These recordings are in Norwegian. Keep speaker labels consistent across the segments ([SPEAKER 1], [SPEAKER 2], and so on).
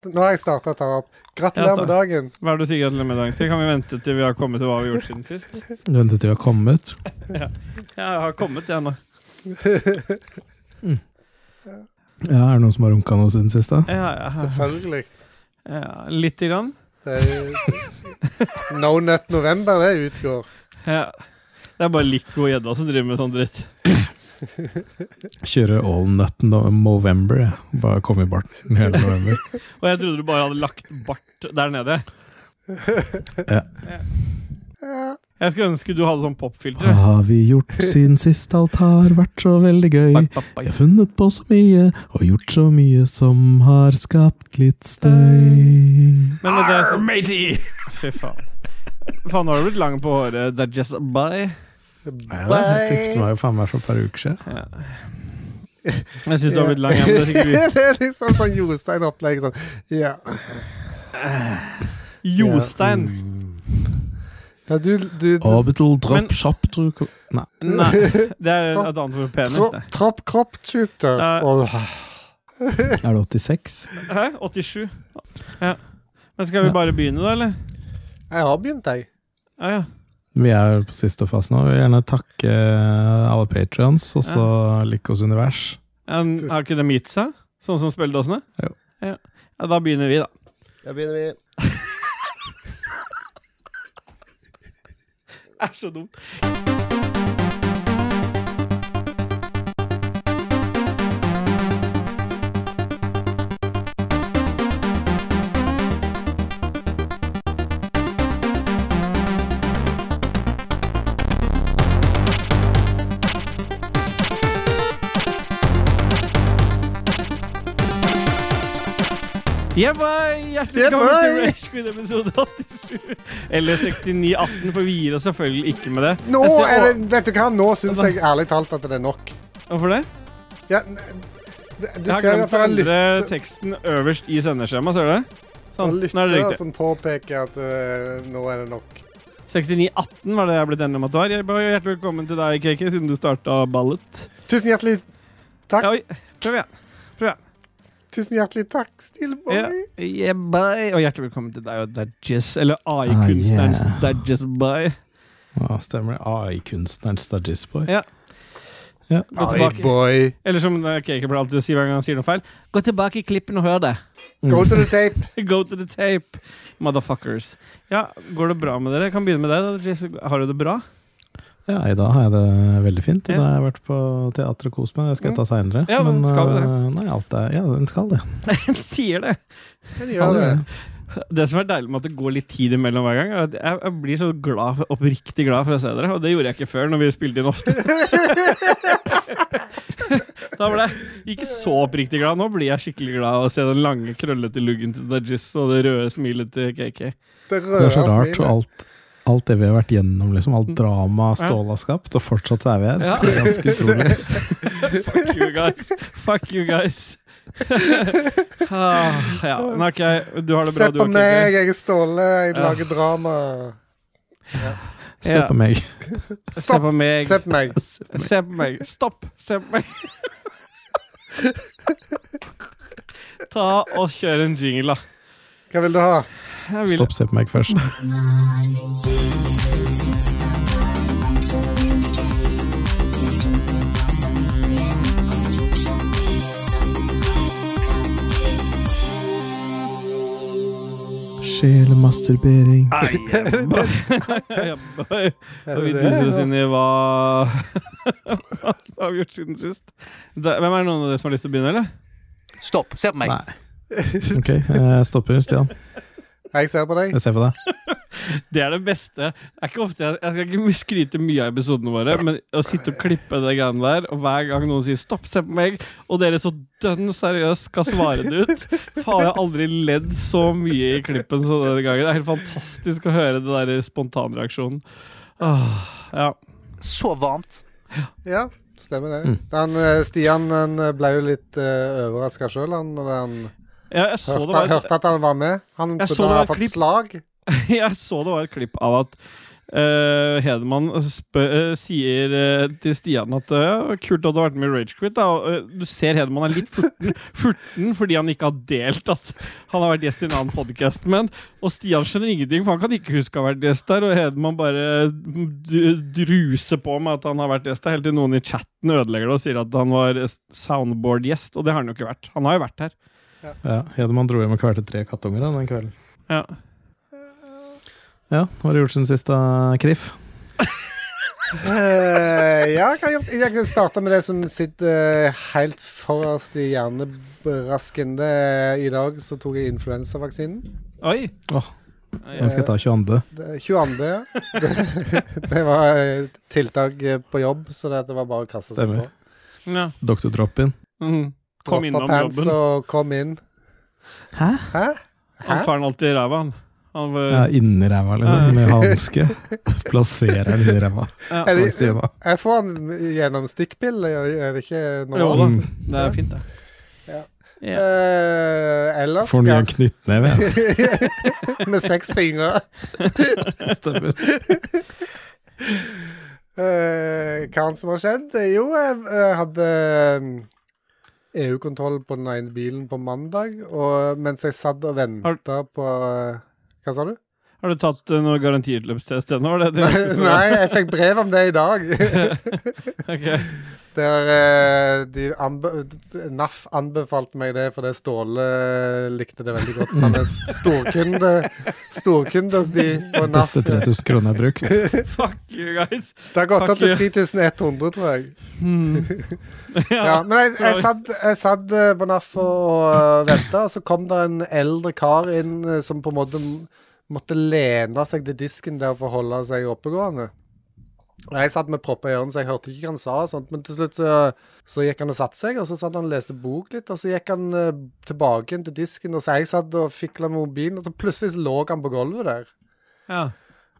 [SPEAKER 1] Nå har jeg starta å ta opp. Gratulerer med dagen.
[SPEAKER 2] Hva er det du sier gratulerer med dagen til? Kan vi vente til vi har kommet til hva vi har gjort siden sist?
[SPEAKER 3] Du venter til vi har kommet.
[SPEAKER 2] Ja, jeg har kommet, jeg nå.
[SPEAKER 3] Ja, Er det noen som har runka noe siden sist, da?
[SPEAKER 2] Ja, ja,
[SPEAKER 1] Selvfølgelig.
[SPEAKER 2] ja, litt grann.
[SPEAKER 1] Det er jo No Nut November, det utgår.
[SPEAKER 2] Ja. Det er bare Lico og gjedda som driver med sånn dritt.
[SPEAKER 3] Kjøre all nut no Movember, jeg. Bare komme i barten hele november.
[SPEAKER 2] Og jeg trodde du bare hadde lagt bart der nede.
[SPEAKER 1] Ja.
[SPEAKER 2] Jeg skulle ønske du hadde sånn
[SPEAKER 3] Hva
[SPEAKER 2] popfilter.
[SPEAKER 3] har vi gjort siden sist alt har vært så veldig gøy?
[SPEAKER 2] Bak, bak,
[SPEAKER 3] Jeg
[SPEAKER 2] bak.
[SPEAKER 3] har funnet på så mye og gjort så mye som har skapt litt støy.
[SPEAKER 2] Men det er så,
[SPEAKER 4] matey!
[SPEAKER 2] fy faen. Faen, nå har du blitt lang på håret. Det er just bye.
[SPEAKER 3] Nei da, jeg klippet meg jo faen meg for et par uker siden.
[SPEAKER 2] Ja. Jeg syns du har blitt lang, ja, men det er sikkert
[SPEAKER 1] Det er liksom sånn Jostein-opplegg. Sånn. Ja.
[SPEAKER 2] vi. Jostein.
[SPEAKER 1] ja, du, du, du
[SPEAKER 3] Orbital
[SPEAKER 2] drop Men-
[SPEAKER 3] shop truk... Nei.
[SPEAKER 2] Nei, det er et annet ord for penis.
[SPEAKER 1] tro,
[SPEAKER 2] det.
[SPEAKER 1] Tropp kropp-shooter.
[SPEAKER 2] Ja.
[SPEAKER 3] Er det 86?
[SPEAKER 2] Hæ? 87? Ja. Men skal vi
[SPEAKER 3] Ja.
[SPEAKER 2] bare begynne, da, eller?
[SPEAKER 1] Jeg har begynt, jeg.
[SPEAKER 2] Ja, ja.
[SPEAKER 3] Vi er på siste fase nå. Jeg vil gjerne takke alle patrions, og så Likos univers.
[SPEAKER 2] En, har ikke dem gitt seg? Sånn som spilledåsene?
[SPEAKER 3] Jo.
[SPEAKER 2] Ja. ja, da begynner vi, da.
[SPEAKER 5] Da begynner vi.
[SPEAKER 2] Det er så dumt. Yeah, bye! Hjertelig
[SPEAKER 1] Yeah,
[SPEAKER 2] velkommen til
[SPEAKER 1] bye!
[SPEAKER 2] Rage Queen episode 87. Eller 6918, for vi gir oss selvfølgelig ikke med det.
[SPEAKER 1] Nå
[SPEAKER 2] Jeg ser- Altså-
[SPEAKER 1] er det, vet du hva, nå syns jeg ærlig talt at det er nok.
[SPEAKER 2] Hvorfor det?
[SPEAKER 1] Ja, n- du
[SPEAKER 2] Jeg har
[SPEAKER 1] ser jo at
[SPEAKER 2] glemt
[SPEAKER 1] det
[SPEAKER 2] å
[SPEAKER 1] er
[SPEAKER 2] endre
[SPEAKER 1] lytter,
[SPEAKER 2] teksten øverst i sendeskjemaet, ser du det?
[SPEAKER 1] det er
[SPEAKER 2] Sånn, nå er det
[SPEAKER 1] lyttere
[SPEAKER 2] riktig.
[SPEAKER 1] som påpeker at eh, nå er det nok.
[SPEAKER 2] 6918 var det jeg ble enig om at det var. Jeg bare Hjertelig velkommen til deg, KK, siden du starta ballet.
[SPEAKER 1] Tusen hjertelig takk.
[SPEAKER 2] Oi, prøv igjen.
[SPEAKER 1] Tusen hjertelig takk, Stilleboy.
[SPEAKER 2] Ja. Yeah, bye. Og hjertelig velkommen til deg og Dajis, eller AI-kunstnerens
[SPEAKER 3] Ah, yeah.
[SPEAKER 2] Dajis Bye.
[SPEAKER 3] Ja, stemmer det. AI-kunstneren Stadgis Boy.
[SPEAKER 2] Ja.
[SPEAKER 3] Ja.
[SPEAKER 2] Gå
[SPEAKER 1] Oi,
[SPEAKER 2] tilbake.
[SPEAKER 1] boy.
[SPEAKER 2] Eller som eh, KK pleier alltid å si hver gang han sier noe feil, gå tilbake i klippen og hør det.
[SPEAKER 1] Go to the tape.
[SPEAKER 2] Go to the tape, motherfuckers. Ja, går det bra med dere? Jeg kan begynne med deg. da, Dajis. Har du det bra?
[SPEAKER 3] Ja, I dag har jeg det veldig fint. I
[SPEAKER 2] Ja.
[SPEAKER 3] dag har jeg vært på teater og kost meg. Det skal jeg ta seinere.
[SPEAKER 2] Ja, men skal vi det?
[SPEAKER 3] Nei, alt er, ja, den skal det.
[SPEAKER 2] Den sier det.
[SPEAKER 1] Den gjør det.
[SPEAKER 2] Det som er deilig med at det går litt tid imellom hver gang, er at jeg, jeg blir så glad, for- oppriktig glad for å se dere. Og det gjorde jeg ikke før, når vi spilte inn ofte. da ble jeg ikke så oppriktig glad. Nå blir jeg skikkelig glad av å se den lange, krøllete luggen til Dajis og det røde smilet til KK.
[SPEAKER 1] Det
[SPEAKER 3] Det
[SPEAKER 1] røde
[SPEAKER 3] er så rart. Og
[SPEAKER 1] smilet.
[SPEAKER 3] alt, alt det vi har vært gjennom, liksom, alt drama Ståle har skapt, og fortsatt så er vi her.
[SPEAKER 2] Mm. Ja.
[SPEAKER 3] Det er ganske utrolig.
[SPEAKER 2] Fuck you guys. Fuck you guys. ah, ja, men ok, du har det bra,
[SPEAKER 1] Se
[SPEAKER 2] du
[SPEAKER 1] på
[SPEAKER 2] også,
[SPEAKER 1] meg,
[SPEAKER 2] KK.
[SPEAKER 1] jeg er Ståle, jeg
[SPEAKER 2] Ja.
[SPEAKER 1] lager drama.
[SPEAKER 3] Se
[SPEAKER 2] Ja.
[SPEAKER 3] på meg.
[SPEAKER 2] Se på meg.
[SPEAKER 1] Se på meg.
[SPEAKER 2] Se på meg. Stopp! Se på meg. Ta og kjør en jingle, da.
[SPEAKER 1] Hva vil du ha?
[SPEAKER 2] Jeg vil-
[SPEAKER 3] Stopp, se på meg først. Sjelemasturbering.
[SPEAKER 2] Ai, jabba. Jabba. Og vi
[SPEAKER 1] det
[SPEAKER 2] duser oss
[SPEAKER 1] det?
[SPEAKER 2] inn i hva Hva har vi gjort siden sist? Da, hvem er det noen av dere som har lyst til å begynne, eller?
[SPEAKER 5] Stopp. Se på meg.
[SPEAKER 3] Nei. Ok, jeg stopper, Stian.
[SPEAKER 1] Jeg ser på deg.
[SPEAKER 3] Jeg ser på deg.
[SPEAKER 2] Det er det beste. Det er ikke ofte jeg, jeg skal ikke skryte mye av episodene våre, men å sitte og klippe det greiene der, og hver gang noen sier 'stopp, se på meg', og dere så dønn seriøst skal svare det ut Faen, jeg har aldri ledd så mye i klippen som denne gangen. Det er helt fantastisk å høre det der spontanreaksjonen. Åh, ja.
[SPEAKER 5] Så varmt.
[SPEAKER 1] Ja, stemmer
[SPEAKER 3] Mm.
[SPEAKER 1] det. Han, eh, Stian han eh, ble jo litt uh, overraska sjøl da han
[SPEAKER 2] ja, jeg så det
[SPEAKER 1] hørte,
[SPEAKER 2] var
[SPEAKER 1] hørte at han var med. Han
[SPEAKER 2] Jeg
[SPEAKER 1] trodde
[SPEAKER 2] så
[SPEAKER 1] han
[SPEAKER 2] det var
[SPEAKER 1] hadde
[SPEAKER 2] et
[SPEAKER 1] fått
[SPEAKER 2] klipp.
[SPEAKER 1] slag.
[SPEAKER 2] Jeg så det var et klipp av at eh, Hedemann spø- eh, sier eh, til Stian at eh, kult at du har vært med i Ragequit. da, og, eh, Du ser Hedemann er litt furten, furten fordi han ikke har delt at han har vært gjest i en annen podkast. Og Stian skjønner ingenting, for han kan ikke huske å ha vært gjest der. Og Hedemann bare d- druser på med at han har vært gjest der, helt til noen i chatten ødelegger det og sier at han var soundboard-gjest. Og det har han jo ikke vært. Han har jo vært her.
[SPEAKER 3] Ja, Hedemann dro hjem og kvalte tre kattunger da, den kvelden.
[SPEAKER 2] Ja.
[SPEAKER 3] Ja, hva har du gjort siden sist, da, Krif?
[SPEAKER 1] Eh, ja, jeg kan, jo- jeg kan starte med det som sitter eh, helt forrest i hjernebrasken. Det er- I dag så tok jeg influensavaksinen. Eh,
[SPEAKER 2] Oi!
[SPEAKER 3] Åh, Den skal jeg ta 22.
[SPEAKER 1] Det- 22. ja. Det, det var eh, tiltak eh, på jobb, så det, det var bare å kaste seg
[SPEAKER 3] Stemmer.
[SPEAKER 1] på.
[SPEAKER 2] Ja.
[SPEAKER 3] Dr. Drop-in.
[SPEAKER 2] Mm. Kom
[SPEAKER 1] Droppa
[SPEAKER 2] innom
[SPEAKER 1] pants
[SPEAKER 2] jobben.
[SPEAKER 1] og kom inn.
[SPEAKER 3] Hæ?
[SPEAKER 1] Hæ?
[SPEAKER 2] Han tar den alltid i ræva, han. han eh, var,
[SPEAKER 3] Ja, inni
[SPEAKER 2] Ja.
[SPEAKER 3] ræva, liksom. Med hanske. Plasserer den i ræva.
[SPEAKER 2] ja.
[SPEAKER 1] Er
[SPEAKER 3] Hva
[SPEAKER 1] det,
[SPEAKER 3] sier da?
[SPEAKER 1] jeg får den gjennom stikkpille, er det ikke
[SPEAKER 2] Jo
[SPEAKER 1] noe?
[SPEAKER 2] da,
[SPEAKER 3] Mm.
[SPEAKER 2] det er fint, det.
[SPEAKER 1] Ja.
[SPEAKER 2] Ja.
[SPEAKER 1] Eh, ellers
[SPEAKER 3] Får den i en
[SPEAKER 1] skal
[SPEAKER 3] knyttneve. ja.
[SPEAKER 1] Med seks fingre.
[SPEAKER 3] Stemmer.
[SPEAKER 1] Eh, hva annet som har skjedd? Jo, jeg, eh, hadde eh, EU-kontroll på den ene bilen på mandag, og eh, mens jeg satt og venta på eh, Hva sa du?
[SPEAKER 2] Har du tatt eh, noe garantiutløpstest ennå? var det det du skulle
[SPEAKER 1] Nei, jeg fikk brev om det i dag.
[SPEAKER 2] ha? Ok.
[SPEAKER 1] Der eh, de anbe NAF anbefalte meg det fordi Ståle eh, likte det veldig godt. Han er storkunde, storkunde hos de på NAF.
[SPEAKER 3] Beste 3000 kroner jeg har brukt.
[SPEAKER 2] Fuck you guys.
[SPEAKER 1] Det har gått
[SPEAKER 2] Takk,
[SPEAKER 1] opp til
[SPEAKER 2] ja.
[SPEAKER 1] 3100, tror jeg.
[SPEAKER 2] Mm.
[SPEAKER 1] Ja,
[SPEAKER 2] Ja.
[SPEAKER 1] men jeg, jeg, satt, jeg satt eh, på NAF og venta, og så kom det en eldre kar inn eh, som på en måte m- måtte lene seg til disken der for å holde seg oppegående. Og Jeg satt med propper i ørene, så jeg hørte ikke hva han sa, og sånt, men til slutt så, så gikk han og satte seg, og så satt han og leste bok litt, og så gikk han eh, tilbake inn til disken, og så jeg satt og fikla med mobilen, og så plutselig så lå han på gulvet der.
[SPEAKER 2] ja.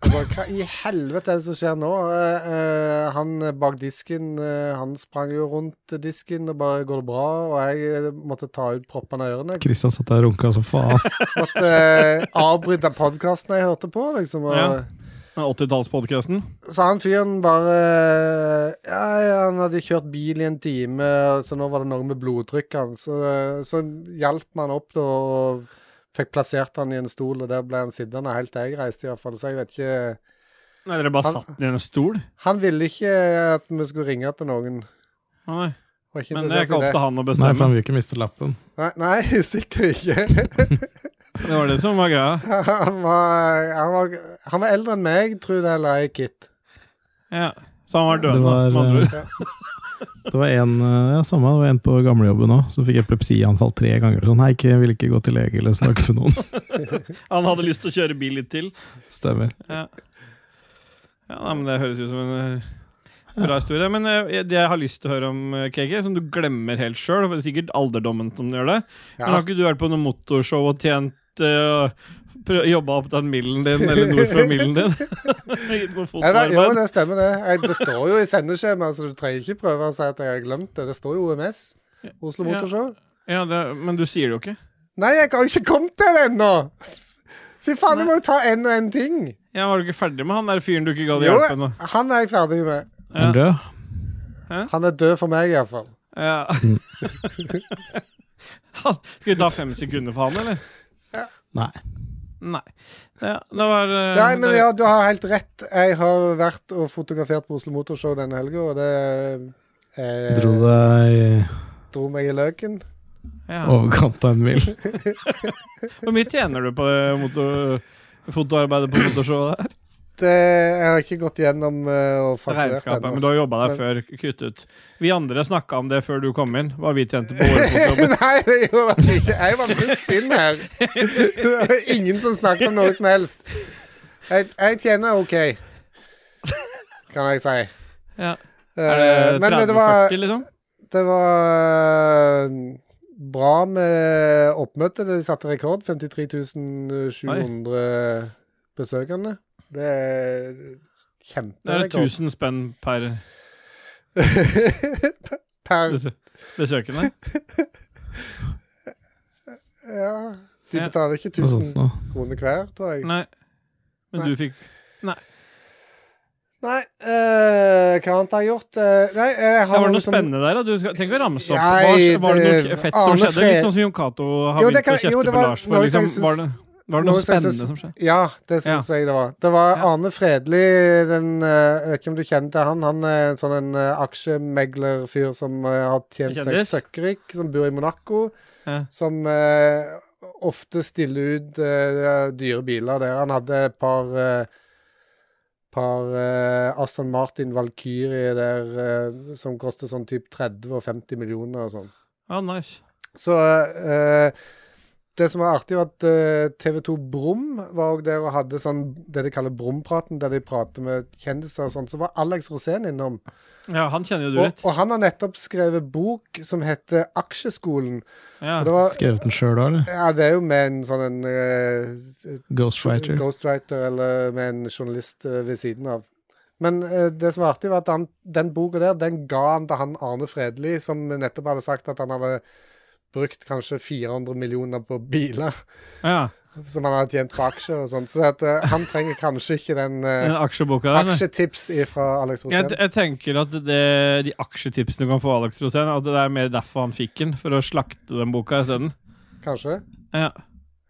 [SPEAKER 1] Jeg bare, Hva i helvete er det som skjer nå? Eh, eh, han bak disken, eh, han sprang jo rundt disken og bare 'går det bra?' Og jeg eh, måtte ta ut proppene av ørene. Jeg
[SPEAKER 3] Kristian satt der og runka som faen.
[SPEAKER 1] måtte eh, avbryte podkasten jeg hørte på, liksom. Og,
[SPEAKER 2] Ja. Den 80-tallspodkasten?
[SPEAKER 1] Så han fyren bare eh, ja, ja, han hadde kjørt bil i en time, og så nå var det noe med blodtrykket hans. Så, eh, så hjalp man opp da, og fikk plassert han i en stol, og der ble han sittende helt til jeg reiste, iallfall. Så jeg vet ikke
[SPEAKER 2] Nei, dere bare
[SPEAKER 1] Han-
[SPEAKER 2] satt den i en stol?
[SPEAKER 1] Han ville ikke at vi skulle ringe til noen.
[SPEAKER 2] Nei.
[SPEAKER 1] Var ikke
[SPEAKER 2] Men det er ikke
[SPEAKER 1] interessert
[SPEAKER 2] opp
[SPEAKER 1] i
[SPEAKER 2] til han å
[SPEAKER 3] Nei, for
[SPEAKER 2] bestemme.
[SPEAKER 3] han vil ikke miste lappen.
[SPEAKER 1] Nei, nei sikkert ikke.
[SPEAKER 2] Det var det som var greia.
[SPEAKER 1] Han var, han, var, han var eldre enn meg, tror det eller ei, Kit.
[SPEAKER 2] Ja. Så han var
[SPEAKER 3] Det
[SPEAKER 2] døende,
[SPEAKER 3] var, eh,
[SPEAKER 2] med andre ord.
[SPEAKER 1] Ja.
[SPEAKER 3] Det var en, eh, ja, samme, det var en på gamlejobben òg som fikk epilepsianfall tre ganger. Sånn, Hei, ikke, vil ikke gå til lege eller snakke med noen.
[SPEAKER 2] Han hadde lyst til å kjøre bil litt til.
[SPEAKER 3] Stemmer.
[SPEAKER 2] Ja, ja nei, men det høres ut som en eh, bra historie. Men eh, det jeg har lyst til å høre om, eh, KK, som du glemmer helt sjøl, sikkert alderdommen som gjør det Men
[SPEAKER 1] Ja.
[SPEAKER 2] har ikke du vært på noe motorshow og tjent eh, prø- Jobba opp den millen din, eller nord fra millen din? Gitt noe
[SPEAKER 1] Ja, da, jo,
[SPEAKER 2] fotoarbeid?
[SPEAKER 1] det stemmer, det. Jeg, det står jo i sendeskjemaet, så du trenger ikke prøve å si at jeg har glemt det. Det står jo OMS. Oslo
[SPEAKER 2] Ja.
[SPEAKER 1] Motorshow.
[SPEAKER 2] Ja, det, men du sier det jo ikke.
[SPEAKER 1] Nei, jeg har jo ikke kommet til det ennå! Fy faen, jeg må jo ta én og én ting.
[SPEAKER 2] Ja, Var du ikke ferdig med han der fyren du ikke gadd
[SPEAKER 1] Jo,
[SPEAKER 2] hjelpe ennå?
[SPEAKER 1] han er jeg ferdig med.
[SPEAKER 3] Er han død?
[SPEAKER 1] Han er død for meg, iallfall.
[SPEAKER 2] Ja. Han- Skal vi ta fem sekunder for han, eller?
[SPEAKER 3] Nei.
[SPEAKER 2] Nei. Ja, det var eh,
[SPEAKER 1] Nei, men
[SPEAKER 2] det-
[SPEAKER 1] ja, du har helt rett. Jeg har vært og fotografert på Oslo Motorshow denne helga, og det eh,
[SPEAKER 3] Dro deg
[SPEAKER 1] dro meg i løken.
[SPEAKER 2] ja.
[SPEAKER 3] i overkant av en mil.
[SPEAKER 2] Hvor mye tjener du på det motor, fotoarbeidet på motorshowet der?
[SPEAKER 1] Det, jeg har ikke gått gjennom eh, og fakturert
[SPEAKER 2] Regnskapet. Men
[SPEAKER 1] ennå.
[SPEAKER 2] du har jobba der før. Kutt ut. Vi andre snakka om det før du kom inn, hva vi tjente på våre fotojobber.
[SPEAKER 1] Nei, det gjorde jeg ikke. Jeg var først inn her. Det var ingen som snakket om noe som helst. Jeg, jeg tjener OK, kan jeg si.
[SPEAKER 2] Ja. Er
[SPEAKER 1] Eh,
[SPEAKER 2] det
[SPEAKER 1] men det
[SPEAKER 2] 30-40,
[SPEAKER 1] var,
[SPEAKER 2] liksom?
[SPEAKER 1] det var eh, bra med oppmøte. De satte rekord. 53 700 besøkende. Det er
[SPEAKER 2] Det er
[SPEAKER 1] kjemperekord.
[SPEAKER 2] 1000 spenn per
[SPEAKER 1] per
[SPEAKER 2] bes- besøkende.
[SPEAKER 1] Ja. De
[SPEAKER 2] Ja.
[SPEAKER 1] betaler ikke
[SPEAKER 3] Altså, Noe sånt
[SPEAKER 1] 1000
[SPEAKER 3] noe.
[SPEAKER 1] kroner hver, tror jeg.
[SPEAKER 2] Nei. Men du fikk
[SPEAKER 1] Nei, eh, hva annet har jeg gjort? Eh, nei, jeg har
[SPEAKER 2] Ja, var det noe
[SPEAKER 1] som-
[SPEAKER 2] spennende der? da? Du skal, tenk å ramse opp.
[SPEAKER 1] Nei,
[SPEAKER 2] Var, var det
[SPEAKER 1] det-
[SPEAKER 2] noe fett som
[SPEAKER 1] Arne
[SPEAKER 2] skjedde?
[SPEAKER 1] Fre-
[SPEAKER 2] Litt sånn som Jon Cato har
[SPEAKER 1] Jo, det
[SPEAKER 2] begynt å
[SPEAKER 1] kan- jo,
[SPEAKER 2] kjefte
[SPEAKER 1] det
[SPEAKER 2] på
[SPEAKER 1] var-
[SPEAKER 2] Lars
[SPEAKER 1] noe
[SPEAKER 2] for.
[SPEAKER 1] som
[SPEAKER 2] Liksom,
[SPEAKER 1] jeg
[SPEAKER 2] var, det, var det
[SPEAKER 1] noe
[SPEAKER 2] noe
[SPEAKER 1] som jeg
[SPEAKER 2] spennende
[SPEAKER 1] syns-
[SPEAKER 2] som skjedde?
[SPEAKER 1] Ja, det syns jeg det var. Det var
[SPEAKER 2] Ja.
[SPEAKER 1] Arne Fredli, den eh, Jeg vet ikke om du kjenner til han? Han er en sånn en eh, aksjemeglerfyr som eh, har tjent seg
[SPEAKER 2] Kjendis?
[SPEAKER 1] søkkrik, som bor i Monaco.
[SPEAKER 2] Ja.
[SPEAKER 1] Som eh, ofte stiller ut eh, dyre biler der. Han hadde et par eh, par eh, Aston Martin Valkyrie der eh, som koster sånn typ 30 og 50 millioner og sånn.
[SPEAKER 2] Ja, nice.
[SPEAKER 1] Så eh, det som var artig, var at eh, TV2 Brum var også der og hadde sånn det de kaller Brumpraten, der de prater med kjendiser og sånn. Så var Alex Rosén innom.
[SPEAKER 2] Ja, han kjenner jo du
[SPEAKER 1] Og,
[SPEAKER 2] litt.
[SPEAKER 1] og han har nettopp skrevet bok som heter Aksjeskolen.
[SPEAKER 2] Ja.
[SPEAKER 1] Og det var
[SPEAKER 3] Skrevet den sjøl, da? eller?
[SPEAKER 1] ja, det er jo med en sånn en eh,
[SPEAKER 3] Ghostwriter.
[SPEAKER 1] ghostwriter eller med en journalist eh, ved siden av. Men eh, det som var artig, var at han, den boka der, den ga han til han Arne Fredli, som nettopp hadde sagt at han hadde brukt kanskje 400 millioner på biler,
[SPEAKER 2] Ja.
[SPEAKER 1] som han hadde tjent på aksjer og sånn. Så at, eh, han trenger kanskje ikke den eh,
[SPEAKER 2] Den aksjeboka der. nei.
[SPEAKER 1] aksjetips fra Alex
[SPEAKER 2] Jeg,
[SPEAKER 1] Rosén.
[SPEAKER 2] jeg tenker at det, de aksjetipsene du kan få Alex Rosén, at det er mer derfor han fikk den, for å slakte den boka isteden.
[SPEAKER 1] Kanskje.
[SPEAKER 2] Ja.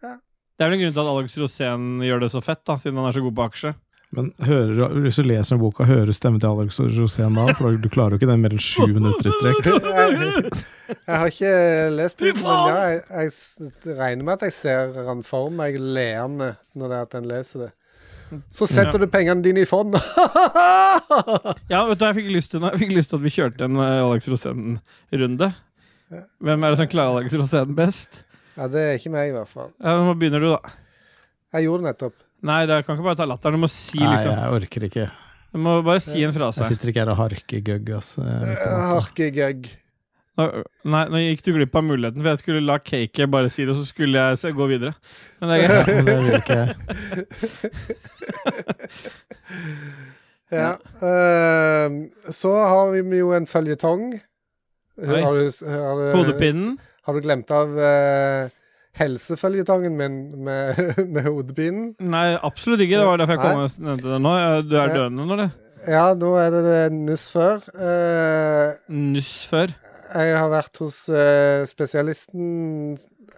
[SPEAKER 1] Ja.
[SPEAKER 2] Det er vel en grunn til at Alex Rosén gjør det så fett, da, siden han er så god på aksje.
[SPEAKER 3] Men hører, hvis du leser boka, hører stemmen til Alex og Rosén da? For du klarer jo ikke den mer enn sju minutter i strekk.
[SPEAKER 1] Jeg, jeg har ikke lest
[SPEAKER 2] Fy
[SPEAKER 1] boken, men ja, jeg, jeg s- regner med at jeg ser han for meg leende når det er at en leser det. Så setter du pengene dine i fond.
[SPEAKER 2] Ja, vet du, hva jeg fikk lyst til, nå? jeg fikk lyst til at vi kjørte en eh, Alex Rosén-runde. Hvem er det som klarer Alex Rosén best?
[SPEAKER 1] Ja, det er ikke meg, i hvert fall.
[SPEAKER 2] Ja, Nå begynner du, da.
[SPEAKER 1] Jeg gjorde det nettopp.
[SPEAKER 2] Nei, det kan ikke bare ta latteren. Du må si
[SPEAKER 3] Nei,
[SPEAKER 2] liksom
[SPEAKER 3] jeg orker ikke.
[SPEAKER 2] Du må bare si en frase.
[SPEAKER 3] Jeg sitter ikke her og harker gøgg, ass. Jeg er litt på natta.
[SPEAKER 1] Harkegøgg.
[SPEAKER 2] Nå, nei, nå gikk du glipp av muligheten, for jeg skulle la cake bare si det, og så skulle jeg se, gå videre. Men det er greit.
[SPEAKER 3] Ja, men det vil ikke jeg.
[SPEAKER 1] Ja. ehm, så har vi jo en føljetong.
[SPEAKER 2] Oi.
[SPEAKER 1] Har du, har du,
[SPEAKER 2] Hodepinen.
[SPEAKER 1] Har du glemt av eh, helseføljetongen min med, med hodepinen?
[SPEAKER 2] Nei, absolutt ikke. Det var derfor jeg kom
[SPEAKER 1] Nei.
[SPEAKER 2] og nevnte det nå. Ja, Du er
[SPEAKER 1] Nei.
[SPEAKER 2] døende nå, eller?
[SPEAKER 1] Ja, nå er det det nyss før. Eh,
[SPEAKER 2] Nuss før.
[SPEAKER 1] jeg har vært hos eh, spesialisten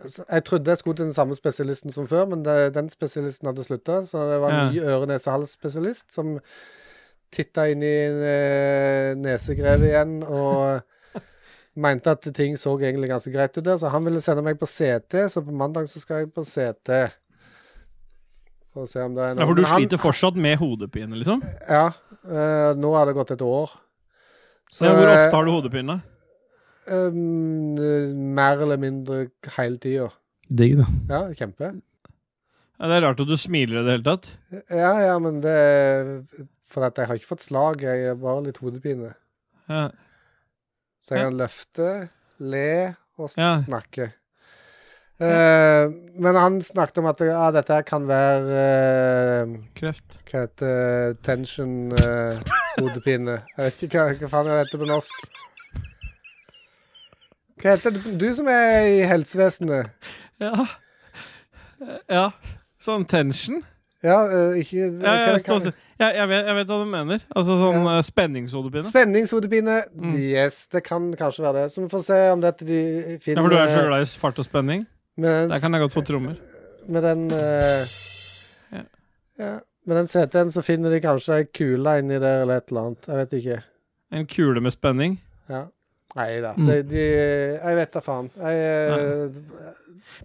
[SPEAKER 1] Altså, Jeg trodde jeg skulle til den samme spesialisten som før, men det, den spesialisten hadde slutta. Så det var en
[SPEAKER 2] Ja.
[SPEAKER 1] ny øre-nese-hals-spesialist som titta inn i uh, nesegrevet igjen og mente at ting så egentlig ganske greit ut der. Så han ville sende meg på CT, så på mandag så skal jeg på CT. For å se om det er
[SPEAKER 2] Ja, for du
[SPEAKER 1] Men han-
[SPEAKER 2] sliter fortsatt med hodepine, liksom?
[SPEAKER 1] Ja. eh, nå har det gått et år. Så,
[SPEAKER 2] Så hvor
[SPEAKER 1] eh,
[SPEAKER 2] ofte har du hodepine?
[SPEAKER 1] Um, mer eller mindre hele tida.
[SPEAKER 3] Digg, da.
[SPEAKER 1] Ja, kjempe.
[SPEAKER 2] Ja, det er rart at du smiler i det hele tatt.
[SPEAKER 1] Ja, ja, men det er For at jeg har ikke fått slag, jeg har bare litt hodepine.
[SPEAKER 2] Ja.
[SPEAKER 1] Så jeg kan løfte, le og
[SPEAKER 2] ja.
[SPEAKER 1] snakke. Eh, men han snakket om at ja, dette her kan være eh,
[SPEAKER 2] Kreft.
[SPEAKER 1] Hva heter det? tension eh, hodepine? Jeg vet ikke hva, hva faen det heter på norsk. Hva heter det? Du som er i helsevesenet.
[SPEAKER 2] Ja. Ja. Sånn tension.
[SPEAKER 1] Ja, eh, ikke
[SPEAKER 2] Ja,
[SPEAKER 1] hva-
[SPEAKER 2] jeg,
[SPEAKER 1] hva-
[SPEAKER 2] jeg, jeg, vet, jeg vet hva du mener. Altså sånn
[SPEAKER 1] Ja.
[SPEAKER 2] eh, spenningshodepine.
[SPEAKER 1] Spenningshodepine.
[SPEAKER 2] Mm.
[SPEAKER 1] Yes, det kan kanskje være det. Så vi får se om dette de
[SPEAKER 2] Ja,
[SPEAKER 1] finner
[SPEAKER 2] for du er så glad i fart og spenning?
[SPEAKER 1] med
[SPEAKER 2] Der
[SPEAKER 1] den,
[SPEAKER 2] kan jeg godt få trommer.
[SPEAKER 1] med den eh,
[SPEAKER 2] Ja.
[SPEAKER 1] ja, Med den CT-en så finner de kanskje ei kule inni der eller et eller annet. Jeg vet ikke.
[SPEAKER 2] En kule med spenning.
[SPEAKER 1] Ja. Nei da.
[SPEAKER 3] Mm.
[SPEAKER 1] De, de, jeg vet da faen. Jeg, eh,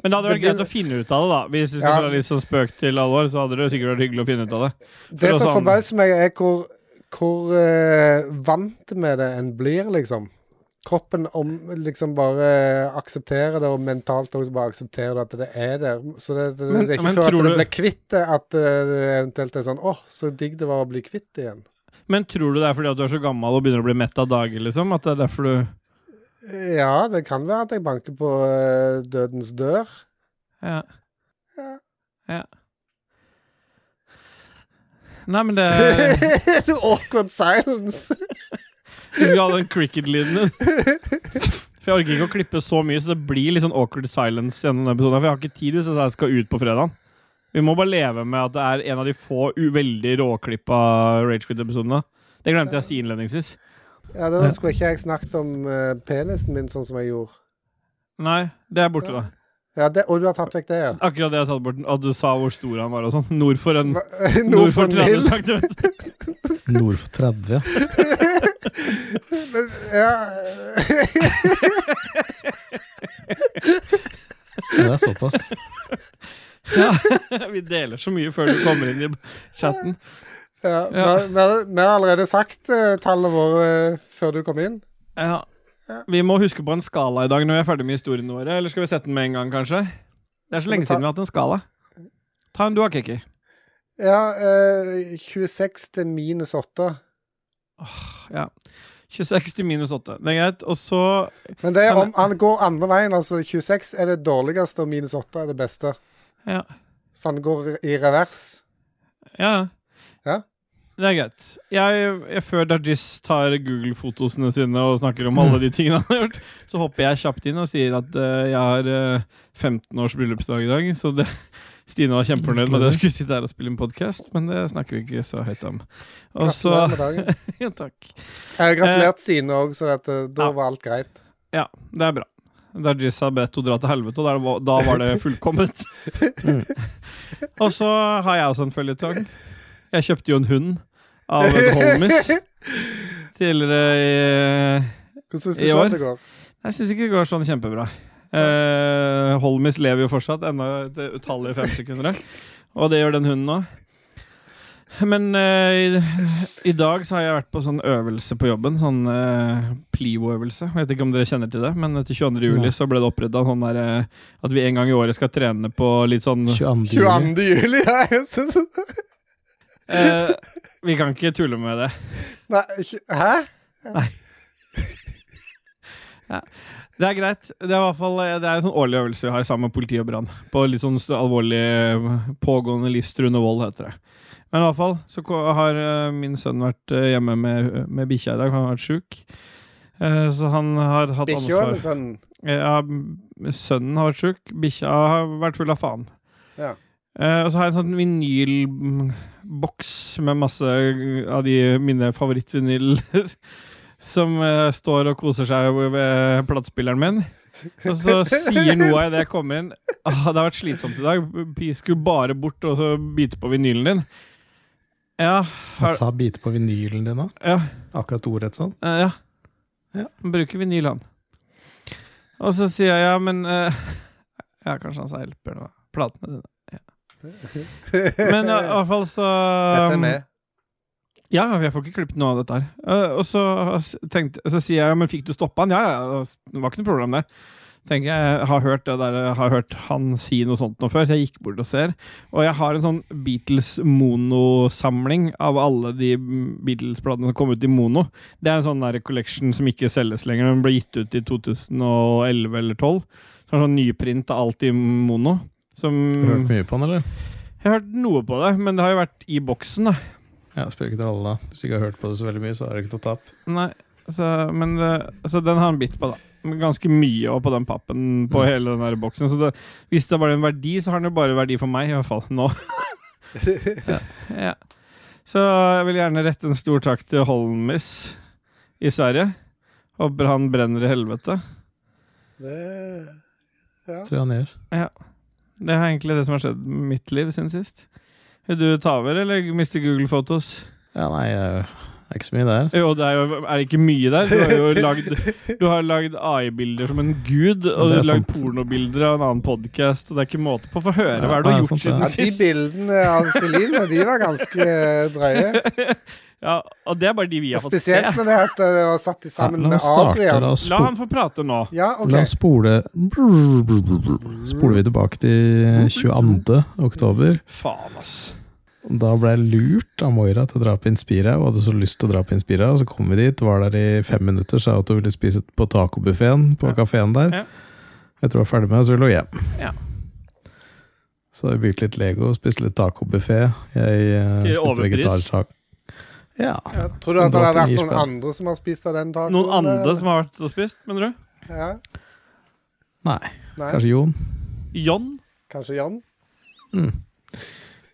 [SPEAKER 2] Men det hadde vært
[SPEAKER 1] Det blir-
[SPEAKER 2] greit å finne ut av det, da. Hvis du skal
[SPEAKER 1] Ja.
[SPEAKER 2] være litt sånn spøk til alvor, så hadde det sikkert vært hyggelig å finne ut av det.
[SPEAKER 1] det
[SPEAKER 2] å
[SPEAKER 1] som
[SPEAKER 2] sånn-
[SPEAKER 1] forbauser meg, er hvor, hvor eh, vant med det en blir, liksom. Kroppen om, liksom bare aksepterer det, og mentalt også bare aksepterer det at det er der. Så det, det,
[SPEAKER 2] Men-
[SPEAKER 1] det er ikke
[SPEAKER 2] men
[SPEAKER 1] før at
[SPEAKER 2] tror
[SPEAKER 1] du
[SPEAKER 2] du-
[SPEAKER 1] blir kvitt det, at eh, det eventuelt er sånn åh, så digg det var å bli kvitt det igjen.
[SPEAKER 2] Men tror du det er fordi at du er så gammel og begynner å bli mett av dager, liksom? At det er derfor du
[SPEAKER 1] Ja, det kan være at jeg banker på eh, dødens dør.
[SPEAKER 2] Ja.
[SPEAKER 1] Ja.
[SPEAKER 2] ja. Nei, men det
[SPEAKER 1] Awkward silence.
[SPEAKER 2] Vi skulle ha den cricket-lyden din. For jeg orker ikke å klippe så mye, så det blir litt sånn awkward silence gjennom denne episoden. For jeg har ikke tid hvis jeg skal ut på fredag. Vi må bare leve med at det er en av de få u veldig råklippa Ragequit-episodene. Det glemte jeg å si innledningsvis.
[SPEAKER 1] Ja, Da skulle ikke jeg snakket om eh, penisen min sånn som jeg gjorde.
[SPEAKER 2] Nei, det er borte, da.
[SPEAKER 1] Ja, det, Og du har tatt vekk det, ja.
[SPEAKER 2] Akkurat det jeg tatt bort. At du sa hvor stor han var og sånn. Nord for en
[SPEAKER 1] Nord for
[SPEAKER 2] nord
[SPEAKER 1] Nil.
[SPEAKER 2] for 30 cm.
[SPEAKER 3] Nord for 30. ja.
[SPEAKER 1] Men, ja.
[SPEAKER 3] Ja, det er såpass.
[SPEAKER 2] Ja, vi deler så mye før du kommer inn i chatten.
[SPEAKER 1] Ja, vi har- Vi har vi har allerede sagt eh, tallet vårt eh, før du kom inn.
[SPEAKER 2] Ja. Vi må huske på en skala i dag når vi er ferdig med historiene våre. Eller skal vi sette den med en gang, kanskje? Det er så
[SPEAKER 1] Skal vi
[SPEAKER 2] lenge
[SPEAKER 1] ta-
[SPEAKER 2] siden vi har hatt en skala. Ta en du har, Kiki.
[SPEAKER 1] Ja, eh, 26 til minus 8.
[SPEAKER 2] Ja. 26 til minus 8. Det er greit. Og så
[SPEAKER 1] Men det er
[SPEAKER 2] Men-
[SPEAKER 1] om han går andre veien. Altså 26 er det dårligste, og minus 8 er det beste.
[SPEAKER 2] Ja.
[SPEAKER 1] Så han går i revers.
[SPEAKER 2] Ja.
[SPEAKER 1] Ja.
[SPEAKER 2] Det er greit. Jeg, jeg, før Dajis tar Google-fotosene sine og snakker om alle de tingene han har gjort, så hopper jeg kjapt inn og sier at eh, jeg har eh, 15 års bryllupsdag i dag. Så det, Stine var kjempefornøyd med at jeg skulle sitte her og spille en podkast, men det snakker vi ikke så høyt om. Og så
[SPEAKER 1] Gratulerer med dagen.
[SPEAKER 2] Ja, takk.
[SPEAKER 1] Jeg har gratulert Sine òg, så at, eh, da
[SPEAKER 2] Ja.
[SPEAKER 1] var alt greit.
[SPEAKER 2] Ja, det er bra. Dajis har bedt henne dra til helvete, og der var- da var det fullkomment. og så har jeg også en føljetong. Jeg kjøpte jo en hund av The Homies tidligere i
[SPEAKER 1] Hvordan syns
[SPEAKER 2] I
[SPEAKER 1] du
[SPEAKER 2] år?
[SPEAKER 1] selv det går?
[SPEAKER 2] Jeg syns ikke det går sånn kjempebra. Eh, Holmis lever jo fortsatt, enda et utallige femsekundere. Og det gjør den hunden òg. Men eh, i, i dag så har jeg vært på sånn øvelse på jobben. Sånn eh, Plivo-øvelse. Jeg Vet ikke om dere kjenner til det, men etter 22. juli
[SPEAKER 3] Nei.
[SPEAKER 2] så ble det oppretta sånn der eh, at vi en gang i året skal trene på litt sånn
[SPEAKER 3] 22. juli.
[SPEAKER 1] 22. juli, ja. jeg synes det.
[SPEAKER 2] eh, Vi kan ikke tulle med det.
[SPEAKER 1] Nei, ikke- hæ?
[SPEAKER 2] Det er greit. Det er i hvert fall Det er en sånn årlig øvelse vi har sammen med politi og brann. På litt sånn st- alvorlig eh, pågående livstruende vold, heter det. Men i hvert fall så ko- har eh, min sønn vært eh, hjemme med, med bikkja i dag, for han har vært sjuk. Eh, Så han har hatt
[SPEAKER 1] Bikkja
[SPEAKER 2] ansvar
[SPEAKER 1] eller sånn?
[SPEAKER 2] Eh, ja, Sønnen har vært sjuk, bikkja har vært full av faen.
[SPEAKER 1] Ja.
[SPEAKER 2] Eh, og så har jeg en sånn vinylboks med masse av de mine favorittvinyler som eh, står og koser seg ved platespilleren min. Og så sier Noah idet jeg kommer inn ah, 'Det har vært slitsomt i dag. Vi skulle bare bort og så bite på vinylen din.' Ja,
[SPEAKER 3] Han sa bite på vinylen din òg.
[SPEAKER 2] ja.
[SPEAKER 3] Akkurat ordrett sånn.
[SPEAKER 2] Eh, ja.
[SPEAKER 3] Ja.
[SPEAKER 2] Han bruker vinyl, han. Og så sier jeg ja, men eh, Ja, kanskje han sa hjelper nå. Platene dine. Men ja, i hvert fall så
[SPEAKER 1] Dette er
[SPEAKER 2] Um,
[SPEAKER 1] med.
[SPEAKER 2] Ja, jeg får ikke klippet noe av dette her. Eh, og så, s- tenkte, så sier jeg men fikk du stoppa han? Ja, ja, det var ikke noe problem, det. Tenker jeg, jeg har hørt det der, jeg har hørt han si noe sånt noe før, så jeg gikk bort og ser. Og jeg har en sånn Beatles-monosamling av alle de Beatles-platene som kom ut i mono. Det er en sånn der collection som ikke selges lenger. Den ble gitt ut i 2011 eller 2012. Så en sånn nyprint av alt i mono. Som
[SPEAKER 3] Har du hørt mye på han, eller?
[SPEAKER 2] Jeg har hørt noe på det, men det har jo vært i boksen, da.
[SPEAKER 3] Ja, spiller ikke noen rolle, da. Hvis du ikke har hørt på det så veldig mye, så har du ikke noe tap.
[SPEAKER 2] Nei, så, men det, så den har han bitt på, da. Ganske mye også på den pappen på hele den der boksen. Så det, hvis det var en verdi, så har den jo bare verdi for meg, i hvert fall nå. ja. Så jeg vil gjerne rette en stor takk til Holmis i Sverige. Håper han brenner i helvete.
[SPEAKER 1] Det
[SPEAKER 3] Tror jeg han gjør.
[SPEAKER 2] Det er egentlig det som har skjedd med mitt liv siden sist. Vil du ta over, eller mister Google Fotos?
[SPEAKER 3] Ja, nei, jeg er ikke så mye der.
[SPEAKER 2] Jo, det er jo er det ikke mye der. Du har jo lagd, du har lagd AI-bilder som en gud, og du
[SPEAKER 3] Det er
[SPEAKER 2] har lagd
[SPEAKER 3] sant.
[SPEAKER 2] pornobilder av en annen podkast, og det er ikke måte på. Få høre hva er det du har
[SPEAKER 3] Ja, det er
[SPEAKER 2] gjort
[SPEAKER 3] sant,
[SPEAKER 1] Ja, de
[SPEAKER 2] siden
[SPEAKER 3] det.
[SPEAKER 2] sist.
[SPEAKER 1] bildene av Celine, de var ganske eh, drøye.
[SPEAKER 2] Ja, og det er bare de vi har fått se.
[SPEAKER 1] Spesielt når det at det var satt de sammen
[SPEAKER 3] Ja, la
[SPEAKER 1] med
[SPEAKER 3] oss starte,
[SPEAKER 1] Adrian.
[SPEAKER 3] la oss
[SPEAKER 2] La
[SPEAKER 3] spo-
[SPEAKER 2] han få prate nå.
[SPEAKER 1] Ja, OK.
[SPEAKER 3] La oss spole Spoler vi tilbake til 22. oktober.
[SPEAKER 2] Faen, ass.
[SPEAKER 3] Da ble jeg lurt av Moira til å dra på Inspira. Hun hadde så lyst til å dra på Inspira, og så kom vi dit. Var der i fem minutter, sa at hun ville spise på tacobuffeen på
[SPEAKER 2] Ja.
[SPEAKER 3] kafeen der.
[SPEAKER 2] Ja.
[SPEAKER 3] Jeg tror jeg var ferdig med det, så ville hun hjem.
[SPEAKER 2] Ja.
[SPEAKER 3] Så vi bygde litt Lego, spiste litt tacobuffé. Jeg eh,
[SPEAKER 2] Til
[SPEAKER 3] spiste
[SPEAKER 2] overpris?
[SPEAKER 3] vegetartaco. Ja.
[SPEAKER 1] Tror du at det har vært
[SPEAKER 3] 189
[SPEAKER 1] noen
[SPEAKER 3] spenn.
[SPEAKER 1] andre som har spist av den tacoen?
[SPEAKER 2] Noen andre som har vært og spist, mener du?
[SPEAKER 1] Ja.
[SPEAKER 3] Nei,
[SPEAKER 1] Nei,
[SPEAKER 3] kanskje Jon.
[SPEAKER 2] John?
[SPEAKER 1] kanskje Jan?
[SPEAKER 3] Mm.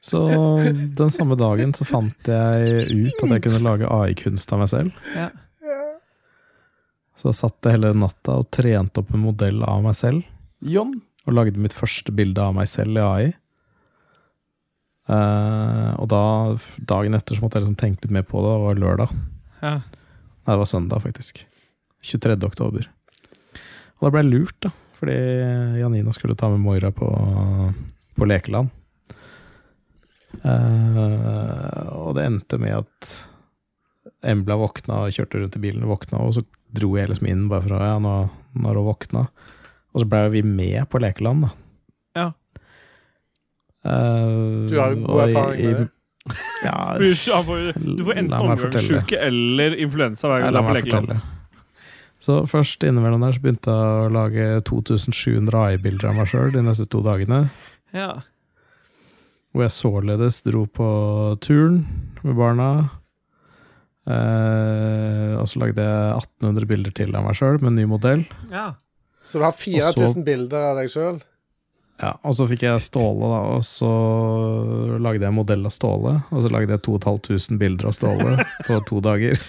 [SPEAKER 3] Så den samme dagen så fant jeg ut at jeg kunne lage AI-kunst av meg selv.
[SPEAKER 2] Ja.
[SPEAKER 3] Så jeg satt jeg hele natta og trente opp en modell av meg selv. John. Og lagde mitt første bilde av meg selv i AI. Eh, og da, f- dagen etter så måtte jeg liksom tenke litt mer på det, og det var lørdag.
[SPEAKER 2] Ja.
[SPEAKER 3] Nei, det var søndag, faktisk. 23. oktober. Og da ble jeg lurt, da. Fordi Janina skulle ta med Moira på, på lekeland. Eh, og det endte med at Embla våkna og kjørte rundt i bilen, våkna, og så dro jeg liksom inn bare for å Ja, nå, når hun våkna. Og så blei vi med på lekeland, da.
[SPEAKER 2] Ja.
[SPEAKER 3] Eh,
[SPEAKER 1] Du har jo god
[SPEAKER 3] og i-
[SPEAKER 1] erfaring med
[SPEAKER 3] i-
[SPEAKER 1] det.
[SPEAKER 3] Ja,
[SPEAKER 2] Du får enten
[SPEAKER 3] la meg fortelle.
[SPEAKER 2] omgangssjuke eller influensa hver
[SPEAKER 3] Nei,
[SPEAKER 2] gang du
[SPEAKER 3] la
[SPEAKER 2] er på
[SPEAKER 3] meg
[SPEAKER 2] lekeland.
[SPEAKER 3] fortelle. Så først innimellom der så begynte jeg å lage 2700 AI-bilder av meg sjøl de neste to dagene.
[SPEAKER 2] Ja.
[SPEAKER 3] Hvor jeg således dro på turn med barna. Eh, og så lagde jeg 1800 bilder til av meg sjøl med en ny modell.
[SPEAKER 2] ja.
[SPEAKER 1] Så du har 4000
[SPEAKER 3] Og
[SPEAKER 1] bilder av deg sjøl?
[SPEAKER 3] Ja, og så fikk jeg Ståle, da, og så lagde jeg en modell av Ståle. Og så lagde jeg 2500 bilder av Ståle på to dager.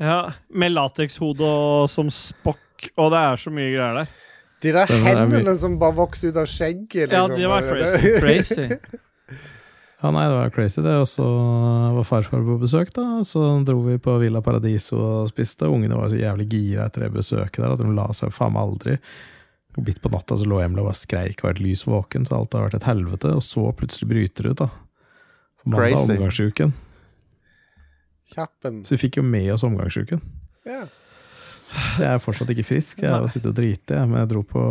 [SPEAKER 2] ja. Med latekshode og som Spock, og det er så mye greier der.
[SPEAKER 1] De der
[SPEAKER 3] Stemmer, det er
[SPEAKER 1] hendene som bare vokser ut av skjegget.
[SPEAKER 2] Ja,
[SPEAKER 1] liksom.
[SPEAKER 2] det var crazy. crazy.
[SPEAKER 3] Ja, nei, det var crazy det. Og så var farfar på besøk, da. Så dro vi på Villa Paradiso og spiste. Ungene var så jævlig gira etter det besøket der at de la seg faen meg aldri. Og Midt på natta så lå Emil og bare skreik og var et lys våken, så alt har vært et helvete. Og så plutselig bryter det ut, da. På mandag
[SPEAKER 5] Crazy.
[SPEAKER 3] omgangsuken.
[SPEAKER 1] Kjappen.
[SPEAKER 3] Så vi fikk jo med oss omgangsuken.
[SPEAKER 1] Ja.
[SPEAKER 3] Så jeg er fortsatt ikke frisk. Jeg har sittet og driti, jeg, men jeg dro på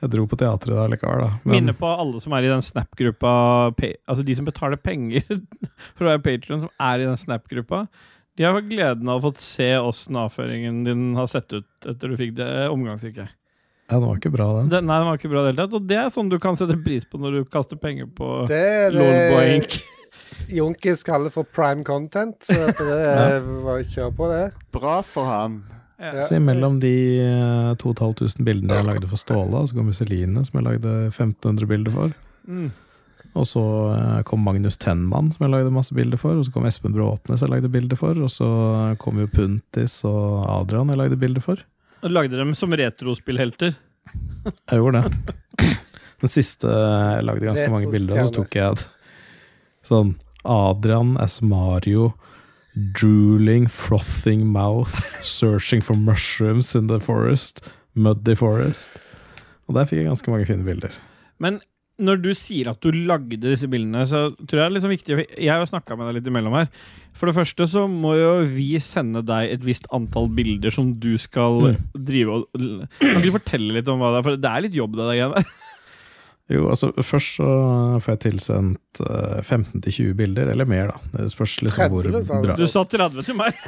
[SPEAKER 3] Jeg dro på teatret da likevel, da. Men
[SPEAKER 2] Minne på alle som er i den Snap-gruppa, pa- altså de som betaler penger for å være patron, som er i den Snap-gruppa. De har gleden av å fått se åssen avføringen din har sett ut etter du fikk det eh, omgangssyke.
[SPEAKER 3] ja, den var ikke bra, den.
[SPEAKER 2] Det, nei, den var ikke bra i det hele tatt. Og det er sånn du kan sette pris på når du kaster penger på
[SPEAKER 1] Det er eh, det
[SPEAKER 2] Lolboink.
[SPEAKER 1] Junkis kaller for prime content. Så at det er, bare kjør på det.
[SPEAKER 4] Bra for han.
[SPEAKER 2] Ja.
[SPEAKER 3] Så imellom de eh, 2500 bildene jeg lagde for Ståle, og så kom Musseline, som jeg lagde 1500 bilder for.
[SPEAKER 2] Mm.
[SPEAKER 3] Og så eh, kom Magnus Tenman, som jeg lagde masse bilder for. Og så kom Espen Bråtnes, jeg lagde bilder for. Og så kom jo Puntis og Adrian, jeg lagde bilder for.
[SPEAKER 2] Og lagde dem som retrospillhelter.
[SPEAKER 3] Jeg gjorde det. Den siste eh, jeg lagde ganske mange bilder, og så tok jeg et sånn Adrian as Mario. Drooling, frothing mouth, searching for mushrooms in the forest. Muddy forest. Og der fikk jeg ganske mange fine bilder.
[SPEAKER 2] Men når du sier at du lagde disse bildene, så tror jeg det er litt sånn viktig for Jeg har jo snakka med deg litt imellom her. For det første så må jo vi sende deg et visst antall bilder som du skal
[SPEAKER 3] Mm.
[SPEAKER 2] drive og Kan ikke du fortelle litt om hva det er? For det er litt jobb, det der greiene der.
[SPEAKER 3] Jo, altså Først så får jeg tilsendt eh, 15-20 bilder, eller mer, da. Det spørs liksom hvor
[SPEAKER 1] 30, sa du.
[SPEAKER 3] bra
[SPEAKER 2] Du sa 30 til meg.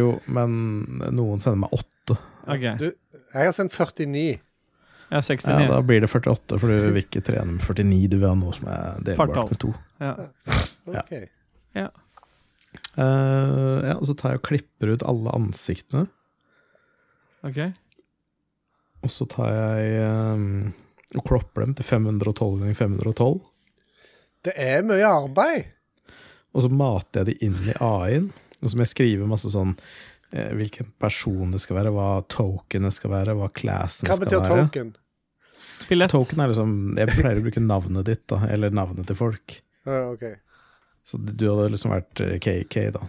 [SPEAKER 3] Jo, men noen sender meg 8.
[SPEAKER 2] Ok,
[SPEAKER 1] Du, jeg har sendt 49.
[SPEAKER 2] jeg er 69.
[SPEAKER 3] Ja, da blir det 48, for du vil ikke trene med 49. Du vil ha noe som er
[SPEAKER 2] Partall.
[SPEAKER 3] delbart med to.
[SPEAKER 2] Ja.
[SPEAKER 1] Ok.
[SPEAKER 3] Eh, ja, og så tar jeg og klipper ut alle ansiktene.
[SPEAKER 2] Ok.
[SPEAKER 3] Og så tar jeg eh, og klopper dem til 512 ganger 512.
[SPEAKER 1] Det er mye arbeid.
[SPEAKER 3] Og så mater jeg de inn i AI-en. Og så må jeg skrive masse sånn eh, Hvilken person det skal være, hva tokenet skal være, hva classen
[SPEAKER 1] Hva
[SPEAKER 3] skal
[SPEAKER 1] betyr
[SPEAKER 3] være.
[SPEAKER 1] token?
[SPEAKER 2] Pilett.
[SPEAKER 3] Token er liksom Jeg pleier å bruke navnet ditt, da. Eller navnet til folk.
[SPEAKER 1] Ja, ok.
[SPEAKER 3] Så du hadde liksom vært eh, KK, da.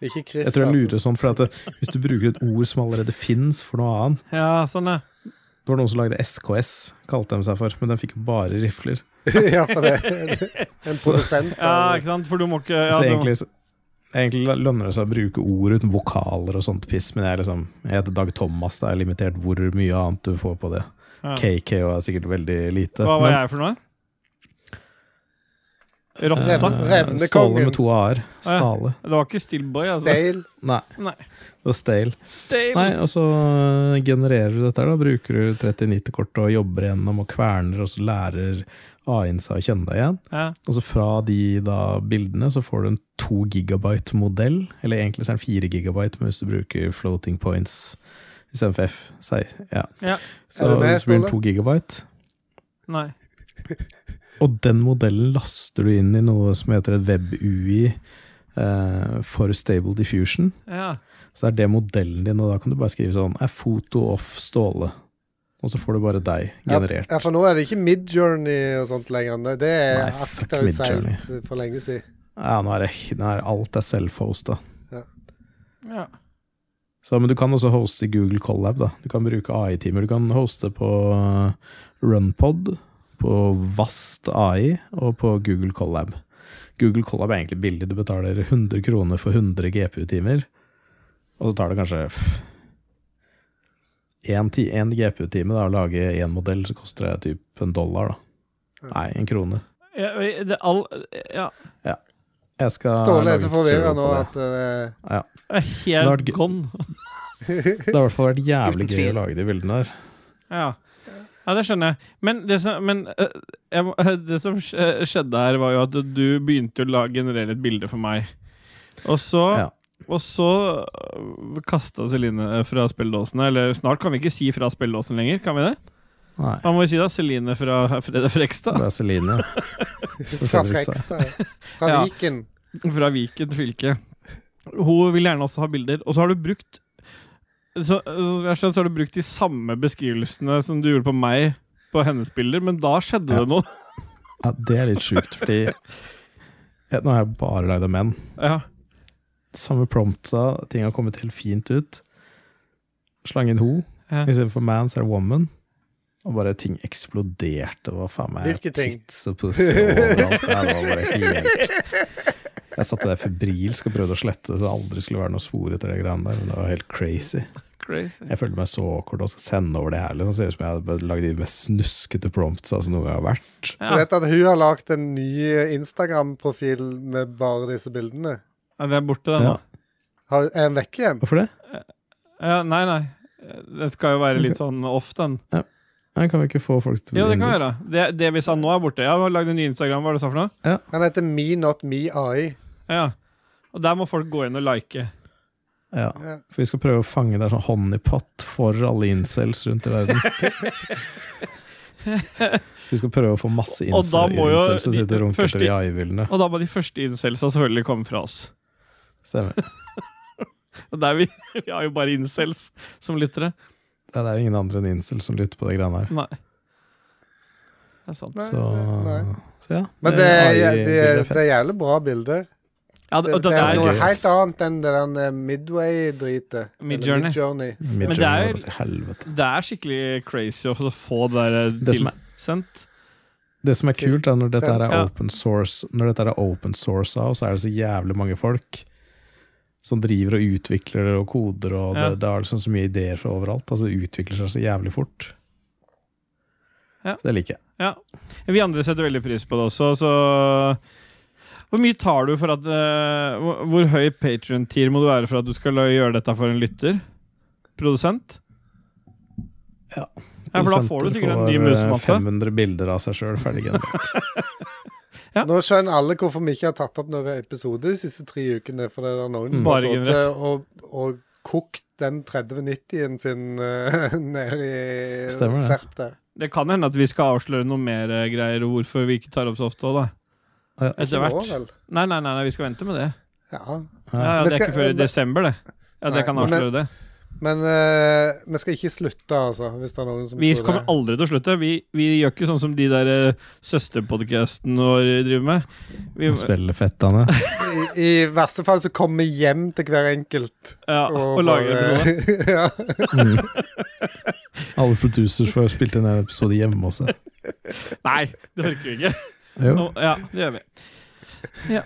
[SPEAKER 1] Ikke Kriff,
[SPEAKER 3] Jeg tror jeg lurer sånn, for at det, hvis du bruker et ord som allerede fins for noe annet
[SPEAKER 2] Ja, sånn, ja.
[SPEAKER 3] Det var noen som lagde SKS, kalte de seg for, men de fikk jo bare rifler.
[SPEAKER 1] altså. ja, for det. En produsent.
[SPEAKER 2] ja.
[SPEAKER 1] av-
[SPEAKER 2] Ikke sant? For du må ikke ja,
[SPEAKER 3] så
[SPEAKER 2] du må-
[SPEAKER 3] egentlig, så, egentlig lønner det seg å bruke ord uten vokaler og sånt piss, men jeg, er liksom, jeg heter Dag Thomas, det er limitert hvor mye annet du får på det.
[SPEAKER 2] Ja.
[SPEAKER 3] KK er sikkert veldig lite.
[SPEAKER 2] Hva var
[SPEAKER 3] men-
[SPEAKER 2] jeg for noe? Rotta?
[SPEAKER 3] Eh,
[SPEAKER 1] Revne-
[SPEAKER 3] Ståle
[SPEAKER 1] Revnekongen.
[SPEAKER 3] med to a-er.
[SPEAKER 2] Å ja.
[SPEAKER 3] Stale.
[SPEAKER 2] Det var ikke Stillboy, altså.
[SPEAKER 1] Stale.
[SPEAKER 3] Nei,
[SPEAKER 2] Nei.
[SPEAKER 3] det var Stale.
[SPEAKER 2] Stale.
[SPEAKER 3] Nei, og så øh, genererer du dette, her da. Bruker du 3090-kortet og jobber gjennom og kverner, og så lærer AI-en seg å kjenne deg igjen.
[SPEAKER 2] Ja.
[SPEAKER 3] Og så Altså, fra de da bildene så får du en 2 gigabyte modell, eller egentlig så er den 4 gigabyte, men hvis du bruker floating points istedenfor F, si, ja.
[SPEAKER 2] Ja.
[SPEAKER 3] Så
[SPEAKER 1] Er du med,
[SPEAKER 3] hvis du blir
[SPEAKER 1] Ståle?
[SPEAKER 3] 2 gigabyte
[SPEAKER 2] Nei.
[SPEAKER 3] Og den modellen laster du inn i noe som heter et web-UI eh, for stable diffusion.
[SPEAKER 2] Ja.
[SPEAKER 3] Så det er det modellen din, og da kan du bare skrive sånn er foto off Ståle. Og så får du bare deg generert.
[SPEAKER 1] Ja, for nå er det ikke Midjourney og sånt lenger. Nei, Det er
[SPEAKER 3] Nei, fuck
[SPEAKER 1] akterutseilt for lenge siden.
[SPEAKER 3] Ja, nå er, det, nå er alt er self-hosta.
[SPEAKER 2] ja.
[SPEAKER 3] Så, men du kan også hoste i Google Collab. da. Du kan bruke AI-timer. Du kan hoste på eh, Runpod, på Vast AI og på Google Collab. Google Collab er egentlig billig. Du betaler 100 kroner for 100 GPU-timer, og så tar det kanskje pff, en, ti- en GPU-time da, å lage én modell, så koster det typ en dollar, da. Nei, en krone.
[SPEAKER 2] ja det, all, ja.
[SPEAKER 3] Jeg skal
[SPEAKER 1] Ståle
[SPEAKER 3] lage
[SPEAKER 1] er så
[SPEAKER 3] et
[SPEAKER 1] forvirra
[SPEAKER 3] tutorial på
[SPEAKER 1] nå
[SPEAKER 3] det.
[SPEAKER 1] at eh,
[SPEAKER 3] ja.
[SPEAKER 2] Jeg er
[SPEAKER 3] Lord
[SPEAKER 2] Helt
[SPEAKER 3] Gu-
[SPEAKER 2] gone.
[SPEAKER 3] Det har i hvert fall vært jævlig
[SPEAKER 5] Uten
[SPEAKER 3] gøy
[SPEAKER 5] tvil.
[SPEAKER 3] å lage de bildene her.
[SPEAKER 2] Ja. ja, det skjønner jeg. Men det som, men, eh, jeg, må- eh, det som skj- eh, skjedde her, var jo at du begynte å la- generere et bilde for meg. Og så,
[SPEAKER 3] Ja.
[SPEAKER 2] og så eh, kasta Celine fra spilledåsene. Eller snart kan vi ikke si fra spilledåsen lenger, kan vi det?
[SPEAKER 3] Nei,
[SPEAKER 2] Man må jo si da Celine fra Fredde Frekstad.
[SPEAKER 3] det er Celine.
[SPEAKER 1] Fra
[SPEAKER 3] Fredrikstad.
[SPEAKER 1] Frekstad. Fra
[SPEAKER 2] Ja.
[SPEAKER 1] Viken.
[SPEAKER 2] Fra Viken fylke. Hun vil gjerne også ha bilder. Og så har du brukt så, så, jeg skjønner, så har du brukt de samme beskrivelsene som du gjorde på meg på hennes bilder, men da skjedde
[SPEAKER 3] Ja.
[SPEAKER 2] det noe.
[SPEAKER 3] Ja, det er litt sjukt, fordi ja, Nå har jeg bare lagd av menn.
[SPEAKER 2] Ja.
[SPEAKER 3] Samme prompta, ting har kommet helt fint ut. Slang inn ho.
[SPEAKER 2] Ja.
[SPEAKER 3] Istedenfor man, så er det woman. Og bare ting eksploderte. Hva faen meg
[SPEAKER 1] Hvilke ting?
[SPEAKER 3] Tits og pussy og overalt. Ja, Det var bare helt Jeg satt der febrilsk og prøvde å slette det, så det aldri skulle være noe spor etter det greiene der. Men det var helt crazy.
[SPEAKER 2] Crazy.
[SPEAKER 3] Jeg følte meg så awkward og skal sende over det her. Liksom. Det ser ut som jeg har lagd de mest snuskete promptsa som noen gang har vært.
[SPEAKER 1] Du
[SPEAKER 2] Ja.
[SPEAKER 1] vet at hun har lagd en ny Instagram-profil med bare disse bildene?
[SPEAKER 2] Ja, det er borte, den
[SPEAKER 3] Ja.
[SPEAKER 2] nå.
[SPEAKER 1] Har, er den vekke igjen?
[SPEAKER 3] Hvorfor det?
[SPEAKER 2] Ja, nei, nei. Det skal jo være litt sånn off, den.
[SPEAKER 3] Nei, kan vi ikke få folk til å
[SPEAKER 2] Ja, det
[SPEAKER 3] bli
[SPEAKER 2] kan
[SPEAKER 3] inn
[SPEAKER 2] vi gjøre. Det, det vi sa nå, er borte. Jeg har lagd en ny Instagram, hva er det du sa for noe?
[SPEAKER 1] Han heter Me Not Me AI.
[SPEAKER 2] Ja. Og der må folk gå inn og like.
[SPEAKER 3] Ja,
[SPEAKER 1] Ja.
[SPEAKER 3] for vi skal prøve å fange der sånn honeypot for alle incels rundt i verden. vi skal prøve å få masse
[SPEAKER 2] Og
[SPEAKER 3] incels
[SPEAKER 2] da må jo
[SPEAKER 3] incels som
[SPEAKER 2] de-
[SPEAKER 3] sitter og runker
[SPEAKER 2] først
[SPEAKER 3] til de
[SPEAKER 2] de-
[SPEAKER 3] AI-bildene.
[SPEAKER 2] Og da må de første incelsa selvfølgelig komme fra oss.
[SPEAKER 3] Stemmer.
[SPEAKER 2] Og der vi, vi har jo bare incels som lyttere.
[SPEAKER 3] Ja, det er jo ingen andre enn incels som lytter på de greiene her.
[SPEAKER 2] Nei. Det er sant.
[SPEAKER 1] Nei,
[SPEAKER 3] Så,
[SPEAKER 1] nei, nei.
[SPEAKER 3] så ja.
[SPEAKER 1] Men det, er- det,
[SPEAKER 3] AI-bilder
[SPEAKER 1] er-
[SPEAKER 3] er
[SPEAKER 1] det er
[SPEAKER 3] fett.
[SPEAKER 1] jævlig bra bilder.
[SPEAKER 2] Ja, det,
[SPEAKER 1] Det,
[SPEAKER 2] og det,
[SPEAKER 1] det er
[SPEAKER 3] jo
[SPEAKER 1] noe
[SPEAKER 2] er,
[SPEAKER 3] gøy, ass.
[SPEAKER 1] helt annet enn det der eh, Midway-dritet.
[SPEAKER 2] Midjourney.
[SPEAKER 1] Midjourney.
[SPEAKER 3] Midjourney
[SPEAKER 2] Men det er jo-
[SPEAKER 3] bare til helvete.
[SPEAKER 2] det er skikkelig crazy å få det
[SPEAKER 3] Det som
[SPEAKER 2] der eh,
[SPEAKER 3] er-
[SPEAKER 2] tilsendt.
[SPEAKER 3] Det som er kult, er når dette her er
[SPEAKER 2] Ja.
[SPEAKER 3] open source Når dette her er open source av, så er det så jævlig mange folk som driver og utvikler og koder, og
[SPEAKER 2] Ja.
[SPEAKER 3] det, det er liksom så mye ideer fra overalt. Altså det utvikler seg så jævlig fort.
[SPEAKER 2] Ja.
[SPEAKER 3] Så det liker jeg.
[SPEAKER 2] Ja. Vi andre setter veldig pris på det også, så Hvor mye tar du for at eh, hvor- Hvor høy Patrion-tier må du være for at du skal la- gjøre dette for en lytter? Produsent?
[SPEAKER 3] Ja.
[SPEAKER 2] Ja, for da får du
[SPEAKER 3] Produsenter
[SPEAKER 2] sikkert en ny
[SPEAKER 3] får, Liksom eh,
[SPEAKER 2] musematte.
[SPEAKER 3] 500 bilder av seg sjøl ferdig generert.
[SPEAKER 1] Nå skjønner alle hvorfor vi ikke har tatt opp noen episode de siste tre ukene. For det er noen som har
[SPEAKER 2] Bare
[SPEAKER 1] sittet og, og kokt den 3090-en sin eh, nede i
[SPEAKER 3] Stemmer det.
[SPEAKER 1] Serp der.
[SPEAKER 2] Det kan hende at vi skal avsløre noe mer eh, greier og hvorfor vi ikke tar opp så ofte òg, da.
[SPEAKER 3] Ja.
[SPEAKER 2] Etter
[SPEAKER 1] Nå,
[SPEAKER 2] hvert.
[SPEAKER 1] vel?
[SPEAKER 2] Nei, nei, nei, nei, vi skal vente med det.
[SPEAKER 1] Ja.
[SPEAKER 2] Ja, ja,
[SPEAKER 1] Men
[SPEAKER 2] det er
[SPEAKER 1] skal-
[SPEAKER 2] ikke før i
[SPEAKER 1] men-
[SPEAKER 2] desember, det. Ja,
[SPEAKER 1] Nei,
[SPEAKER 2] det kan
[SPEAKER 1] men-
[SPEAKER 2] avsløre det.
[SPEAKER 1] Men eh, vi skal ikke slutte, altså. Hvis det er noen som
[SPEAKER 2] Vi
[SPEAKER 1] tror
[SPEAKER 2] kommer
[SPEAKER 1] det.
[SPEAKER 2] aldri til å slutte. Vi, vi gjør ikke sånn som de der eh, søsterpodkasten vår driver med. Vi,
[SPEAKER 3] Spellefettene.
[SPEAKER 1] I, I verste fall så kommer vi hjem til hver enkelt.
[SPEAKER 2] ja, og lager episode.
[SPEAKER 1] episode. ja.
[SPEAKER 3] Mm. Alle producers får spilt inn en episode hjemme også.
[SPEAKER 2] Nei, det orker vi ikke.
[SPEAKER 3] Jo.
[SPEAKER 2] Nå- Ja, det gjør vi.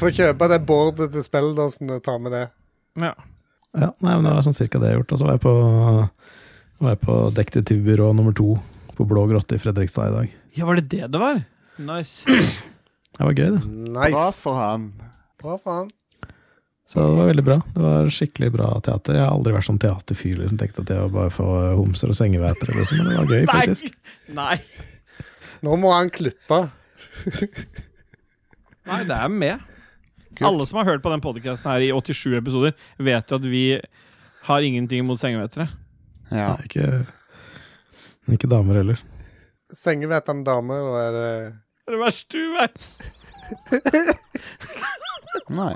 [SPEAKER 1] Få kjøpe det bordet til Spelldåsen og ta med det.
[SPEAKER 2] Ja.
[SPEAKER 3] Ja, nei, men det var sånn cirka det jeg har gjort. Og så var jeg på, var jeg på detektivbyrå nummer to på Blå grotte i Fredrikstad i dag.
[SPEAKER 2] ja, var det det det var? Nice.
[SPEAKER 3] Det var gøy, det.
[SPEAKER 4] Bra
[SPEAKER 1] Nice.
[SPEAKER 4] for han.
[SPEAKER 1] Bra for han.
[SPEAKER 3] Så det var veldig bra. Det var skikkelig bra teater. Jeg har aldri vært sånn teaterfyr liksom tenkte at det var bare for homser og sengeveitere, liksom. Men det var gøy, faktisk.
[SPEAKER 2] Nei.
[SPEAKER 1] Nå må han klippe.
[SPEAKER 2] Nei, det er med.
[SPEAKER 4] Kult.
[SPEAKER 2] Alle som har hørt på den podkasten her i 87 episoder, vet jo at vi har ingenting imot sengevettere.
[SPEAKER 4] Ja.
[SPEAKER 3] Nei, ikke, ikke damer heller.
[SPEAKER 1] Sengevetende dame, da er det
[SPEAKER 2] Det er det verste du vet.
[SPEAKER 4] Nei.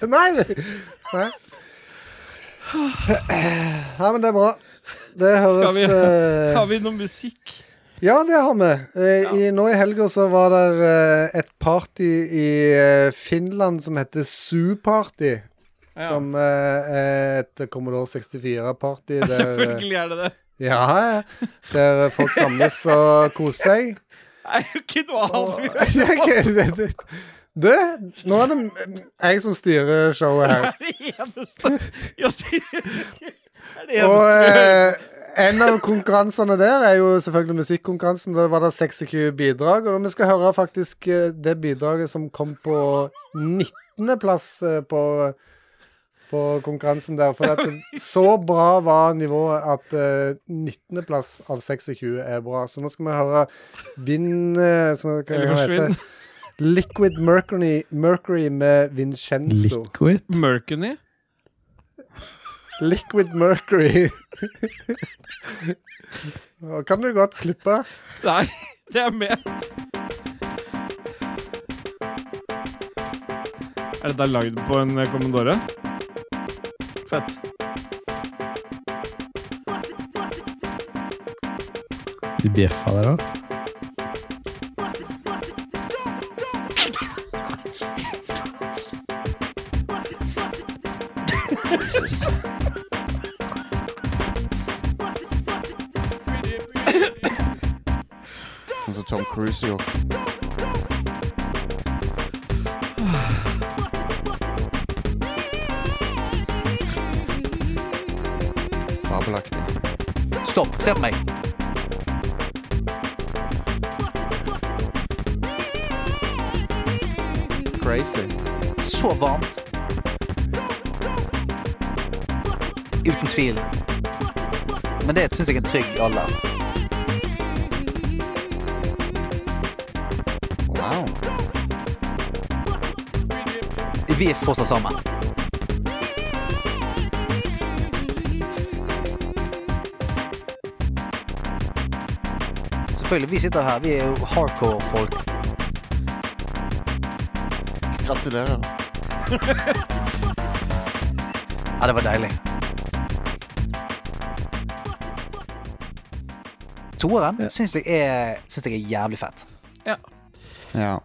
[SPEAKER 1] Nei. Nei. Ja, men det er bra. Det høres
[SPEAKER 2] vi-
[SPEAKER 1] eh,
[SPEAKER 2] Har vi noe musikk?
[SPEAKER 1] Ja, det har vi. Eh, i, nå i helga så var det eh, et party i eh, Finland som heter Zoo Party.
[SPEAKER 2] Ja.
[SPEAKER 1] Som eh, er et Commodore 64-party.
[SPEAKER 2] Ja, Selvfølgelig er det det.
[SPEAKER 1] eh, Ja, ja. Der eh, folk samles og koser seg.
[SPEAKER 2] Det er jo ikke noe annet.
[SPEAKER 1] Åh, jeg- det- det- Du, nå er det jeg som styrer showet her.
[SPEAKER 2] Det er det eneste Ja, det er det
[SPEAKER 1] Og
[SPEAKER 2] eneste.
[SPEAKER 1] eh, en av konkurransene der er jo selvfølgelig musikkonkurransen. Der var det 26 bidrag, og vi skal høre faktisk eh, det bidraget som kom på 19.-plass eh, på på konkurransen der. For at det- så bra var nivået at eh, 19.-plass av 26 er bra. Så nå skal vi høre Vind eh, som det
[SPEAKER 2] Eller
[SPEAKER 1] kan hete.
[SPEAKER 2] forsvinn.
[SPEAKER 1] Liquid Mercury, Mercury med Vincenzo.
[SPEAKER 3] Liquid?
[SPEAKER 2] Mercury?
[SPEAKER 1] Liquid Mercury. Nå kan du godt klippe.
[SPEAKER 2] Nei, det er med. Er dette lagd på en Commodore? Fett.
[SPEAKER 3] De bjeffa der òg.
[SPEAKER 4] Sånn som Tom Cruise gjorde. Fabelaktig.
[SPEAKER 5] Stopp. Se på meg.
[SPEAKER 4] Crazy.
[SPEAKER 5] Så varmt. Uten tvil. Men det syns jeg er en trygg alder.
[SPEAKER 4] Wow.
[SPEAKER 5] Vi er fortsatt sammen. Selvfølgelig, vi sitter her. Vi er jo hardcore folk.
[SPEAKER 4] Gratulerer.
[SPEAKER 5] Ja, det var deilig. Toeren
[SPEAKER 3] Ja.
[SPEAKER 5] syns jeg, er, syns jeg er jævlig fett.
[SPEAKER 2] Ja.
[SPEAKER 4] Ja.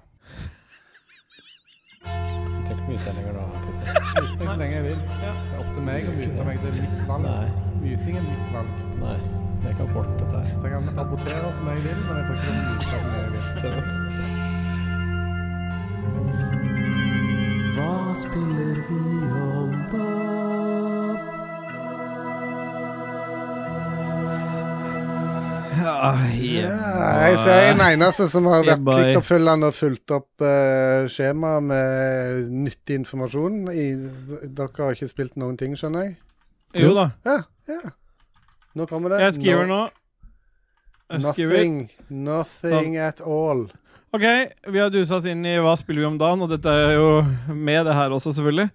[SPEAKER 1] Så lenge jeg vil. Det er opp til meg å myte meg. Det er mitt valg. Myting er mitt valg.
[SPEAKER 3] Nei, jeg kan borte dette her.
[SPEAKER 1] Så jeg kan rapportere som jeg vil, men jeg får ikke lov å myte som jeg vil. Ah, Ja, jeg ser en eneste som har vært
[SPEAKER 2] Yeah, boy.
[SPEAKER 1] pliktoppfyllende og fulgt opp uh, skjema med nyttig informasjon. I, dere har ikke spilt noen ting, skjønner jeg?
[SPEAKER 2] Jo da.
[SPEAKER 1] Ja, ja. Nå kommer det.
[SPEAKER 2] Jeg skriver
[SPEAKER 1] No-
[SPEAKER 2] nå. Jeg skriver. Sånn.
[SPEAKER 1] Nothing. Nothing at all.
[SPEAKER 2] OK, vi har dusa oss inn i Hva spiller vi om dagen? Og dette er jo med det her også, selvfølgelig.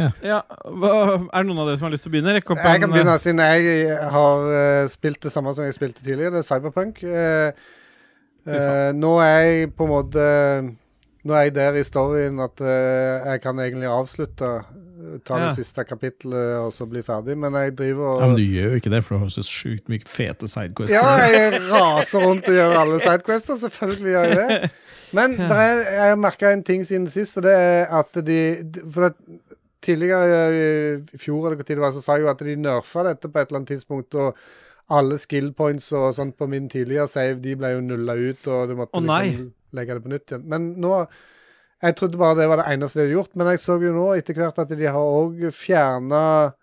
[SPEAKER 3] Ja.
[SPEAKER 2] hva, er det noen av dere som har lyst til å begynne? Rekk opp
[SPEAKER 1] Jeg kan
[SPEAKER 2] en,
[SPEAKER 1] begynne siden jeg har eh, spilt det samme som jeg spilte tidligere, det er Cyberpunk. Eh, eh, nå er jeg på en måte Nå er jeg der i storyen at eh, jeg kan egentlig avslutte. eh, Ta
[SPEAKER 2] Ja.
[SPEAKER 1] det siste kapittelet og så bli ferdig, men jeg driver og
[SPEAKER 3] Ja, men du gjør jo ikke det, for du har jo så sjukt mye fete sidequests.
[SPEAKER 1] ja, jeg raser rundt og gjør alle sidequester. Selvfølgelig gjør jeg det. Men der er, jeg har merka en ting siden sist, og det er at de de- For at tidligere eh, i fjor eller hvor tid det var, så sa jeg jo at de nerfa dette på et eller annet tidspunkt. og alle skill points og sånt på min tidligere save de ble jo nulla ut, og du måtte
[SPEAKER 2] Å, nei.
[SPEAKER 1] liksom legge det på nytt igjen. Men nå Jeg trodde bare det var det eneste de hadde gjort, men jeg så jo nå etter hvert at de har òg fjerna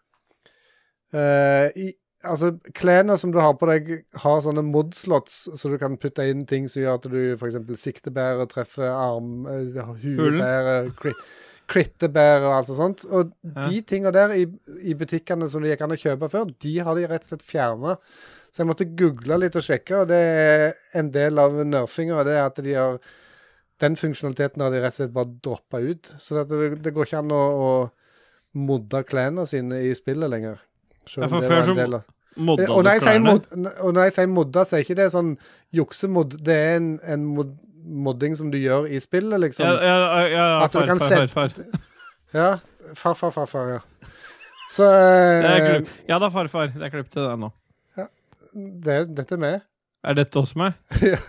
[SPEAKER 1] Eh, i, altså, klærne som du har på deg, har sånne mod-slots, så du kan putte inn ting som gjør at du f.eks. siktebærer, treffer arm, eh, huebærer, crit, crittebærer og alt sånt. Og
[SPEAKER 2] Ja.
[SPEAKER 1] de tinga der i, i butikkene som det gikk an å kjøpe før, de har de rett og slett fjerna. Så jeg måtte google litt og sjekke, og det er en del av nerfinga. Det er at de har Den funksjonaliteten har de rett og slett bare droppa ut. Så det, det, det går ikke an å, å modde klærne sine i spillet lenger. Selv
[SPEAKER 2] Ja,
[SPEAKER 1] om
[SPEAKER 2] for
[SPEAKER 1] det
[SPEAKER 2] før
[SPEAKER 1] var en
[SPEAKER 2] så-
[SPEAKER 1] del av
[SPEAKER 2] modda
[SPEAKER 1] og når, jeg
[SPEAKER 2] du
[SPEAKER 1] sier
[SPEAKER 2] klærne?
[SPEAKER 1] mod, og når jeg sier modda, så er ikke det sånn juksemodd. Det er en, en mod, modding som du gjør i spillet, liksom.
[SPEAKER 2] Ja, ja, ja, ja,
[SPEAKER 1] At du
[SPEAKER 2] far,
[SPEAKER 1] kan
[SPEAKER 2] far,
[SPEAKER 1] sette-
[SPEAKER 2] far, far.
[SPEAKER 1] Ja. Farfar, farfar, ja. Så
[SPEAKER 2] Det er
[SPEAKER 1] eh,
[SPEAKER 2] klipp. Ja da, farfar. Det er klipp til deg nå.
[SPEAKER 1] det, dette er med.
[SPEAKER 2] Er dette også meg?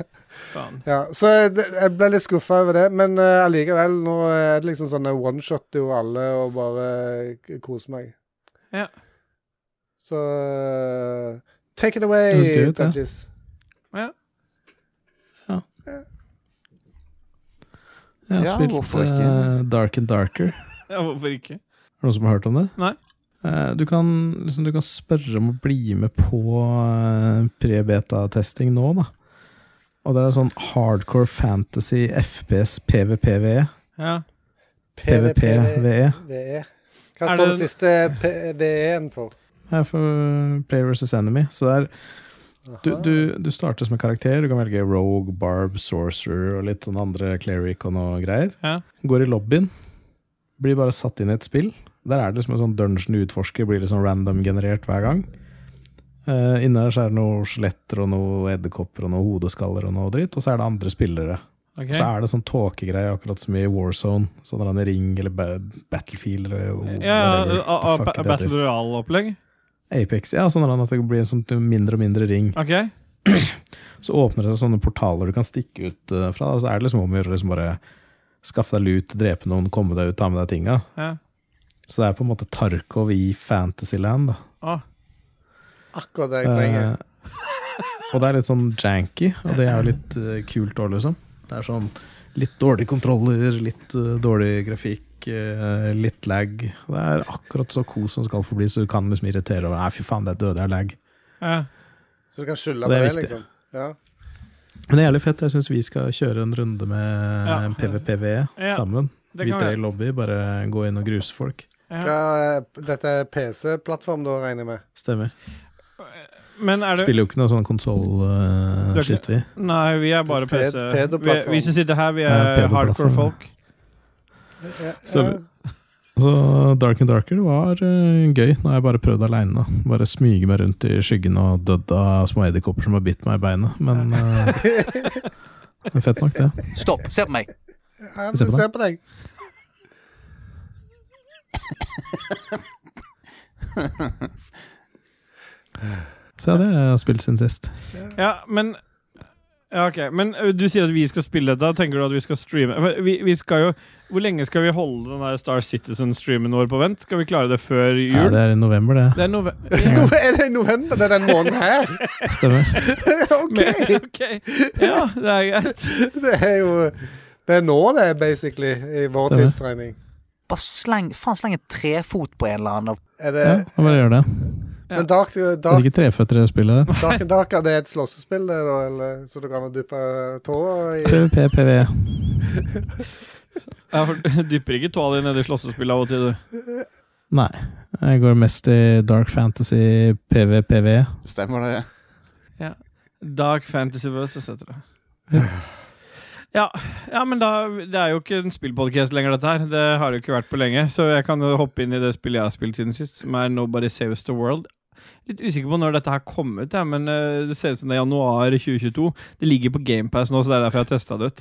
[SPEAKER 1] Ja.
[SPEAKER 2] Faen.
[SPEAKER 1] Ja, så jeg, jeg ble litt skuffa over det, men eh, allikevel, nå er det liksom sånn jeg one-shotter jo alle og bare k- koser meg.
[SPEAKER 2] Ja.
[SPEAKER 1] Så eh, take it away,
[SPEAKER 3] Det høres gøy ut, det.
[SPEAKER 1] Dudgies.
[SPEAKER 2] Ja.
[SPEAKER 3] Jeg har
[SPEAKER 4] Ja,
[SPEAKER 3] spilt
[SPEAKER 4] hvorfor ikke?
[SPEAKER 3] eh, Dark and Darker.
[SPEAKER 2] ja, hvorfor ikke?
[SPEAKER 3] Er det noen som har hørt om det?
[SPEAKER 2] Nei.
[SPEAKER 3] Eh, Du kan, liksom, du kan spørre om å bli med på eh, pre-beta-testing nå, da. Og det er sånn hardcore fantasy FPS PVPVE.
[SPEAKER 2] Ja.
[SPEAKER 1] E.
[SPEAKER 3] E. PVPVE.
[SPEAKER 1] VE. Hva
[SPEAKER 2] Er
[SPEAKER 1] står det
[SPEAKER 2] det-
[SPEAKER 1] siste VE-en for?
[SPEAKER 3] Det er for Player versus Enemy. Så det er Du,
[SPEAKER 1] Aha.
[SPEAKER 3] du, du starter som en karakter. Du kan velge Rogue, Barb, Sorcerer og litt sånn andre Cleric og noe greier.
[SPEAKER 2] Ja.
[SPEAKER 3] Går i lobbyen. Blir bare satt inn i et spill. Der er det liksom en sånn dungeon-utforsker. Blir liksom random-generert hver gang. Uh, Inne her så er det noen skjeletter og noen edderkopper og noen hodeskaller og noe dritt. Og så er det andre spillere.
[SPEAKER 2] ok.
[SPEAKER 3] Og så er det sånn tåkegreie, akkurat som i War Zone. Sånn en ring eller ba Battlefield eller
[SPEAKER 2] Ja,
[SPEAKER 3] whatever
[SPEAKER 2] ja, a- a-
[SPEAKER 3] the fuck
[SPEAKER 2] ba-
[SPEAKER 3] det
[SPEAKER 2] Battle
[SPEAKER 3] heter.
[SPEAKER 2] Royale-opplegg?
[SPEAKER 3] Apex. Ja, sånn at det blir en sånn mindre og mindre ring.
[SPEAKER 2] Ok.
[SPEAKER 3] Så åpner det seg sånne portaler du kan stikke ut eh, fra. Og så er det liksom om å gjøre å liksom bare skaffe deg lut, drepe noen, komme deg ut, ta med deg tinga.
[SPEAKER 2] Ja.
[SPEAKER 3] Så det er på en måte Tarkov i Fantasyland. Da.
[SPEAKER 2] Å,
[SPEAKER 1] Akkurat det jeg trenger.
[SPEAKER 3] Eh, og det er litt sånn janky, og det er jo litt eh, kult òg, liksom. Det er sånn litt dårlige kontroller, litt eh, dårlig grafikk, eh, litt lag. Og det er akkurat så kos som skal forbli, så du kan liksom irritere over Nei, fy faen, det er døde, det er lag.
[SPEAKER 2] ja.
[SPEAKER 1] Så du kan skylde på
[SPEAKER 3] det er
[SPEAKER 1] det,
[SPEAKER 3] viktig.
[SPEAKER 1] liksom. Ja.
[SPEAKER 3] Men det er jævlig fett. Jeg syns vi skal kjøre en runde med
[SPEAKER 2] Ja.
[SPEAKER 3] PVPV
[SPEAKER 2] Ja,
[SPEAKER 3] E sammen.
[SPEAKER 2] Det
[SPEAKER 3] Vi
[SPEAKER 2] kan
[SPEAKER 3] tre i
[SPEAKER 2] være.
[SPEAKER 3] lobby, bare gå inn og gruse folk.
[SPEAKER 2] Ja.
[SPEAKER 1] Hva, er- dette er PC-plattform, da, regner jeg med?
[SPEAKER 3] Stemmer.
[SPEAKER 2] Men er det
[SPEAKER 3] Spiller jo ikke noe sånn
[SPEAKER 2] Du er
[SPEAKER 3] konsoll-shit, vi.
[SPEAKER 2] Nei, vi er bare
[SPEAKER 1] Ped-
[SPEAKER 2] PC. Vi,
[SPEAKER 1] pedoplattform.
[SPEAKER 2] vi som sitter her, vi
[SPEAKER 3] Ja,
[SPEAKER 2] er
[SPEAKER 3] pedoplattform,
[SPEAKER 2] hardcore
[SPEAKER 3] ja.
[SPEAKER 2] folk.
[SPEAKER 1] Ja,
[SPEAKER 3] Så-
[SPEAKER 1] ja.
[SPEAKER 3] Så Dark and Darker var eh, gøy. Nå har jeg bare prøvd aleine. Bare smyge meg rundt i skyggen og dødd av små edderkopper som har bitt meg i beinet. Men eh, det er fett nok, det.
[SPEAKER 5] Stopp. Se på meg.
[SPEAKER 1] Ja,
[SPEAKER 3] Se på
[SPEAKER 1] Se på deg.
[SPEAKER 3] Så ja, det har jeg spilt siden sist.
[SPEAKER 2] Ja, men ja, ok. Men ø, du sier at vi skal spille dette. Tenker du at vi skal streame? For Vi, vi skal jo, hvor lenge skal vi holde den der Star Citizen-streamen vår på vent? Skal vi klare det før jul?
[SPEAKER 3] Ja, det er i november, det.
[SPEAKER 2] Det er nove...
[SPEAKER 1] Nå er det i november, det er den måneden her?
[SPEAKER 3] Stemmer.
[SPEAKER 1] OK!
[SPEAKER 2] ok. Ja, det er greit.
[SPEAKER 1] Det er jo Det er nå det er, basically, i vår
[SPEAKER 3] Stemmer.
[SPEAKER 1] tidsregning.
[SPEAKER 5] Bare sleng, faen, sleng en trefot på en eller annen.
[SPEAKER 1] Er det
[SPEAKER 3] Ja, bare gjør det.
[SPEAKER 1] Men Dark,
[SPEAKER 3] Det er
[SPEAKER 1] Dark,
[SPEAKER 3] ikke treføtter i spillet her.
[SPEAKER 1] Dark and Darker, det er et slåssespill, det, da? Eller, så du kan duppe tåa i
[SPEAKER 3] PVP, PVE.
[SPEAKER 2] Ja, for du dypper ikke tåa di nedi slåssespill av og til, du.
[SPEAKER 3] Nei. Jeg går mest i dark fantasy, PVPV.
[SPEAKER 4] Stemmer det?
[SPEAKER 2] Dark Fantasy Verse, etc. Ja, ja, men da Det er jo ikke en spillpodcast lenger, dette her. Det har det jo ikke vært på lenge. Så jeg kan jo hoppe inn i det spillet jeg har spilt siden sist, som er Nobody Saves the World. Litt usikker på når dette her kom ut, jeg, men eh, det ser ut som det er januar 2022. Det ligger på GamePass nå, så det er derfor jeg har testa det ut.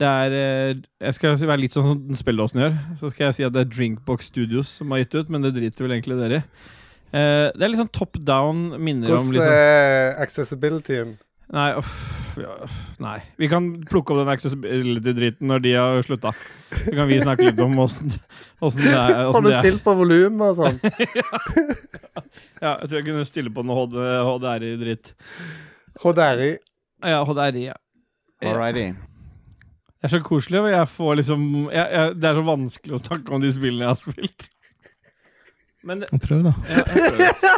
[SPEAKER 2] Det er eh, Jeg skal være litt sånn som spilledåsen gjør. Så skal jeg si at det er Drinkbox Studios som har gitt ut, men det driter vel egentlig dere i. Eh, det er litt sånn top down, minner om
[SPEAKER 1] Hvordan
[SPEAKER 2] litt sånn
[SPEAKER 1] er accessibilityen?
[SPEAKER 2] Nei, uff, ja, uff, nei. Vi kan plukke opp den accessibility-driten når de har slutta. Så kan vi snakke litt om åssen åssen det er.
[SPEAKER 3] altså,
[SPEAKER 1] Får
[SPEAKER 2] åssen
[SPEAKER 1] du
[SPEAKER 2] det er.
[SPEAKER 1] stilt på volum og sånn?
[SPEAKER 2] Ja, jeg tror jeg kunne stille på noe HD, HDRI-dritt.
[SPEAKER 1] HDRI.
[SPEAKER 2] Ja, HDRI. Ja.
[SPEAKER 4] Alrighty.
[SPEAKER 2] Det er så koselig, og jeg får liksom jeg, jeg, Det er så vanskelig å snakke om de spillene jeg har spilt. Men det,
[SPEAKER 3] Prøv, da.
[SPEAKER 2] ja, jeg prøver.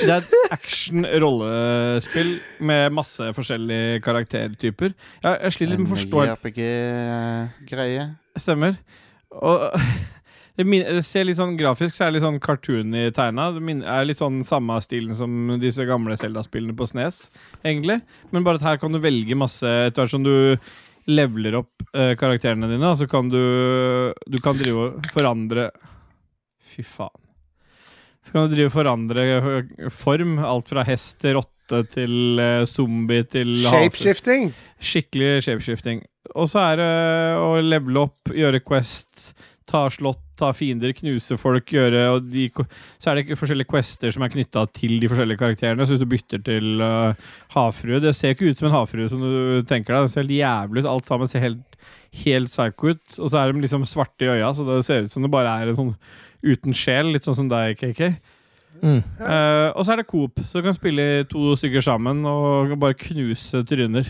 [SPEAKER 2] Det er et action-rollespill med masse forskjellige karaktertyper. Jeg, jeg sliter litt med å forstå
[SPEAKER 4] eh,
[SPEAKER 2] helt
[SPEAKER 4] RPG-greie.
[SPEAKER 2] Stemmer. Og det, min, det ser litt sånn grafisk så er det litt sånn cartoony tegna. Det min, er litt sånn samme stilen som disse gamle Zelda-spillene på Snes, egentlig. Men bare at her kan du velge masse etter hvert som du leveler opp eh, karakterene dine, så kan du Du kan drive og forandre Fy faen. Så kan du drive og forandre eh, form. Alt fra hest til rotte rotte til eh, zombie til hater.
[SPEAKER 1] Shapeshifting.
[SPEAKER 2] Skikkelig shapeshifting. Og så er det eh, å levele opp, gjøre quest, ta slott, ta fiender, knuse folk, gjøre og de, Så er det ikke forskjellige quester som er knytta til de forskjellige karakterene. Så hvis du bytter til eh, havfrue Det ser ikke ut som en havfrue som du tenker deg. Det ser helt jævlig ut. Alt sammen ser helt, helt psycho ut. Og så er de liksom svarte i øya, så det ser ut som det bare er en sånn uten sjel. Litt sånn som deg, KK.
[SPEAKER 3] Mm.
[SPEAKER 2] Eh, og så er det Coop, så du kan spille to stykker sammen og bare knuse tryner.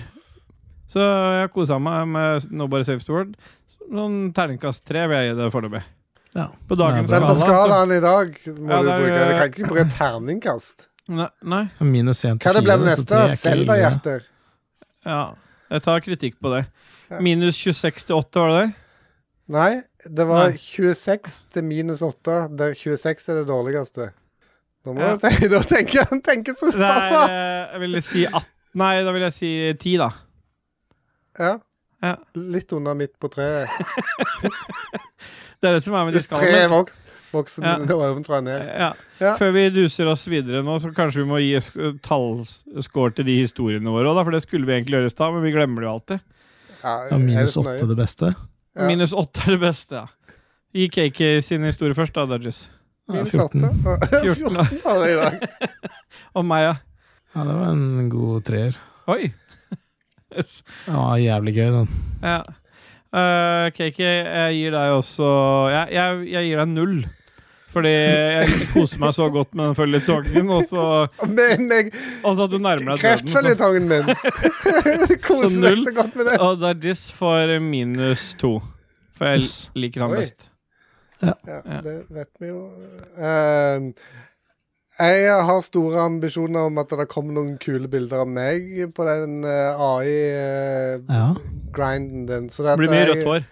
[SPEAKER 2] Så jeg kosa meg med Nobody Saves the World. Noen terningkast tre vil jeg gi det foreløpig.
[SPEAKER 3] Ja.
[SPEAKER 2] På dagens
[SPEAKER 3] Det er
[SPEAKER 1] Men
[SPEAKER 3] bra.
[SPEAKER 1] på
[SPEAKER 2] skala,
[SPEAKER 1] skalaen i dag må
[SPEAKER 2] Ja,
[SPEAKER 1] du
[SPEAKER 2] det er-
[SPEAKER 1] bruke Du kan ikke bruke terningkast.
[SPEAKER 2] Nei. nei
[SPEAKER 3] Minus 1
[SPEAKER 1] Hva
[SPEAKER 3] til
[SPEAKER 1] det blir
[SPEAKER 3] 4.
[SPEAKER 1] det neste? Selda-hjerter?
[SPEAKER 2] ja. Jeg tar kritikk på det.
[SPEAKER 1] Ja.
[SPEAKER 2] Minus 26 til 8, var det det?
[SPEAKER 1] Nei, det var
[SPEAKER 2] Nei.
[SPEAKER 1] 26 til minus 8. Der 26 er det dårligste. Nå må
[SPEAKER 2] Ja.
[SPEAKER 1] du tenke, nå tenker han tenker som
[SPEAKER 2] Det er,
[SPEAKER 1] farfar.
[SPEAKER 2] eh, jeg ville si 18 Nei, da vil jeg si 10, da.
[SPEAKER 1] Ja.
[SPEAKER 2] Ja.
[SPEAKER 1] Litt under midt på treet.
[SPEAKER 2] Det er det som er med de
[SPEAKER 1] Hvis treet er
[SPEAKER 2] skalaene.
[SPEAKER 1] voks, voksen
[SPEAKER 2] Ja.
[SPEAKER 1] det var ovenfra og ned.
[SPEAKER 2] Ja.
[SPEAKER 1] Ja.
[SPEAKER 2] Før vi duser oss videre nå, så kanskje vi må gi s- tallscore til de historiene våre òg, for det skulle vi egentlig gjøre i stad, men vi glemmer det jo alltid.
[SPEAKER 3] Ja,
[SPEAKER 1] Ja, er det
[SPEAKER 3] minus
[SPEAKER 1] så
[SPEAKER 3] 8
[SPEAKER 1] nøye?
[SPEAKER 3] det beste.
[SPEAKER 1] Ja.
[SPEAKER 2] Minus åtte er det beste, ja. Gi KK sin historie først, da, Dodges.
[SPEAKER 3] Ja,
[SPEAKER 1] Minus 8?
[SPEAKER 3] 14.
[SPEAKER 1] 14 var det i dag.
[SPEAKER 2] Og meg, ja.
[SPEAKER 3] Ja, det var en god treer.
[SPEAKER 2] Oi! Yes.
[SPEAKER 3] Ja, jævlig gøy, den.
[SPEAKER 2] Ja. Eh, KK, jeg gir deg også jeg, jeg, jeg gir deg null. Fordi jeg koser meg så godt med den føljetongen, og så
[SPEAKER 1] Men jeg,
[SPEAKER 2] og så at du nærmer deg døden.
[SPEAKER 1] kreftføljetongen min! Koser
[SPEAKER 2] Så
[SPEAKER 1] meg
[SPEAKER 2] null.
[SPEAKER 1] så godt med det.
[SPEAKER 2] så- Og Dodges får minus to. For jeg
[SPEAKER 3] Yes.
[SPEAKER 2] liker han
[SPEAKER 1] Oi.
[SPEAKER 2] best.
[SPEAKER 1] Ja,
[SPEAKER 2] Ja.
[SPEAKER 1] det vet vi jo. Ehm, jeg har store ambisjoner om at det kommer noen kule bilder av meg på den eh,
[SPEAKER 3] Ja.
[SPEAKER 1] AI-grinden eh, din. Så det
[SPEAKER 2] Det
[SPEAKER 1] at
[SPEAKER 2] blir mye rødt
[SPEAKER 1] jeg,
[SPEAKER 2] hår.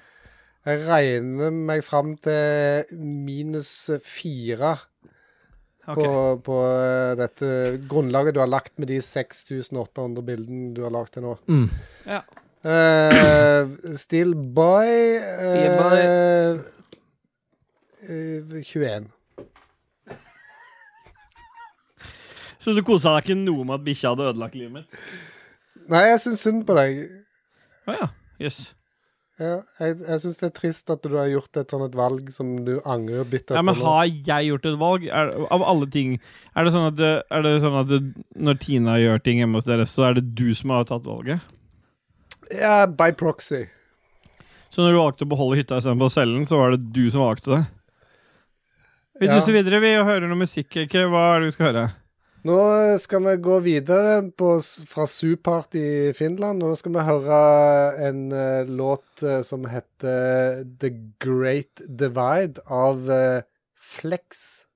[SPEAKER 1] jeg regner meg fram til minus fire på,
[SPEAKER 2] Ok.
[SPEAKER 1] på eh, dette grunnlaget du har lagt med de 6800 bildene du har lagt til nå.
[SPEAKER 3] Mm.
[SPEAKER 2] Ja.
[SPEAKER 1] Eh, still boy, eh,
[SPEAKER 5] Yeah,
[SPEAKER 1] eh, 21.
[SPEAKER 2] Så du kosa deg ikke noe med at bikkja hadde ødelagt livet mitt?
[SPEAKER 1] Nei, jeg syns synd på deg.
[SPEAKER 2] Å ja. Jøss. Yes.
[SPEAKER 1] Ja, jeg jeg syns det er trist at du har gjort et sånt et valg som du angrer bittert
[SPEAKER 2] Ja, men
[SPEAKER 1] nå.
[SPEAKER 2] har jeg gjort et valg? Er, av alle ting Er det sånn at, det- er det sånn at det, når Tina gjør ting hjemme hos dere, så er det du som har tatt valget?
[SPEAKER 1] Ja, by proxy.
[SPEAKER 2] Så når du valgte å beholde hytta istedenfor å selge den, så var det du som valgte det? Vi
[SPEAKER 1] Ja.
[SPEAKER 2] duser videre, vi, og hører noe musikk. Ikke? Hva er det vi skal høre?
[SPEAKER 1] Nå skal vi gå videre på, s- fra Supart i Finland, og nå skal vi høre en eh, låt eh, som heter The Great Divide av eh, Flex.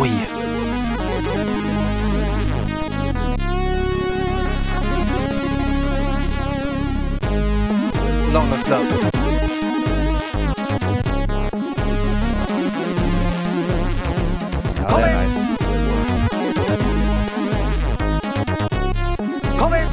[SPEAKER 5] Oi. Long Lost Love.
[SPEAKER 4] Ja, det er nice.
[SPEAKER 5] Kom igjen!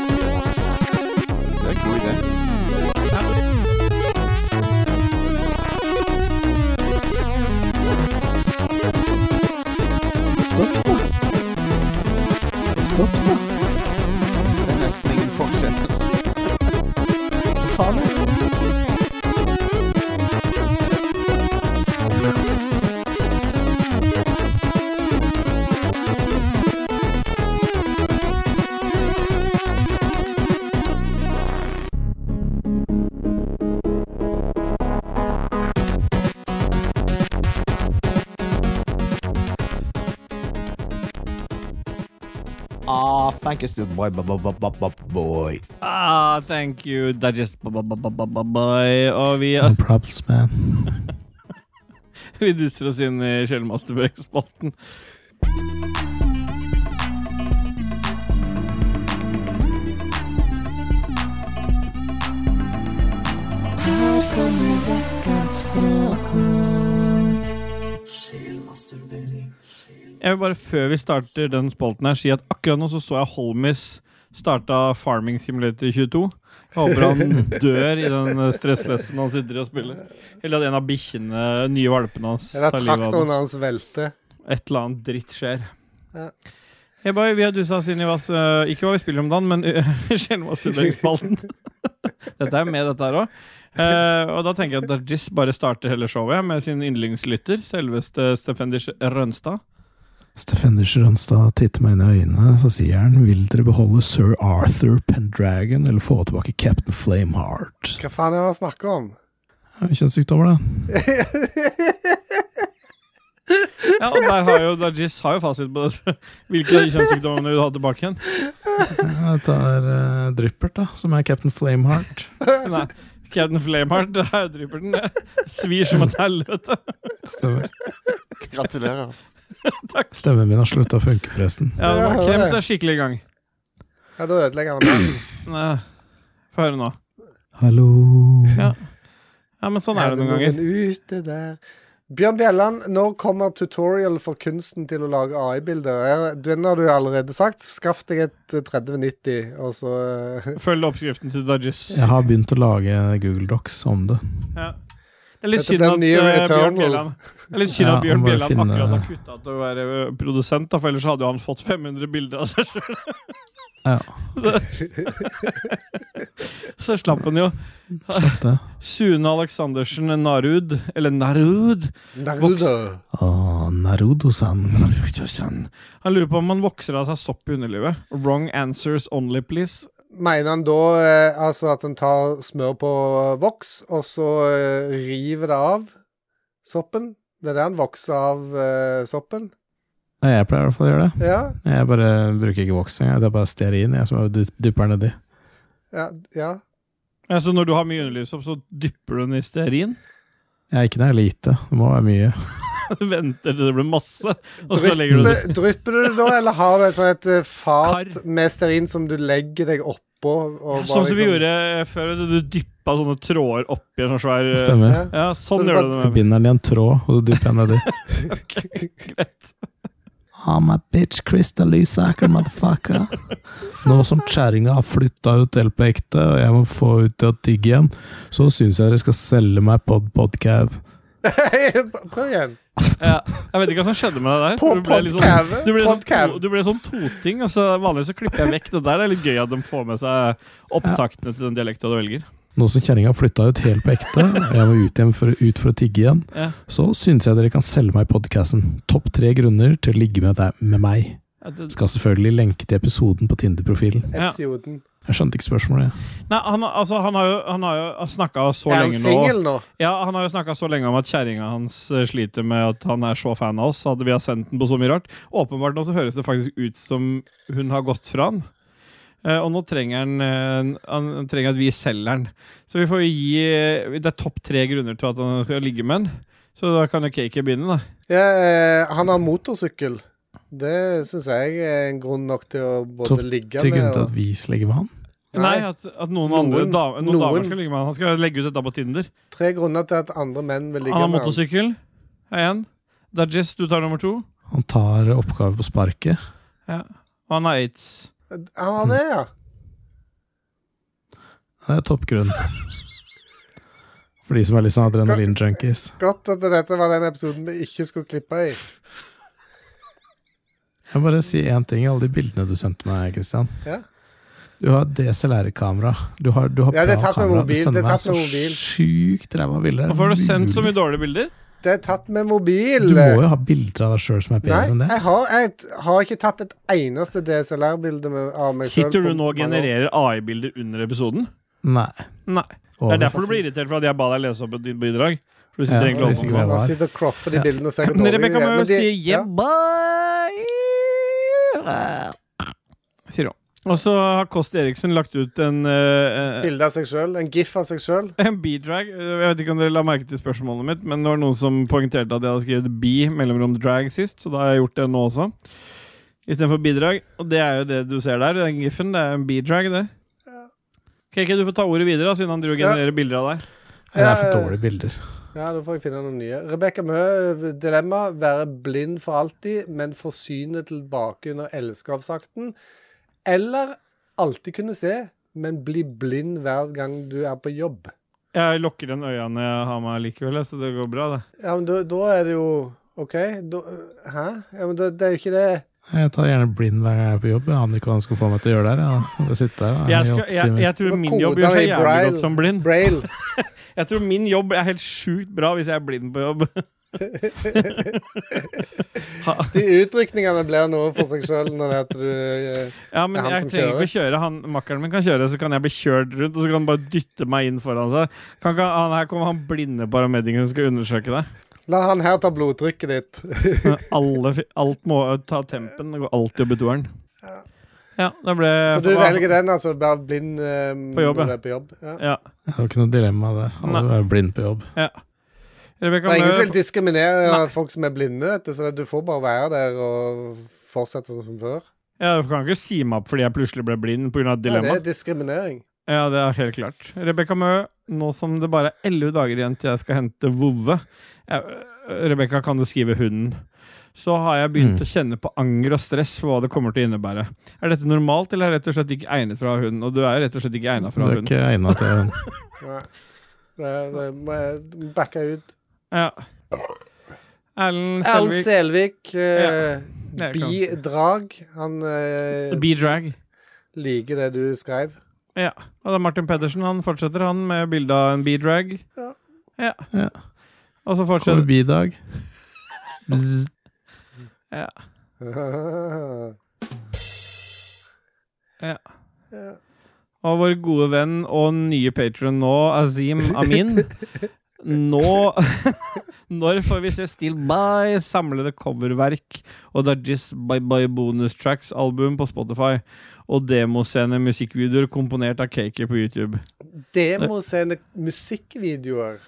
[SPEAKER 4] Det er en god idé. Det er nesten ingen forskjell. Ah, thank you, still boy, boy, boy, boy, boy, boy.
[SPEAKER 2] Ah, thank you. That just ba- ba- ba- ba- ba- ba- bye. Og vi,
[SPEAKER 3] No props, man.
[SPEAKER 2] vi duser oss inn i Kjellmasterberg-spalten. Jeg vil bare før vi starter den spalten her, si at akkurat nå så så jeg Holmis starta Farming Simulator 22. Jeg håper han dør i den eh, stresslessen han sitter i og spiller. Eller at en av bikkjene, nye valpene hans,
[SPEAKER 1] Eller
[SPEAKER 2] tar livet av den.
[SPEAKER 1] traktoren hans velter.
[SPEAKER 2] Et eller annet dritt skjer.
[SPEAKER 1] Ja.
[SPEAKER 2] Hey boy, vi har dusa oss inn i hva, s- øh, ikke hva vi spiller om dagen, men øh, sjelden hva studeringsspalten. dette er med, dette her òg. og da tenker jeg at Dargis bare starter hele showet med sin yndlingslytter, selveste Stefendis Rønstad.
[SPEAKER 3] Stefenders Rønstad titter meg inn i øynene, så sier han Vil dere beholde sir Arthur Pendragon eller få tilbake Captain Flameheart?
[SPEAKER 1] Hva faen er det han snakker om?
[SPEAKER 3] Ja, Kjønnssykdommer, da.
[SPEAKER 2] Ja, og der har jo Dargis har jo fasit på det. hvilke kjønnssykdommer du har tilbake igjen.
[SPEAKER 3] Jeg tar eh, Dryppert, da, som er Captain Flameheart.
[SPEAKER 2] Nei, Captain Flameheart, der drypper den. Det Svir som et helvete.
[SPEAKER 3] Stemmer.
[SPEAKER 4] Gratulerer.
[SPEAKER 3] Stemmen min har slutta å funke, forresten.
[SPEAKER 2] Ja, det var kremt er skikkelig i gang.
[SPEAKER 1] Ja, Da ødelegger han den.
[SPEAKER 2] Nei, Få høre nå.
[SPEAKER 3] Hallo
[SPEAKER 2] Ja. ja, men sånn er det noen ganger.
[SPEAKER 1] Noen ute der. Bjørn Bjelland, når kommer tutorial for kunsten til å lage AI-bilder? Er- Den har du allerede sagt. Skaff deg et eh, 3090, og så eh,
[SPEAKER 2] Følg oppskriften til Dodges.
[SPEAKER 3] Jeg har begynt å lage Google Docs om det.
[SPEAKER 2] Ja. Det er litt
[SPEAKER 1] Dette
[SPEAKER 2] synd
[SPEAKER 1] blir
[SPEAKER 2] at
[SPEAKER 1] nye
[SPEAKER 2] eh, Bjørn
[SPEAKER 1] Returnal.
[SPEAKER 2] Bjelland Det er litt synd
[SPEAKER 3] Ja,
[SPEAKER 2] at Bjørn
[SPEAKER 3] han må jo
[SPEAKER 2] Bjelland
[SPEAKER 3] finne-
[SPEAKER 2] akkurat har kutta ut å være eh, produsent, da, for ellers hadde jo han fått 500 bilder av seg sjøl.
[SPEAKER 3] Ja.
[SPEAKER 2] Så slapp han jo.
[SPEAKER 3] Slapp det.
[SPEAKER 2] Sune Aleksandersen Narud, eller Narud
[SPEAKER 1] Naruto.
[SPEAKER 3] Å, Narudo-san.
[SPEAKER 2] Rudosan. Han lurer på om han vokser av seg sopp i underlivet. Wrong answers only, please.
[SPEAKER 1] Mener han da eh, altså at han tar smør på voks, og så eh, river det av soppen? Det er det han vokser av eh, soppen?
[SPEAKER 3] Nei, Jeg pleier i hvert fall å gjøre det.
[SPEAKER 1] Ja,
[SPEAKER 3] Jeg bare bruker ikke voks engang. Det er bare stearin jeg som jeg dyp- dypper nedi.
[SPEAKER 1] ja, ja.
[SPEAKER 2] Ja, så når du har mye underlivssopp, så dypper du den i stearin?
[SPEAKER 3] Jeg er ikke nær lite. Det må være mye.
[SPEAKER 2] Venter til det blir masse, og så legger du det
[SPEAKER 1] Drypper, drypper du det da, eller har du et sånt et eh, fat
[SPEAKER 2] Kar.
[SPEAKER 1] med stearin som du legger deg oppå? Og liksom-
[SPEAKER 2] Sånn som vi gjorde før. vet Du du dyppa sånne tråder oppi en sånn svær eh,
[SPEAKER 3] Stemmer.
[SPEAKER 2] Ja, sånn
[SPEAKER 1] Så det
[SPEAKER 2] gjør
[SPEAKER 1] bare-
[SPEAKER 2] du det
[SPEAKER 3] Jeg
[SPEAKER 2] med
[SPEAKER 3] binder den i en tråd, og så dypper jeg nedi.
[SPEAKER 2] greit.
[SPEAKER 3] I'm a Ah, bitch, Krista Lysaker, motherfucker. Nå som kjerringa har flytta ut helt på ekte, og jeg må få ut det å digge igjen, så syns jeg dere skal selge meg pod podcav.
[SPEAKER 1] Prøv igjen.
[SPEAKER 2] Ja, jeg vet ikke hva som skjedde med deg der.
[SPEAKER 1] På
[SPEAKER 2] Du ble litt sånn-
[SPEAKER 1] podcav.
[SPEAKER 2] Du ble, sånn,
[SPEAKER 1] Podcav.
[SPEAKER 2] to- du ble sånn toting. Altså, vanligvis så klipper jeg vekk det der. Det er litt gøy at de får med seg opptaktene til den dialekta du velger.
[SPEAKER 3] Nå som kjerringa har flytta ut helt på ekte, og jeg må ut, igjen for, ut for å tigge igjen,
[SPEAKER 2] Ja.
[SPEAKER 3] så syns jeg dere kan selge meg podcasten. Topp tre grunner til å ligge med deg med meg.
[SPEAKER 2] Ja, det-
[SPEAKER 3] Skal selvfølgelig lenke til episoden på Tinder-profilen.
[SPEAKER 2] Ja.
[SPEAKER 1] Episoden.
[SPEAKER 3] Jeg skjønte ikke spørsmålet. jeg.
[SPEAKER 2] Nei, han, altså, han har jo, han har jo snakka så
[SPEAKER 1] Er han
[SPEAKER 2] lenge nå.
[SPEAKER 1] singel nå?
[SPEAKER 2] Ja, han har jo snakka så lenge om at kjerringa hans eh, sliter med at han er så fan av oss, at vi har sendt den på så mye rart. Åpenbart nå så høres det faktisk ut som hun har gått fra han. Eh, og nå trenger han, eh, han han trenger at vi selger han. Så vi får jo gi eh, Det er topp tre grunner til at han skal ligge med han. Så da kan jo Kaki begynne, da.
[SPEAKER 1] Ja, eh, han har motorsykkel. Det syns jeg er en grunn nok til å både
[SPEAKER 3] Topp
[SPEAKER 1] ligge
[SPEAKER 3] Til grunn
[SPEAKER 1] med
[SPEAKER 3] til
[SPEAKER 1] og
[SPEAKER 3] at vi legger med han.
[SPEAKER 2] Nei,
[SPEAKER 1] Nei.
[SPEAKER 2] at, at noen,
[SPEAKER 1] Noen-
[SPEAKER 2] andre damer, noen
[SPEAKER 1] noen.
[SPEAKER 2] damer skal ligge med han. Han skal legge ut dette på Tinder.
[SPEAKER 1] Tre grunner til at andre menn vil ligge
[SPEAKER 2] Han har
[SPEAKER 1] med han.
[SPEAKER 2] motorsykkel. Én. Dajis, du tar nummer to.
[SPEAKER 3] Han tar oppgave på sparket.
[SPEAKER 2] Og han har aids.
[SPEAKER 1] Han har det, ja.
[SPEAKER 3] Det er toppgrunn. For de som er litt sånn adrenalin-junkies.
[SPEAKER 1] Godt at dette var den episoden vi ikke skulle klippe i.
[SPEAKER 3] Jeg må bare si én ting i alle de bildene du sendte meg, Christian.
[SPEAKER 1] Ja.
[SPEAKER 3] Du har DSLR-kamera. Du har, du har
[SPEAKER 1] Ja, det er
[SPEAKER 3] bra
[SPEAKER 1] tatt med
[SPEAKER 3] kamera.
[SPEAKER 1] mobil,
[SPEAKER 3] Du
[SPEAKER 1] det er
[SPEAKER 3] sender meg
[SPEAKER 1] tatt
[SPEAKER 3] så
[SPEAKER 1] med mobil.
[SPEAKER 3] sjukt ræva bilder.
[SPEAKER 2] Hvorfor har du sendt så
[SPEAKER 3] Mulig.
[SPEAKER 2] mye dårlige bilder?
[SPEAKER 1] Det er tatt med mobil.
[SPEAKER 3] Du må jo ha bilder av deg sjøl som er bedre
[SPEAKER 1] Nei,
[SPEAKER 3] enn det.
[SPEAKER 1] jeg har, jeg t- har ikke tatt et eneste DSLR-bilde med- av meg selv
[SPEAKER 2] Sitter du
[SPEAKER 1] på
[SPEAKER 2] nå
[SPEAKER 1] mange
[SPEAKER 2] og
[SPEAKER 1] år.
[SPEAKER 2] genererer AI-bilder under episoden?
[SPEAKER 3] Nei.
[SPEAKER 2] Nei. Det er
[SPEAKER 3] Over.
[SPEAKER 2] derfor du blir irritert for at jeg ba deg lese opp et ditt bidrag. For du
[SPEAKER 3] Ja,
[SPEAKER 2] sitter
[SPEAKER 3] hvis
[SPEAKER 2] egentlig
[SPEAKER 3] ikke
[SPEAKER 2] og holder
[SPEAKER 3] jeg
[SPEAKER 2] på
[SPEAKER 1] Man
[SPEAKER 2] med
[SPEAKER 3] var.
[SPEAKER 1] sitter og cropper de bildene og ser hvor
[SPEAKER 2] Men
[SPEAKER 1] dårlige de
[SPEAKER 2] Rebecca
[SPEAKER 1] er.
[SPEAKER 2] må jo
[SPEAKER 1] Men de-
[SPEAKER 2] si
[SPEAKER 1] ja.
[SPEAKER 5] 'jebba'.
[SPEAKER 2] det. Sier hun. Og så har Kost Eriksen lagt ut en, eh,
[SPEAKER 1] Bilde av seg sjøl. En gif av seg sjøl.
[SPEAKER 2] en B-drag. eh, Jeg vet ikke om dere la merke til spørsmålet mitt, men det var noen som poengterte at jeg hadde skrevet B mellomrom drag sist, så da har jeg gjort det nå også. Istedenfor bidrag. Og det er jo det du ser der, den giffen. Det er en B-drag, det. Ok, ok, du får ta ordet videre, da, siden han driver og
[SPEAKER 1] Ja.
[SPEAKER 2] genererer bilder av deg.
[SPEAKER 3] Det er
[SPEAKER 1] Ja,
[SPEAKER 3] for
[SPEAKER 1] ja.
[SPEAKER 3] dårlige bilder.
[SPEAKER 1] Ja, da får jeg finne noen nye. Rebekka Mø, eh, dilemma. Være blind for alltid, men forsyne tilbake under elskovsakten. Eller alltid kunne se, men bli blind hver gang du er på jobb.
[SPEAKER 2] Jeg lukker igjen øynene jeg har meg likevel, så det går bra, det.
[SPEAKER 1] Ja, men da, da er det jo OK. Da, hæ? Ja, men da, det er jo ikke det
[SPEAKER 3] Jeg tar gjerne blind hver gang jeg er på jobb. Jeg aner ikke hva han skal få meg til å gjøre der. Ja. Jeg sitter
[SPEAKER 2] Jeg,
[SPEAKER 3] her i
[SPEAKER 2] skal,
[SPEAKER 3] åtte
[SPEAKER 2] jeg,
[SPEAKER 3] timer.
[SPEAKER 2] jeg tror
[SPEAKER 1] Men
[SPEAKER 2] min jobb gjør
[SPEAKER 1] koder
[SPEAKER 2] seg
[SPEAKER 1] i
[SPEAKER 2] jævlig
[SPEAKER 1] braille.
[SPEAKER 2] godt som blind.
[SPEAKER 1] Braille.
[SPEAKER 2] Jeg tror min jobb er helt sjukt bra hvis jeg er blind på jobb.
[SPEAKER 1] De utrykningene blir noe for seg sjøl når det heter du eh,
[SPEAKER 2] Ja, men
[SPEAKER 1] Det er han
[SPEAKER 2] jeg
[SPEAKER 1] som
[SPEAKER 2] trenger ikke å kjøre. Han, makkeren min kan kjøre, så kan jeg bli kjørt rundt, og så kan han bare dytte meg inn foran seg. Kan ikke han, her kommer han blinde paramedikken som skal undersøke deg.
[SPEAKER 1] La han her ta blodtrykket ditt.
[SPEAKER 2] Alle, fi- alt må ta tempen. Det går alltid opp i toeren. Ja, da ble
[SPEAKER 1] Så du velger den, altså? Bare blind eh,
[SPEAKER 2] På jobb, ja.
[SPEAKER 1] når du er på jobb? Ja.
[SPEAKER 2] Ja.
[SPEAKER 3] Det var ikke noe dilemma der. Alle
[SPEAKER 2] Nei.
[SPEAKER 3] var jo blind på jobb.
[SPEAKER 2] Rebekka
[SPEAKER 1] Det er ingen som vil
[SPEAKER 2] Mø,
[SPEAKER 1] diskriminere
[SPEAKER 2] Nei.
[SPEAKER 1] folk som er blinde, vet du, så det- du får bare være der og fortsette sånn som før.
[SPEAKER 2] ja, du kan ikke si meg opp fordi jeg plutselig ble blind pga.
[SPEAKER 1] Nei, det er
[SPEAKER 2] dilemmaet.
[SPEAKER 1] diskriminering.
[SPEAKER 2] Ja, det er helt klart. Rebekka Mø, nå som det bare er elleve dager igjen til jeg skal hente vovve jeg- Rebekka, kan du skrive 'hunden'? Så har jeg begynt
[SPEAKER 3] Mm.
[SPEAKER 2] å kjenne på anger og stress for hva det kommer til å innebære. Er dette normalt, eller er jeg rett og slett ikke egnet fra hunden? Og du er jo rett og slett ikke egnet
[SPEAKER 3] Du
[SPEAKER 2] fra
[SPEAKER 3] er
[SPEAKER 2] hunden.
[SPEAKER 3] ikke egnet til hun.
[SPEAKER 1] Nei. Det, det må jeg backe ut.
[SPEAKER 2] Ja. Erlend
[SPEAKER 1] Erlend
[SPEAKER 2] Selvik.
[SPEAKER 1] Selvik, eh,
[SPEAKER 2] Ja, jeg kan si.
[SPEAKER 1] bidrag. Han eh,
[SPEAKER 2] B-drag.
[SPEAKER 1] liker det du skrev.
[SPEAKER 2] Ja. Og da Martin Pedersen han fortsetter han med bilde av en B-drag.
[SPEAKER 1] Ja.
[SPEAKER 2] Ja.
[SPEAKER 3] Ja.
[SPEAKER 2] Og så
[SPEAKER 3] Kommer
[SPEAKER 2] fortsetter
[SPEAKER 3] bidag. Bzz.
[SPEAKER 1] ja.
[SPEAKER 2] Ja. Og vår gode venn og nye patron nå, Azim Amin. Nå Når får vi se Still By samlede coververk og Dajis Bye Bye Bonus Tracks-album på Spotify? Og demoscene musikkvideoer komponert av Kaker på YouTube.
[SPEAKER 1] Demoscene musikkvideoer.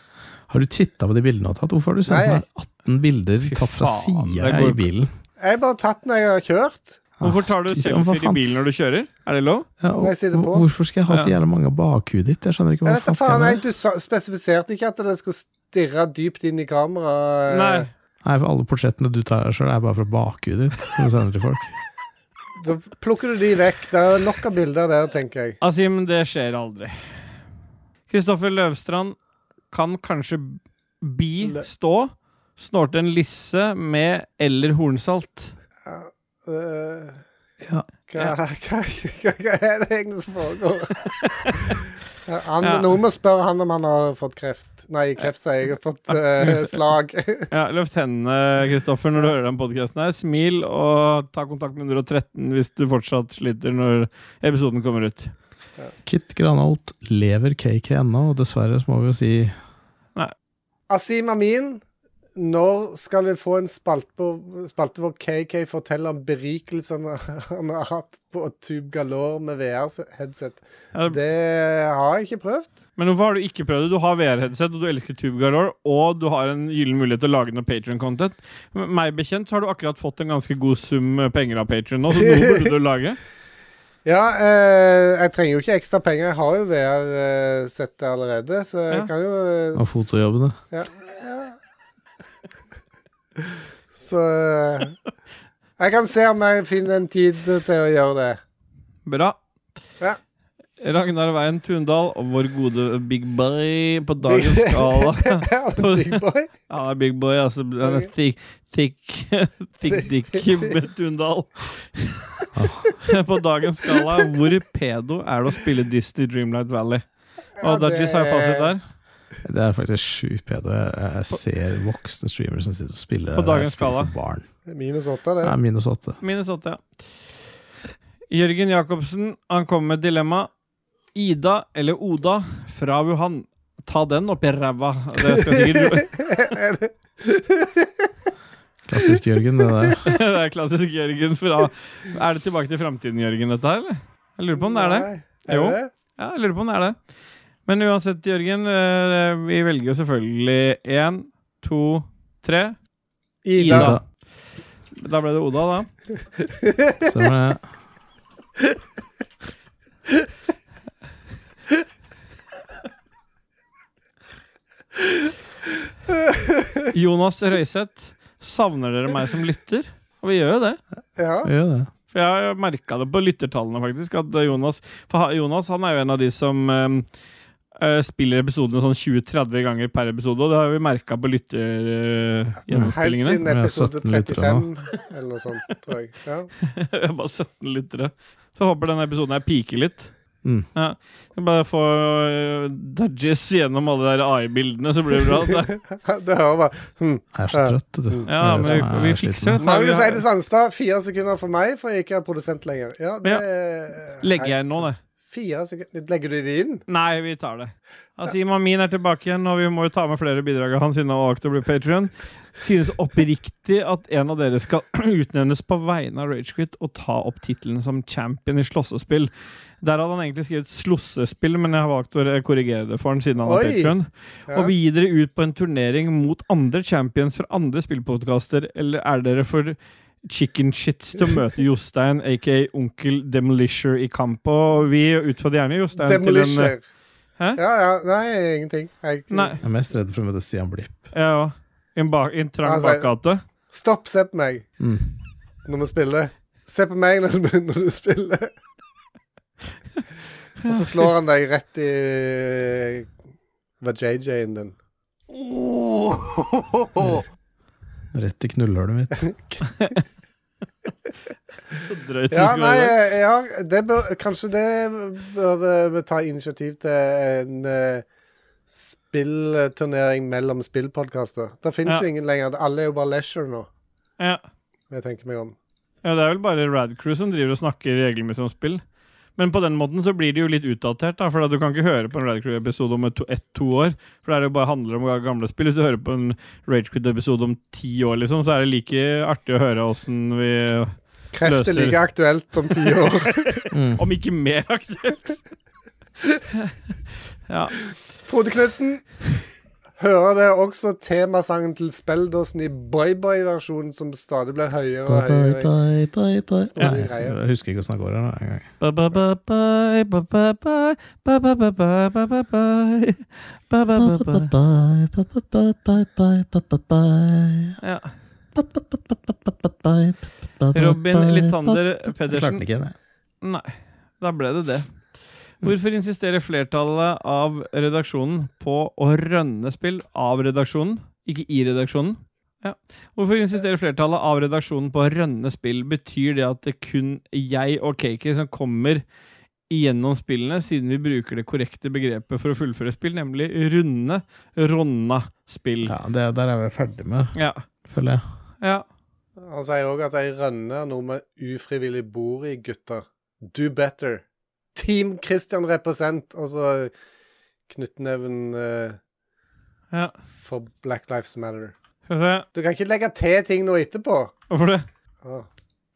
[SPEAKER 3] Har du titta på de bildene du har tatt? Hvorfor har du sendt
[SPEAKER 1] Nei.
[SPEAKER 3] meg 18 bilder
[SPEAKER 2] Fy
[SPEAKER 3] tatt fra
[SPEAKER 2] faen, det
[SPEAKER 3] sida
[SPEAKER 2] går
[SPEAKER 3] i
[SPEAKER 2] ikke.
[SPEAKER 3] bilen?
[SPEAKER 1] Jeg har bare tatt den når jeg har kjørt.
[SPEAKER 2] Hvorfor tar du
[SPEAKER 3] Ah, ja, men
[SPEAKER 2] selfier
[SPEAKER 3] for
[SPEAKER 2] i
[SPEAKER 3] faen.
[SPEAKER 2] bilen når du kjører? Er det lov?
[SPEAKER 3] Ja, og
[SPEAKER 1] Nei, si det på.
[SPEAKER 3] hvor- hvorfor skal jeg ha så jævla mange av bakhudet ditt? Jeg skjønner ikke
[SPEAKER 1] Jeg
[SPEAKER 3] hva
[SPEAKER 1] vet da
[SPEAKER 3] faen skal
[SPEAKER 1] faen, jeg,
[SPEAKER 3] jeg med det.
[SPEAKER 1] du sa- spesifiserte ikke at det skulle stirre dypt inn i eh. kameraet.
[SPEAKER 2] Nei.
[SPEAKER 3] Nei, for alle portrettene du tar deg sjøl, er bare fra bakhudet ditt. som Du sender til folk.
[SPEAKER 1] Da plukker du de vekk. Det er nok av bilder der, tenker jeg.
[SPEAKER 2] Asim, det skjer aldri. Kristoffer Løvstrand kan kanskje bi
[SPEAKER 1] Lø-
[SPEAKER 2] stå, snorte en lisse med eller hornsalt.
[SPEAKER 1] Øh,
[SPEAKER 3] Ja.
[SPEAKER 1] hva, hva, hva, hva er det egentlig som foregår? Ja, Han,
[SPEAKER 2] Ja.
[SPEAKER 1] Noen må spørre han om han har fått kreft. Nei, kreft, sier jeg. Jeg har fått øh, slag.
[SPEAKER 2] Ja, løft hendene, Kristoffer, når du hører den podkasten her. Smil og ta kontakt med 113 hvis du fortsatt sliter når episoden kommer ut.
[SPEAKER 3] Kit Granholt lever KK ennå, og dessverre så må vi jo si
[SPEAKER 1] Asim Amin, når skal vi få en spalte, på, spalte hvor KK forteller om berikelsene han har hatt på Tube Galore med VR-headset?
[SPEAKER 2] Ja, det-
[SPEAKER 1] Det har jeg ikke prøvd.
[SPEAKER 2] men hvorfor har du ikke prøvd det? Du har VR-headset, og du elsker Tube Galore, og du har en gyllen mulighet til å lage noe Patron-content. Meg bekjent så har du akkurat fått en ganske god sum eh, penger av Patron nå, så noe burde du lage.
[SPEAKER 1] Ja, eh, jeg trenger jo ikke ekstra penger. Jeg har jo VR-settet allerede, så jeg
[SPEAKER 2] Ja.
[SPEAKER 1] kan jo eh,
[SPEAKER 3] av fotojobbene.
[SPEAKER 1] Ja. Så eh, Jeg kan se om jeg finner en tid til å gjøre det.
[SPEAKER 2] Bra.
[SPEAKER 1] Ja.
[SPEAKER 2] Ragnar Veien Tundal og vår gode Big Boy på dagens skala.
[SPEAKER 1] Big boy.
[SPEAKER 2] Han er Big Boy, altså. Han er thick, thick, thick dick med Tundal. på dagens skala, hvor pedo er det å spille Disney Dreamlight Valley?
[SPEAKER 1] Ja,
[SPEAKER 2] Og Dajis har
[SPEAKER 1] det-
[SPEAKER 2] fasit der.
[SPEAKER 3] Det er faktisk sjukt pedo. Jeg, jeg ser voksne streamere som sitter og spiller
[SPEAKER 2] På dagens
[SPEAKER 3] spill for
[SPEAKER 2] skala.
[SPEAKER 3] barn.
[SPEAKER 1] Minus åtte, det.
[SPEAKER 3] Det er minus åtte.
[SPEAKER 2] Minus åtte, ja. Jørgen Jacobsen, han kommer med dilemma. Ida eller Oda fra Wuhan. Ta den oppi ræva. Det skal sikkert
[SPEAKER 3] Klassisk Jørgen, det der.
[SPEAKER 2] det er klassisk Jørgen fra Er det tilbake til framtiden, Jørgen, dette her, eller? Jeg lurer på om det er det.
[SPEAKER 1] Nei, er
[SPEAKER 2] Jo.
[SPEAKER 1] det?
[SPEAKER 2] Ja, jeg lurer på om det er det. Men uansett, Jørgen, eh, vi velger jo selvfølgelig én, to, tre.
[SPEAKER 1] Ida.
[SPEAKER 2] Ida. Da ble det Oda, da.
[SPEAKER 3] Stemmer det.
[SPEAKER 2] Jonas Røiseth, savner dere meg som lytter? Og vi gjør jo det.
[SPEAKER 1] Ja.
[SPEAKER 3] Vi gjør det.
[SPEAKER 2] For jeg har merka det på lyttertallene, faktisk. At Jonas, for ha- Jonas han er jo en av de som eh, eh, spiller episodene sånn 20-30 ganger per episode, og det har vi merka på eh,
[SPEAKER 1] Helt
[SPEAKER 2] lyttergjennomspillingene.
[SPEAKER 1] siden
[SPEAKER 3] Vi har
[SPEAKER 1] episode
[SPEAKER 3] 17 lyttere
[SPEAKER 1] 35 eller noe sånt, tror jeg. Ja.
[SPEAKER 2] Bare 17 lyttere. Så jeg håper denne episoden her piker litt.
[SPEAKER 3] Mm.
[SPEAKER 2] Ja. Jeg bare få eh, dodges gjennom alle de der AI-bildene, så blir det bra. Det-
[SPEAKER 1] Det hører bare hm.
[SPEAKER 3] Jeg er så trøtt, vet du.
[SPEAKER 2] Ja, men vi, vi fikser dette. Vi
[SPEAKER 1] Magnus
[SPEAKER 2] har-
[SPEAKER 1] Eide Sandstad, fire sekunder for meg, for jeg ikke er produsent lenger. Ja, det er-
[SPEAKER 2] Legger jeg inn nå, det?
[SPEAKER 1] Fire sekunder Legger du det inn?
[SPEAKER 2] Nei, vi tar det. Altså, Imamin er tilbake igjen, og vi må jo ta med flere bidrag av han siden han valgte å bli Patreon Synes oppriktig at en av dere skal utnevnes på vegne av Ragequit og ta opp tittelen som champion i slåssespill. Der hadde han egentlig skrevet 'slossespill', men jeg har valgt å korrigere det for han siden han er
[SPEAKER 1] Oi!
[SPEAKER 2] Patreon
[SPEAKER 1] Ja.
[SPEAKER 2] Og vi gir dere ut på en turnering mot andre champions fra andre spillpodkaster, eller er dere for chicken shits til å møte Jostein, aka onkel Demolisher, i kamp? Og vi utfordrer gjerne Jostein til en eh,
[SPEAKER 1] Demolisher.
[SPEAKER 2] Hæ?
[SPEAKER 1] Ja, ja. Nei, ingenting. Jeg,
[SPEAKER 2] Nei.
[SPEAKER 3] Jeg er mest redd for å møte Stian Blipp.
[SPEAKER 2] Ja, ja. I en, bak, i en trang
[SPEAKER 1] Altså,
[SPEAKER 2] bakgate.
[SPEAKER 1] Stopp, se på meg
[SPEAKER 3] Mm.
[SPEAKER 1] når vi spiller. Se på meg når du, når du spiller. Og så slår han deg rett i vajayjayen din.
[SPEAKER 5] Oh,
[SPEAKER 3] Rett i knullhullet mitt.
[SPEAKER 2] Så drøyt det
[SPEAKER 1] Ja,
[SPEAKER 2] skal
[SPEAKER 1] nei, eh,
[SPEAKER 2] være.
[SPEAKER 1] ja, det bør, kanskje det burde vi ta initiativ til en eh, spillturnering mellom spillpodkaster. Det fins
[SPEAKER 2] Ja.
[SPEAKER 1] jo ingen lenger. Alle er jo bare leisure nå.
[SPEAKER 2] Ja.
[SPEAKER 1] Jeg tenker meg om.
[SPEAKER 2] ja, det er vel bare Radcrew som driver og snakker regelmessig om spill. Men på den måten så blir det jo litt utdatert, da, for at du kan ikke høre på en Radcrew-episode om ett-to år. For det er jo bare handler om gamle spill. Hvis du hører på en Ragequid-episode om ti år, liksom, så er det like artig å høre åssen vi
[SPEAKER 1] Kreft
[SPEAKER 2] Løser.
[SPEAKER 1] er like aktuelt om ti år. Mm.
[SPEAKER 2] Om ikke mer aktuelt. ja.
[SPEAKER 1] Frode Knutsen. Hører det også temasangen til Speldåsen i boyboy-versjonen, som stadig blir høyere og høyere?
[SPEAKER 3] bye, bye, bye.
[SPEAKER 1] Ja.
[SPEAKER 3] Nei, jeg husker ikke åssen det går her nå, en gang.
[SPEAKER 2] Ba, ba, ba, ba, ba, ba, ba, ba, ba, ba, ba, ba, ba, ba, ba, ba, ba, ba. Ja. Robin Litander
[SPEAKER 3] Jeg klarte
[SPEAKER 2] Pedersen.
[SPEAKER 3] den ikke. Nei.
[SPEAKER 2] Nei, da ble det det. Hvorfor insisterer flertallet av redaksjonen på å rønne spill av redaksjonen, ikke i redaksjonen? Ja. Hvorfor insisterer flertallet av redaksjonen på å rønne spill? Betyr det at det kun jeg og Kaki som kommer gjennom spillene, siden vi bruker det korrekte begrepet for å fullføre spill, nemlig runde, ronna spill?
[SPEAKER 3] Ja, det der er vi ferdig med,
[SPEAKER 2] Ja.
[SPEAKER 3] føler jeg.
[SPEAKER 2] ja.
[SPEAKER 1] Han sier òg at ei rønne er noe vi ufrivillig bor i, gutter. Do better. Team Christian represent. Og så knyttneven eh,
[SPEAKER 2] ja.
[SPEAKER 1] for Black Lives Matter.
[SPEAKER 2] Skal vi se.
[SPEAKER 1] Du kan ikke legge til ting nå etterpå.
[SPEAKER 2] Hvorfor det?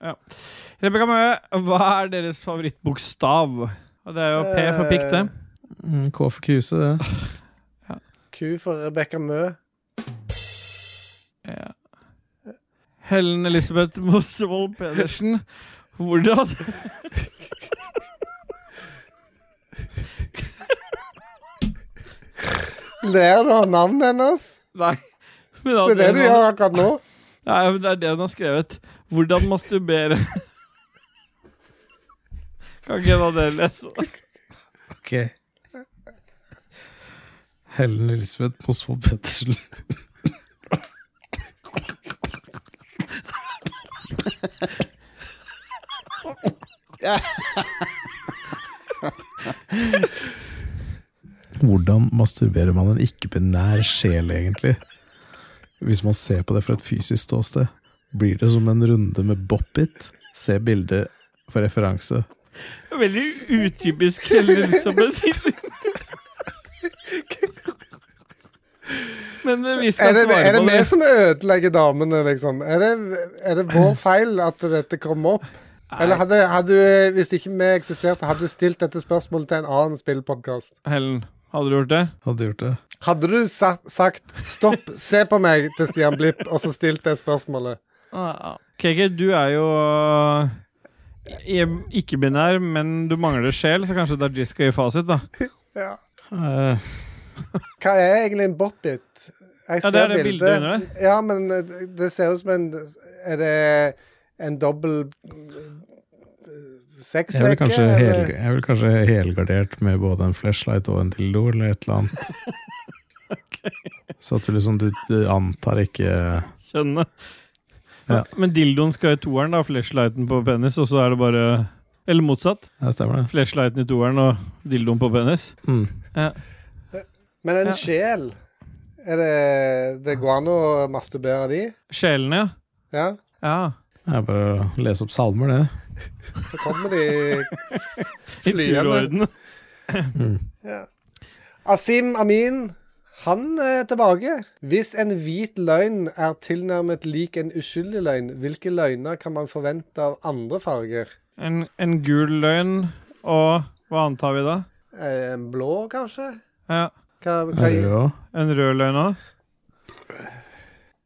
[SPEAKER 1] Ah.
[SPEAKER 2] Rebekka Møe, hva er deres favorittbokstav? Og det er jo P for pikk, det.
[SPEAKER 3] Mm, K for kuse, det.
[SPEAKER 1] Q for Rebekka Mø.
[SPEAKER 2] Eh, Ja. Helen Elisabeth Mosvold Pedersen. Hvordan
[SPEAKER 1] Ler du av navnet hennes?
[SPEAKER 2] Nei. Men
[SPEAKER 1] Det er det du
[SPEAKER 2] han,
[SPEAKER 1] gjør akkurat nå.
[SPEAKER 2] Nei, men det er det hun har skrevet. Hvordan masturbere Kan ikke en av dere lese det?
[SPEAKER 3] Ok. Helen Elisabeth Mosvold Pettersen. Hvordan masturberer man en ikke-binær sjel, egentlig? Hvis man ser på det fra et fysisk ståsted, blir det som en runde med boppit. Se bildet for referanse.
[SPEAKER 2] Veldig utypisk Helen Elisabeth. Men eh, vi skal
[SPEAKER 1] Er det,
[SPEAKER 2] svare
[SPEAKER 1] er det
[SPEAKER 2] på
[SPEAKER 1] vi
[SPEAKER 2] det.
[SPEAKER 1] som ødelegger damene, liksom? Er det, er det vår feil at dette kom opp? Eller hadde, hadde du, hvis ikke vi eksisterte, hadde du stilt dette spørsmålet til en annen spillpodkast?
[SPEAKER 2] Helen, hadde du gjort det?
[SPEAKER 3] Hadde gjort det.
[SPEAKER 1] Hadde du sa sagt 'stopp, se på meg' til Stian Blipp, og så stilt det spørsmålet?
[SPEAKER 2] KK, du er jo øh, i- ikke-binær, men du mangler sjel, så kanskje Dajis skal gi fasit, da.
[SPEAKER 1] Ja.
[SPEAKER 3] Eh,
[SPEAKER 1] Hva er egentlig en boppit? Jeg ser
[SPEAKER 2] Ja, det er det bildet
[SPEAKER 1] bildet.
[SPEAKER 2] under der.
[SPEAKER 1] Ja, men eh, det- det ser ut som en Er det en dobbel eh,
[SPEAKER 3] Jeg ville
[SPEAKER 1] sexleke?
[SPEAKER 3] kanskje,
[SPEAKER 1] eller?
[SPEAKER 3] hel, jeg ville kanskje helgardert med både en flashlight og en dildo eller et eller annet. Så at du liksom du, du antar ikke
[SPEAKER 2] Skjønner.
[SPEAKER 3] Ja.
[SPEAKER 2] Men dildoen skal i toeren, da. Flashlighten på penis, og så er det bare Eller motsatt.
[SPEAKER 3] Ja, stemmer det.
[SPEAKER 2] Flashlighten i toeren og dildoen på penis.
[SPEAKER 3] Mm.
[SPEAKER 1] Men en
[SPEAKER 2] Ja.
[SPEAKER 1] sjel er det, det går an å masturbere de?
[SPEAKER 2] Sjelene, ja.
[SPEAKER 1] Ja.
[SPEAKER 2] ja.
[SPEAKER 3] Det er bare å lese opp salmer, det.
[SPEAKER 1] Så kommer de
[SPEAKER 2] I
[SPEAKER 1] Flyende.
[SPEAKER 2] turorden.
[SPEAKER 1] Asim Amin, han er tilbake. Hvis en hvit løgn er tilnærmet lik en uskyldig løgn, hvilke løgner kan man forvente av andre farger?
[SPEAKER 2] En, en gul løgn og Hva annet har vi da?
[SPEAKER 1] Eh, En blå, kanskje?
[SPEAKER 2] Ja.
[SPEAKER 1] Hva, hva,
[SPEAKER 3] Er det jo?
[SPEAKER 2] En rød løgn òg?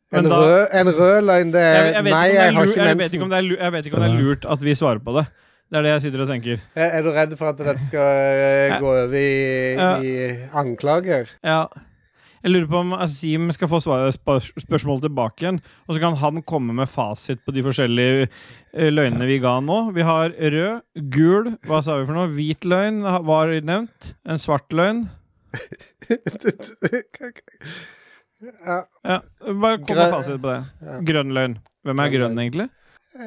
[SPEAKER 1] en,
[SPEAKER 2] Men da-
[SPEAKER 1] rød, en rød løgn, det
[SPEAKER 2] Jeg,
[SPEAKER 1] er
[SPEAKER 2] jeg, vet
[SPEAKER 1] Eh, Nei,
[SPEAKER 2] ikke om det er
[SPEAKER 1] jeg har
[SPEAKER 2] lur-
[SPEAKER 1] ikke
[SPEAKER 2] jeg vet ikke
[SPEAKER 1] mensen.
[SPEAKER 2] om det er lu- jeg vet ikke om det er
[SPEAKER 3] Stemmer.
[SPEAKER 2] lurt at vi svarer på det. Det er det jeg sitter og tenker.
[SPEAKER 1] Eh, Er er du redd for at dette skal eh,
[SPEAKER 2] Ja.
[SPEAKER 1] gå over i,
[SPEAKER 2] Ja.
[SPEAKER 1] i anklager?
[SPEAKER 2] Ja. Jeg lurer på om Azeem skal få svar, spør- spørsmål tilbake igjen. Og så kan han komme med fasit på de forskjellige eh, løgnene vi ga nå. Vi har rød, gul, hva sa vi for noe? Hvit løgn ha- var nevnt. En svart løgn. Ja, Bare kom med
[SPEAKER 1] Grø-
[SPEAKER 2] fasit på det. Grønn løgn. Hvem er
[SPEAKER 1] Grønn
[SPEAKER 2] grønn, egentlig?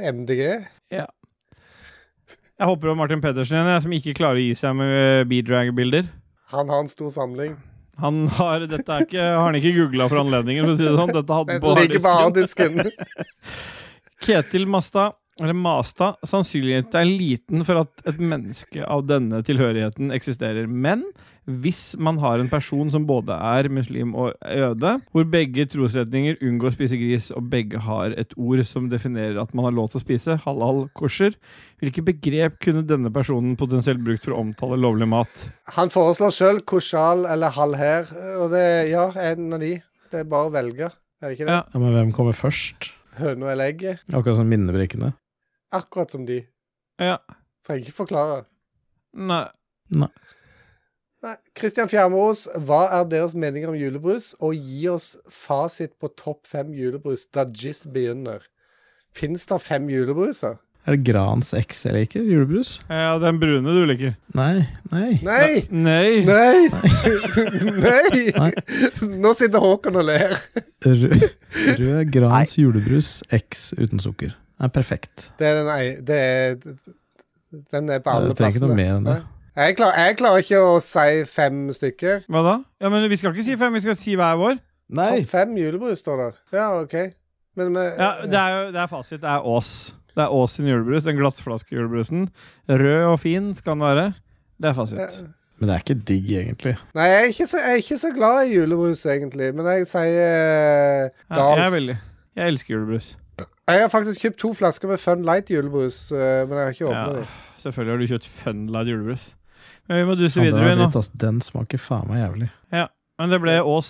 [SPEAKER 1] MDG?
[SPEAKER 2] Jeg håper det var Martin Pedersen igjen, jeg, som ikke klarer å gi seg med eh, B-drag-bilder.
[SPEAKER 1] Han har en stor samling.
[SPEAKER 2] Han har, dette er ikke, har han ikke googla for anledningen, for å si det sånn. Dette hadde
[SPEAKER 1] Den
[SPEAKER 2] han på
[SPEAKER 1] ligger på
[SPEAKER 2] harddisken.
[SPEAKER 1] harddisken.
[SPEAKER 2] Ketil Masta, eller Masta, sannsynligheten er liten for at et menneske av denne tilhørigheten eksisterer. Men hvis man har en person som både er muslim og jøde, hvor begge trosretninger unngår å spise gris, og begge har et ord som definerer at man har lov til å spise, halal kosher, hvilke begrep kunne denne personen potensielt brukt for å omtale lovlig mat?
[SPEAKER 1] Han foreslår sjøl Koshal eller Halher, og det ja, en av de. Det er bare å velge, er det ikke det?
[SPEAKER 2] Ja.
[SPEAKER 3] Ja, men hvem kommer først?
[SPEAKER 1] Høna eller egget.
[SPEAKER 3] Akkurat som minnebrikkene.
[SPEAKER 1] Akkurat som de.
[SPEAKER 2] Ja,
[SPEAKER 1] Trenger ikke forklare.
[SPEAKER 2] nei
[SPEAKER 1] Nei. Kristian Fjermerås, hva er deres meninger om julebrus? Og gi oss fasit på topp fem julebrus da Jizz begynner. Fins det fem julebruser?
[SPEAKER 3] Er det Grans X jeg liker? Julebrus?
[SPEAKER 2] Ja, den brune du liker.
[SPEAKER 3] Nei, nei.
[SPEAKER 1] Nei!
[SPEAKER 2] Nei!
[SPEAKER 1] Nei! Nei! Nå sitter Håkon og ler.
[SPEAKER 3] Rød, rød Grans julebrus X uten sukker. Det er perfekt.
[SPEAKER 1] Det er den ei... Det er, den er på alle
[SPEAKER 3] Jeg trenger ikke noe
[SPEAKER 1] plassene.
[SPEAKER 3] mer enn det.
[SPEAKER 1] Nei. Jeg, klar, jeg klarer ikke å si fem stykker.
[SPEAKER 2] Hva da? Ja, men Vi skal ikke si fem, vi skal si hver vår.
[SPEAKER 4] Nei!
[SPEAKER 1] Topp fem julebrus står der. Ja, OK. Men vi
[SPEAKER 2] Ja, det er, jo, det er fasit. Det er Ås. Det er Ås sin julebrus. Den glassflaskejulebrusen. Rød og fin skal den være. Det er fasit.
[SPEAKER 3] Men det er ikke digg, egentlig.
[SPEAKER 1] Nei, jeg er, ikke så, jeg er ikke så glad i julebrus, egentlig, men jeg sier eh,
[SPEAKER 2] Ja,
[SPEAKER 1] Dals.
[SPEAKER 2] jeg, er veldig, jeg elsker julebrus.
[SPEAKER 1] Jeg har faktisk kjøpt to flasker med Fun Light julebrus, eh, men jeg har ikke
[SPEAKER 2] Ja,
[SPEAKER 1] åpna
[SPEAKER 2] selvfølgelig har du kjøpt Funlight julebrus. Men vi må duse
[SPEAKER 3] Ja, det
[SPEAKER 2] videre
[SPEAKER 3] er
[SPEAKER 2] vi,
[SPEAKER 3] dritt,
[SPEAKER 2] nå.
[SPEAKER 3] ass. Den smaker faen meg jævlig.
[SPEAKER 2] Men det ble Ås,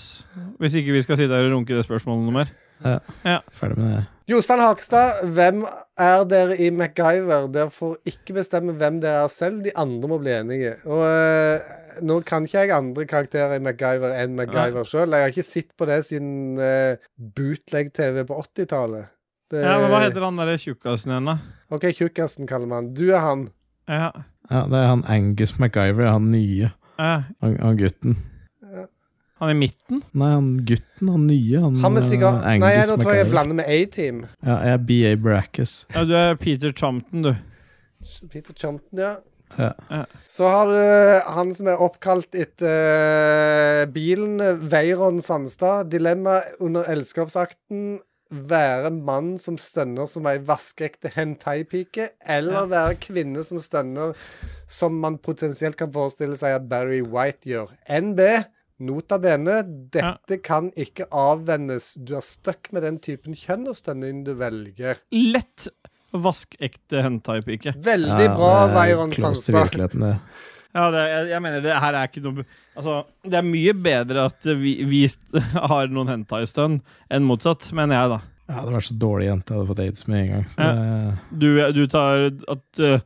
[SPEAKER 2] hvis ikke vi skal sitte her og runke det spørsmålet noe mer.
[SPEAKER 3] Ferdig med det.
[SPEAKER 1] de. Jostein Hakestad, hvem er dere i MacGyver? Dere får ikke bestemme hvem dere er selv, de andre må bli enige. Og eh, nå kan ikke jeg andre karakterer i MacGyver enn MacGyver sjøl. Jeg har ikke sett på det siden eh, bootleg-TV på 80-tallet. Det-
[SPEAKER 2] Ja, men Hva heter han derre tjukkasen igjen, da?
[SPEAKER 1] OK, Tjukkasen kaller man. Du er han.
[SPEAKER 2] Ja,
[SPEAKER 3] Ja, det er han Angus MacGyver, han nye.
[SPEAKER 2] ja.
[SPEAKER 3] Han, han gutten.
[SPEAKER 2] Han i midten?
[SPEAKER 3] Nei, han gutten, han nye. Han,
[SPEAKER 1] Han med sigar...
[SPEAKER 3] eh,
[SPEAKER 1] Nei,
[SPEAKER 3] Angus
[SPEAKER 1] nå tror jeg jeg
[SPEAKER 3] MacGyver.
[SPEAKER 1] blander med A-Team.
[SPEAKER 3] Ja, jeg er BA Brackus.
[SPEAKER 2] Ja, du er Peter Champton, du.
[SPEAKER 1] Peter Chumpton, ja.
[SPEAKER 3] Ja.
[SPEAKER 1] Så har du han som er oppkalt etter bilen, Veiron Sandstad. Dilemma under elskovsakten. Være mann som stønner som ei vaskeekte hentai-pike, eller være kvinne som stønner som man potensielt kan forestille seg at Barry White gjør. NB, nota bene, dette kan ikke avvennes. Du er stuck med den typen kjønn og stønning du velger.
[SPEAKER 2] Lett vaskekte hentai-pike.
[SPEAKER 1] Veldig
[SPEAKER 3] Ja,
[SPEAKER 1] bra,
[SPEAKER 3] det er
[SPEAKER 1] Veiron
[SPEAKER 3] close til
[SPEAKER 1] Sandstad.
[SPEAKER 3] virkeligheten, det.
[SPEAKER 2] Ja, det, jeg, jeg mener det her er ikke noe Altså, det er mye bedre at vi, vi har noen hentai-stønn enn motsatt, mener jeg, da.
[SPEAKER 3] Jeg hadde vært så dårlig jente, jeg hadde fått aids med en gang. Så
[SPEAKER 2] Ja.
[SPEAKER 3] det,
[SPEAKER 2] Du, du tar at eh,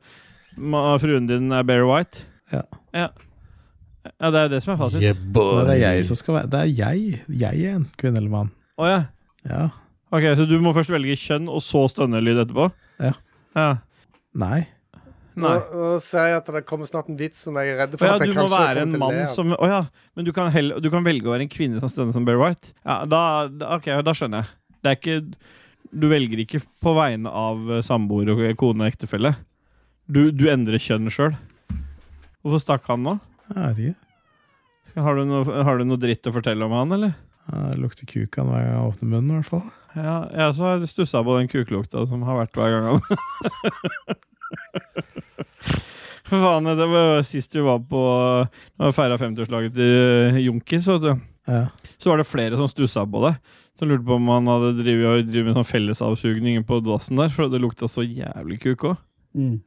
[SPEAKER 2] ma- fruen din er Bear White?
[SPEAKER 3] Ja.
[SPEAKER 2] ja. Ja, det er det som er fasit. Å
[SPEAKER 3] Det er jeg som skal være Det er jeg. Jeg er en kvinne eller mann.
[SPEAKER 2] ja.
[SPEAKER 3] Ja.
[SPEAKER 2] Ok, Så du må først velge kjønn, og så stønnelyd etterpå?
[SPEAKER 3] Ja.
[SPEAKER 2] ja.
[SPEAKER 3] Nei.
[SPEAKER 1] Nå,
[SPEAKER 2] Nei.
[SPEAKER 1] nå ser jeg at det kommer snart en vits som jeg er redd
[SPEAKER 2] Å
[SPEAKER 1] for.
[SPEAKER 2] ja,
[SPEAKER 1] at
[SPEAKER 2] du
[SPEAKER 1] jeg
[SPEAKER 2] må
[SPEAKER 1] kanskje
[SPEAKER 2] være
[SPEAKER 1] kommer
[SPEAKER 2] en
[SPEAKER 1] til å le
[SPEAKER 2] mann
[SPEAKER 1] av.
[SPEAKER 2] som Å ja, men du kan, hell- du kan velge å være en kvinne som stønner som Bear White. Ja, da, da, ok, da skjønner jeg. Det er ikke Du velger ikke på vegne av eh, samboer og kone og ektefelle. Du, du endrer kjønn sjøl. Hvorfor stakk han nå?
[SPEAKER 3] Jeg vet ikke.
[SPEAKER 2] Har du, noe, har du noe dritt å fortelle om han, eller?
[SPEAKER 3] Jeg lukter kuk av hver gang jeg åpner munnen, i hvert fall.
[SPEAKER 2] Ja, jeg også har stussa på den kuklukta som har vært hver gang han For faen, det var sist vi var på Da vi feira 50-årslaget til Junkis, vet du.
[SPEAKER 3] Ja.
[SPEAKER 2] Så var det flere som stussa på det. Som lurte på om han hadde drevet, drevet med sånn fellesavsugning på dassen der, for det lukta så jævlig kuk òg.
[SPEAKER 6] Mm.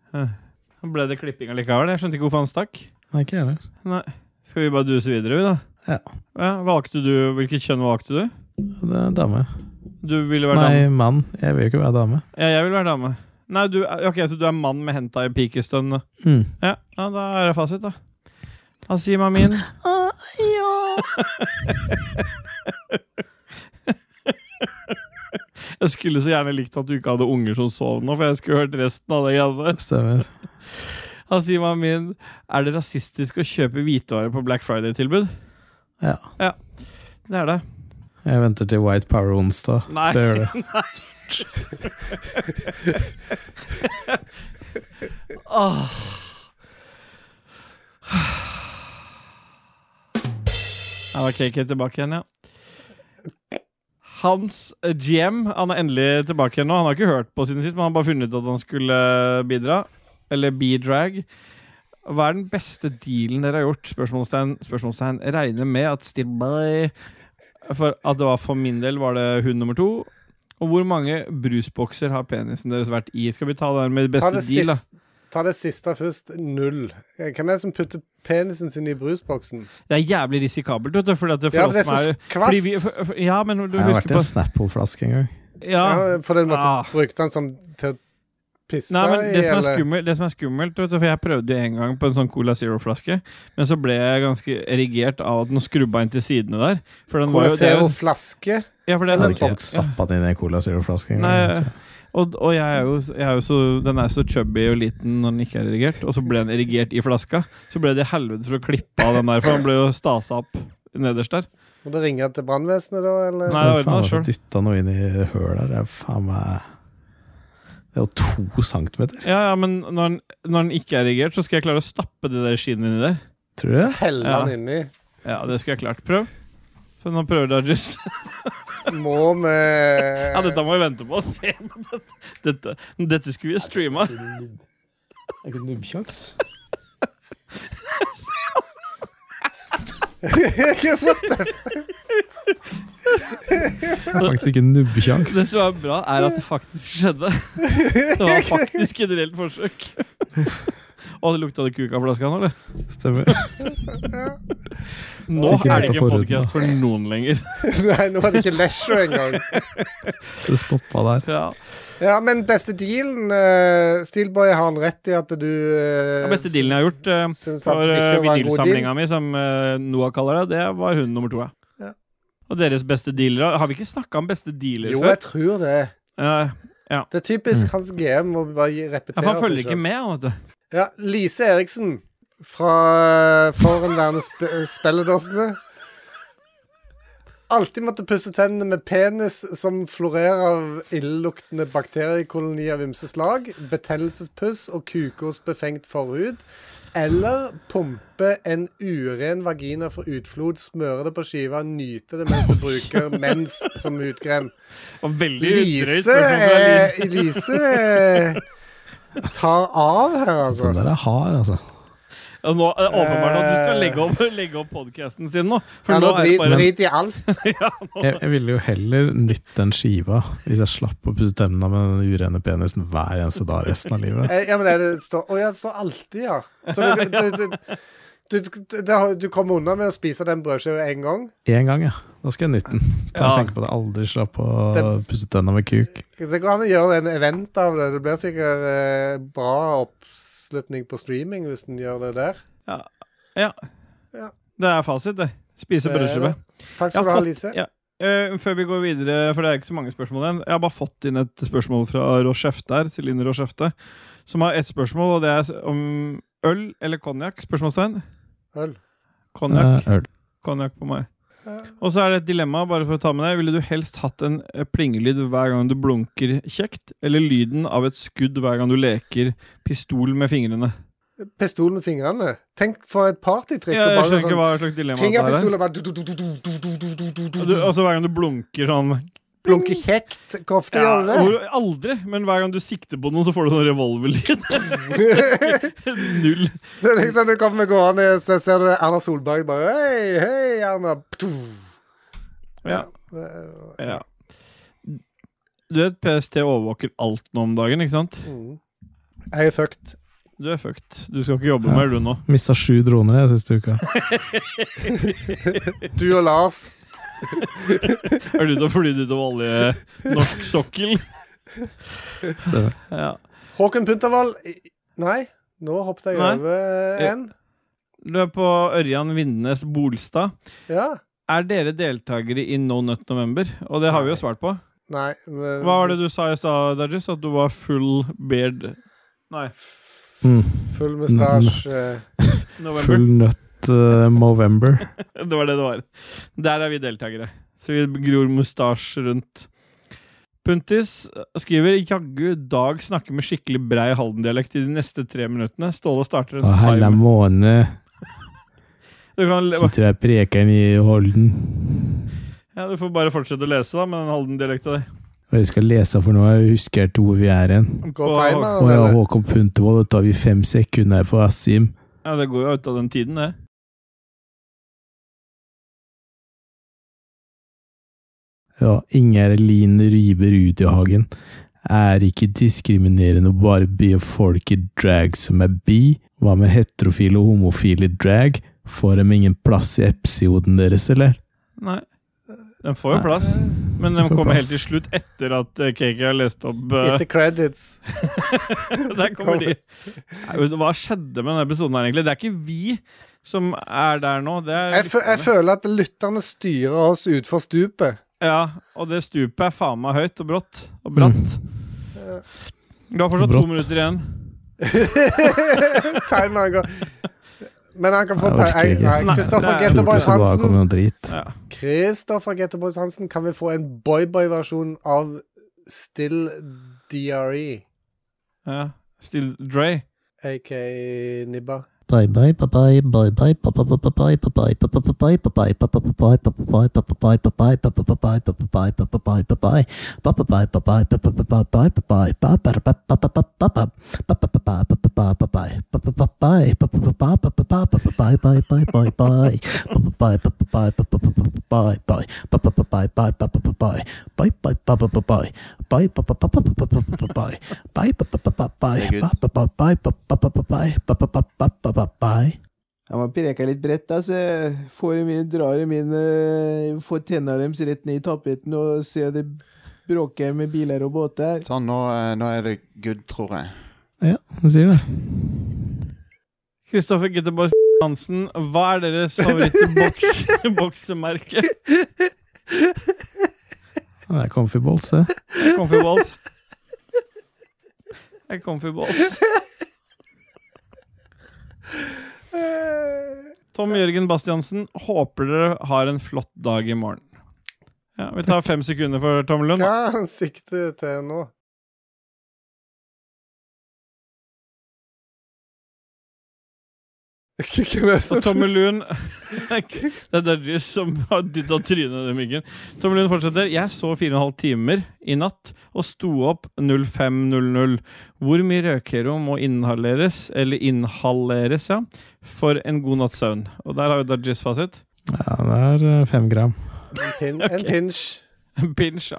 [SPEAKER 2] Ble det klipping allikevel? Jeg skjønte ikke hvorfor han stakk.
[SPEAKER 3] Nei, ikke jeg heller.
[SPEAKER 2] Nei. Skal vi bare duse videre, vi, da?
[SPEAKER 3] Ja.
[SPEAKER 2] ja valgte du, hvilket kjønn valgte du?
[SPEAKER 3] Det er dame.
[SPEAKER 2] Du ville være dame?
[SPEAKER 3] Nei, mann. Jeg vil jo ikke være dame.
[SPEAKER 2] Ja, jeg vil være dame. Nei, du, ok, Så du er mann med henta i pikestønn? da.
[SPEAKER 3] Mm.
[SPEAKER 2] Ja, ja, da er det fasit, da. Asima min. Jeg skulle så gjerne likt at du ikke hadde unger som sov nå, for jeg skulle hørt resten av det. greiene der.
[SPEAKER 3] Stemmer.
[SPEAKER 2] Asima min, er det rasistisk å kjøpe hvitvarer på Black Friday-tilbud?
[SPEAKER 3] Ja.
[SPEAKER 2] Det er det.
[SPEAKER 3] Jeg venter til White Power onsdag.
[SPEAKER 2] Nei.
[SPEAKER 3] Det gjør det.
[SPEAKER 2] Åh. Her var KK tilbake igjen, ja. Hans eh, GM han er endelig tilbake igjen nå. Han har ikke hørt på siden sist, men han har bare funnet ut at han skulle bidra. Eller be-drag. Hva er den beste dealen dere har gjort? Spørsmålstegn. Spørsmålstegn. Jeg Regner med at Still By For at det var for min del, var det hun nummer to. Og hvor mange brusbokser har penisen deres vært i? Skal vi ta den med
[SPEAKER 1] Ta
[SPEAKER 2] beste
[SPEAKER 1] det,
[SPEAKER 2] deal, da?
[SPEAKER 1] sist- ta det siste først. Null. Eh, Hvem er det som putter penisen sin i brusboksen?
[SPEAKER 2] Det er jævlig risikabelt, vet du. Fordi at det for
[SPEAKER 1] Ja,
[SPEAKER 2] oss
[SPEAKER 1] for det er
[SPEAKER 2] som
[SPEAKER 1] så kvast.
[SPEAKER 2] fordi vi- for- for- Ja, men du
[SPEAKER 3] Jeg har
[SPEAKER 2] husker
[SPEAKER 3] vært i en
[SPEAKER 2] på
[SPEAKER 3] Snapple-flaske en gang.
[SPEAKER 2] Ja.
[SPEAKER 1] Ja, for den måtte
[SPEAKER 2] Ah.
[SPEAKER 1] brukte han som til å pisse
[SPEAKER 2] Nei, men det
[SPEAKER 1] i,
[SPEAKER 2] som er
[SPEAKER 1] eller?
[SPEAKER 2] skummelt, det som er skummelt vet du, for jeg prøvde jo en gang på en sånn Cola Zero-flaske, men så ble jeg ganske erigert av at den skrubba inn til sidene der. For den var
[SPEAKER 1] Cola
[SPEAKER 2] jo det er jo-
[SPEAKER 1] Zero flaske.
[SPEAKER 2] Ja, for
[SPEAKER 3] Jeg
[SPEAKER 2] den,
[SPEAKER 3] hadde ikke fått stappa den inn i en Cola Zero-flaske en gang.
[SPEAKER 2] Nei, og, og jeg er jo, jeg er jo så, den er så chubby og liten når den ikke er erigert, og så ble den erigert i flaska. Så ble det helvete for å klippe av den der, for den ble jo stasa opp nederst der.
[SPEAKER 1] Må du ringe til brannvesenet, da? Eller?
[SPEAKER 2] Nei, det ordnet
[SPEAKER 3] faen
[SPEAKER 2] han selv.
[SPEAKER 3] dytta noe inn i hølet der. Det er faen meg Det er jo to centimeter,
[SPEAKER 2] Ja, ja, men når den, når den ikke er erigert, så skal jeg klare å stappe det der skinnet inni der.
[SPEAKER 3] tror du det?
[SPEAKER 1] Helle
[SPEAKER 2] Ja.
[SPEAKER 1] han inni.
[SPEAKER 2] Ja, det skulle jeg klart. Prøv. Så nå prøver du, Arjus.
[SPEAKER 1] Må vi
[SPEAKER 2] Ja, dette må vi vente på. Se på dette. Dette, dette skulle vi streama.
[SPEAKER 6] Jeg kunne nubbkjaks.
[SPEAKER 3] Jeg har faktisk ikke nubbekjangs.
[SPEAKER 2] Det som er bra, er at det faktisk skjedde. Det var faktisk et reelt forsøk. Å, det lukta det kuk av flaska nå, eller?
[SPEAKER 3] Stemmer.
[SPEAKER 2] Nå
[SPEAKER 3] Fikk jeg
[SPEAKER 2] er det
[SPEAKER 3] vite
[SPEAKER 2] ikke en
[SPEAKER 3] forhuden,
[SPEAKER 2] podkast for noen lenger.
[SPEAKER 1] Nei, nå er det ikke leisure engang.
[SPEAKER 3] Det stoppa der.
[SPEAKER 2] Ja.
[SPEAKER 1] Ja, men beste dealen eh, Steelboy har han rett i at du eh,
[SPEAKER 2] Den beste dealen jeg har gjort eh,
[SPEAKER 1] Syns at
[SPEAKER 2] for
[SPEAKER 1] det
[SPEAKER 2] eh,
[SPEAKER 1] ikke var en god
[SPEAKER 2] vinylsamlinga mi, som eh, Noah kaller det, det var hun nummer to,
[SPEAKER 1] Ja.
[SPEAKER 2] ja. Og deres beste dealere Har vi ikke snakka om beste dealer
[SPEAKER 1] Jo, jeg
[SPEAKER 2] før?
[SPEAKER 1] tror det.
[SPEAKER 2] Eh,
[SPEAKER 1] Det er typisk hans GM å bare gi-
[SPEAKER 2] Ja,
[SPEAKER 1] repetere
[SPEAKER 2] for han følger
[SPEAKER 1] selv.
[SPEAKER 2] ikke med, han, vet du.
[SPEAKER 1] Ja, Lise Eriksen fra forhenværende sp eh, spilledåsene. Alltid måtte pusse tennene med penis som florerer av illeluktende bakteriekolonier av ymse slag, betennelsespuss og kukers befengt forhud. Eller pumpe en uren vagina for utflod, smøre det på skiva, nyte det mens du bruker mens som hudkrem.
[SPEAKER 2] Og veldig drøyt
[SPEAKER 1] Lise,
[SPEAKER 2] spørsmål fra Lise.
[SPEAKER 1] eh, Lise eh, tar av her, altså.
[SPEAKER 3] Den der er hard, altså.
[SPEAKER 2] Ja, nå er det åpenbart at du skal legge opp, legge opp podcasten sin nå.
[SPEAKER 1] eh,
[SPEAKER 2] For
[SPEAKER 1] Ja,
[SPEAKER 2] nå
[SPEAKER 1] nå
[SPEAKER 2] er det
[SPEAKER 1] drit,
[SPEAKER 2] bare
[SPEAKER 1] drit i alt.
[SPEAKER 3] Jeg, jeg ville jo heller nytt den skiva hvis jeg slapp å pusse tennene med den urene penisen hver eneste dag resten av livet.
[SPEAKER 1] Eh, Ja, men det, er- det står Å ja, det står alltid, ja. Så du, du, du, du, du, det har- du kommer unna med å spise den brødskiva én gang.
[SPEAKER 3] Én gang, ja. Da skal jeg nytte den. Da
[SPEAKER 2] Ja.
[SPEAKER 3] tenker jeg på at jeg aldri slapp å pusse tennene med kuk.
[SPEAKER 1] Det går an å gjøre en event av det. Det blir sikkert eh, bra oppslutning på streaming hvis en gjør det der.
[SPEAKER 2] Ja. Ja.
[SPEAKER 1] Ja.
[SPEAKER 2] Det er fasit, det. Spise
[SPEAKER 1] Det er
[SPEAKER 2] brødskive.
[SPEAKER 1] Takk
[SPEAKER 2] Jeg
[SPEAKER 1] skal du ha,
[SPEAKER 2] fått-
[SPEAKER 1] Lise.
[SPEAKER 2] ja. Eh, før vi går videre, for det er ikke så mange spørsmål igjen Jeg har bare fått inn et spørsmål fra Rochefte her, Celine Rochefte, som har ett spørsmål, og det er om øl eller konjakk? Spørsmålstegn.
[SPEAKER 1] Øl.
[SPEAKER 2] Konjakk.
[SPEAKER 3] Eh, øl.
[SPEAKER 2] Konjakk på meg.
[SPEAKER 1] Ja.
[SPEAKER 2] Og så er det et dilemma, bare for å ta med deg. Ville du helst hatt en eh, plingelyd hver gang du blunker kjekt, eller lyden av et skudd hver gang du leker pistol med fingrene?
[SPEAKER 1] Pistol med fingrene. Tenk for et partytrikk.
[SPEAKER 2] Ja,
[SPEAKER 1] å
[SPEAKER 2] jeg
[SPEAKER 1] bare
[SPEAKER 2] skjønner ikke
[SPEAKER 1] sånn
[SPEAKER 2] hva slags dilemma det er.
[SPEAKER 1] Fingerpistol og bare du, du, du, du, du, du, du, du, du, du, du,
[SPEAKER 2] Og du-
[SPEAKER 1] du.
[SPEAKER 2] Altså hver gang du blunker sånn
[SPEAKER 1] Blunke kjekt. Hvor ofte
[SPEAKER 2] ja,
[SPEAKER 1] gjør du det?
[SPEAKER 2] hvor- Aldri, men hver gang du sikter på noen, så får du sånn revolverlyd. Null.
[SPEAKER 1] Det er liksom Du kommer gående, så ser du Erna Solberg bare Hei, hei, Erna. Ptu.
[SPEAKER 2] Ja.
[SPEAKER 1] Det er-
[SPEAKER 2] Ja. Du vet PST overvåker alt nå om dagen, ikke sant?
[SPEAKER 1] Mm. Jeg er fucked.
[SPEAKER 2] Du er fucked. Du skal ikke jobbe
[SPEAKER 3] Ja.
[SPEAKER 2] mer, du nå.
[SPEAKER 3] Mista sju droner jeg siste uka.
[SPEAKER 1] Du og Lars.
[SPEAKER 2] Er du da fordi du da olje norsk sokkel?
[SPEAKER 3] Stemmer.
[SPEAKER 2] Ja.
[SPEAKER 1] Håkon Puntervold i- Nei, nå hoppet jeg
[SPEAKER 2] Nei.
[SPEAKER 1] over
[SPEAKER 2] Ja.
[SPEAKER 1] en.
[SPEAKER 2] Du er på Ørjan Vindnes Bolstad.
[SPEAKER 1] Ja.
[SPEAKER 2] Er dere deltakere i No Nut November? Og det har vi jo svart på.
[SPEAKER 1] Nei. men-
[SPEAKER 2] Hva var det du sa i stad, Dajis? At du var full beard Nei,
[SPEAKER 3] Mm.
[SPEAKER 1] Full mustasje.
[SPEAKER 2] November.
[SPEAKER 3] Full nøtt eh, Movember.
[SPEAKER 2] Det var det det var. Der er vi deltakere. Så vi gror mustasj rundt. Puntis skriver jaggu Dag snakker med skikkelig brei Halden-dialekt i de neste tre minuttene. Ståle starter en
[SPEAKER 3] Og hele
[SPEAKER 2] timer.
[SPEAKER 3] måned
[SPEAKER 2] Du, kan, le-
[SPEAKER 3] sitter jeg prekeren i Holden.
[SPEAKER 2] ja, du får bare fortsette å lese da med den Halden-dialekta di.
[SPEAKER 3] Og jeg skal lese for noe, jeg husker ikke hvor vi er
[SPEAKER 1] Går
[SPEAKER 3] hen.
[SPEAKER 2] På-
[SPEAKER 1] timeren,
[SPEAKER 3] Og jeg og
[SPEAKER 1] eller?
[SPEAKER 3] Håkon Puntervold, da tar vi fem sekunder for Asim.
[SPEAKER 2] Ja, det går jo ut av den tiden, det.
[SPEAKER 3] Ja, Inger Lien Ryber Rudihagen er ikke diskriminerende å bare be folk i drag som er bi. Hva med heterofile og homofile i drag? Får de ingen plass i episoden deres, eller?
[SPEAKER 2] Nei. Den får jo plass, men den
[SPEAKER 3] får
[SPEAKER 2] kommer helt
[SPEAKER 3] plass.
[SPEAKER 2] til slutt etter at eh, KK har lest opp eh,
[SPEAKER 1] Etter credits.
[SPEAKER 2] Der kommer de. Nei, men Hva skjedde med denne episoden her, egentlig? Det er ikke vi som er der nå. Det er
[SPEAKER 1] Jeg, fø- jeg føler at lytterne styrer oss utfor stupet.
[SPEAKER 2] Ja, og det stupet er faen meg høyt og brått. Og bratt. Du har fortsatt
[SPEAKER 3] Mm. Brått.
[SPEAKER 2] to minutter igjen.
[SPEAKER 1] Timeren går Men han kan få
[SPEAKER 3] Nei,
[SPEAKER 1] pe-
[SPEAKER 3] jeg orker
[SPEAKER 1] jeg-
[SPEAKER 3] ikke.
[SPEAKER 1] nei,
[SPEAKER 2] Nei,
[SPEAKER 1] Kristoffer
[SPEAKER 2] det er-
[SPEAKER 1] Getteboys
[SPEAKER 3] Tror det bare
[SPEAKER 1] Hansen.
[SPEAKER 3] kommer noe drit.
[SPEAKER 2] Ja.
[SPEAKER 1] Kristoffer Getteboys Hansen, kan vi få en boyboy-versjon av Still E, DRE,
[SPEAKER 2] ja. Still Dre.
[SPEAKER 1] aka Nibba?
[SPEAKER 6] Jeg må preke litt bredt, da, så jeg får i min, drar i mine Får tenna deres rett ned i tapeten og ser det bråker med biler og båter.
[SPEAKER 4] Sånn, nå, eh, nå er det good, tror jeg.
[SPEAKER 3] Ja, hun sier det.
[SPEAKER 2] Kristoffer Gitterborg Hansen, hva er deres favorittboksemerke?
[SPEAKER 3] Det er comfy balls, det.
[SPEAKER 2] Comfy balls. Det er comfy balls. Tom Jørgen Bastiansen, håper dere har en flott dag i morgen. Ja, Vi tar fem sekunder for Tom Lund.
[SPEAKER 1] Hva er han sikter til nå? Hvem er det som
[SPEAKER 2] Og Tommy Lund Det er Dudgies som har dytta trynet i myggen. Tommy Lund fortsetter. Jeg så 4,5 timer i natt og sto opp 05.00. Hvor mye røkero må inhaleres, eller inhaleres, ja, for en god natts søvn? Og der har jo Dudgies fasit.
[SPEAKER 3] Ja, det er eh, fem gram.
[SPEAKER 1] En, pin, en
[SPEAKER 2] Ok.
[SPEAKER 1] pinch.
[SPEAKER 2] Pinch,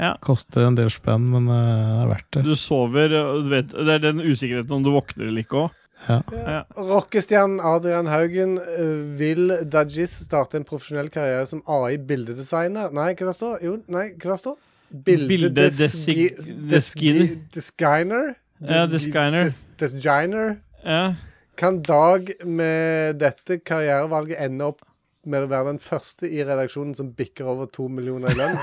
[SPEAKER 2] ja.
[SPEAKER 3] Koster en del spenn, men eh, det er verdt det.
[SPEAKER 2] Du sover og du vet, Det er den usikkerheten om du våkner eller ikke òg. Ja.
[SPEAKER 1] Ja. Rockestjernen Adrian Haugen, eh, vil Dajis starte en profesjonell karriere som AI-bildedesigner? Nei, hva det står Jo, nei, hva det står
[SPEAKER 2] Bildedesi-
[SPEAKER 1] Bildedesigner?
[SPEAKER 2] Ja, designer.
[SPEAKER 1] Designer?
[SPEAKER 2] Ja.
[SPEAKER 1] Kan Dag med dette karrierevalget ende opp med å være den første i redaksjonen som bikker over to millioner i lønn?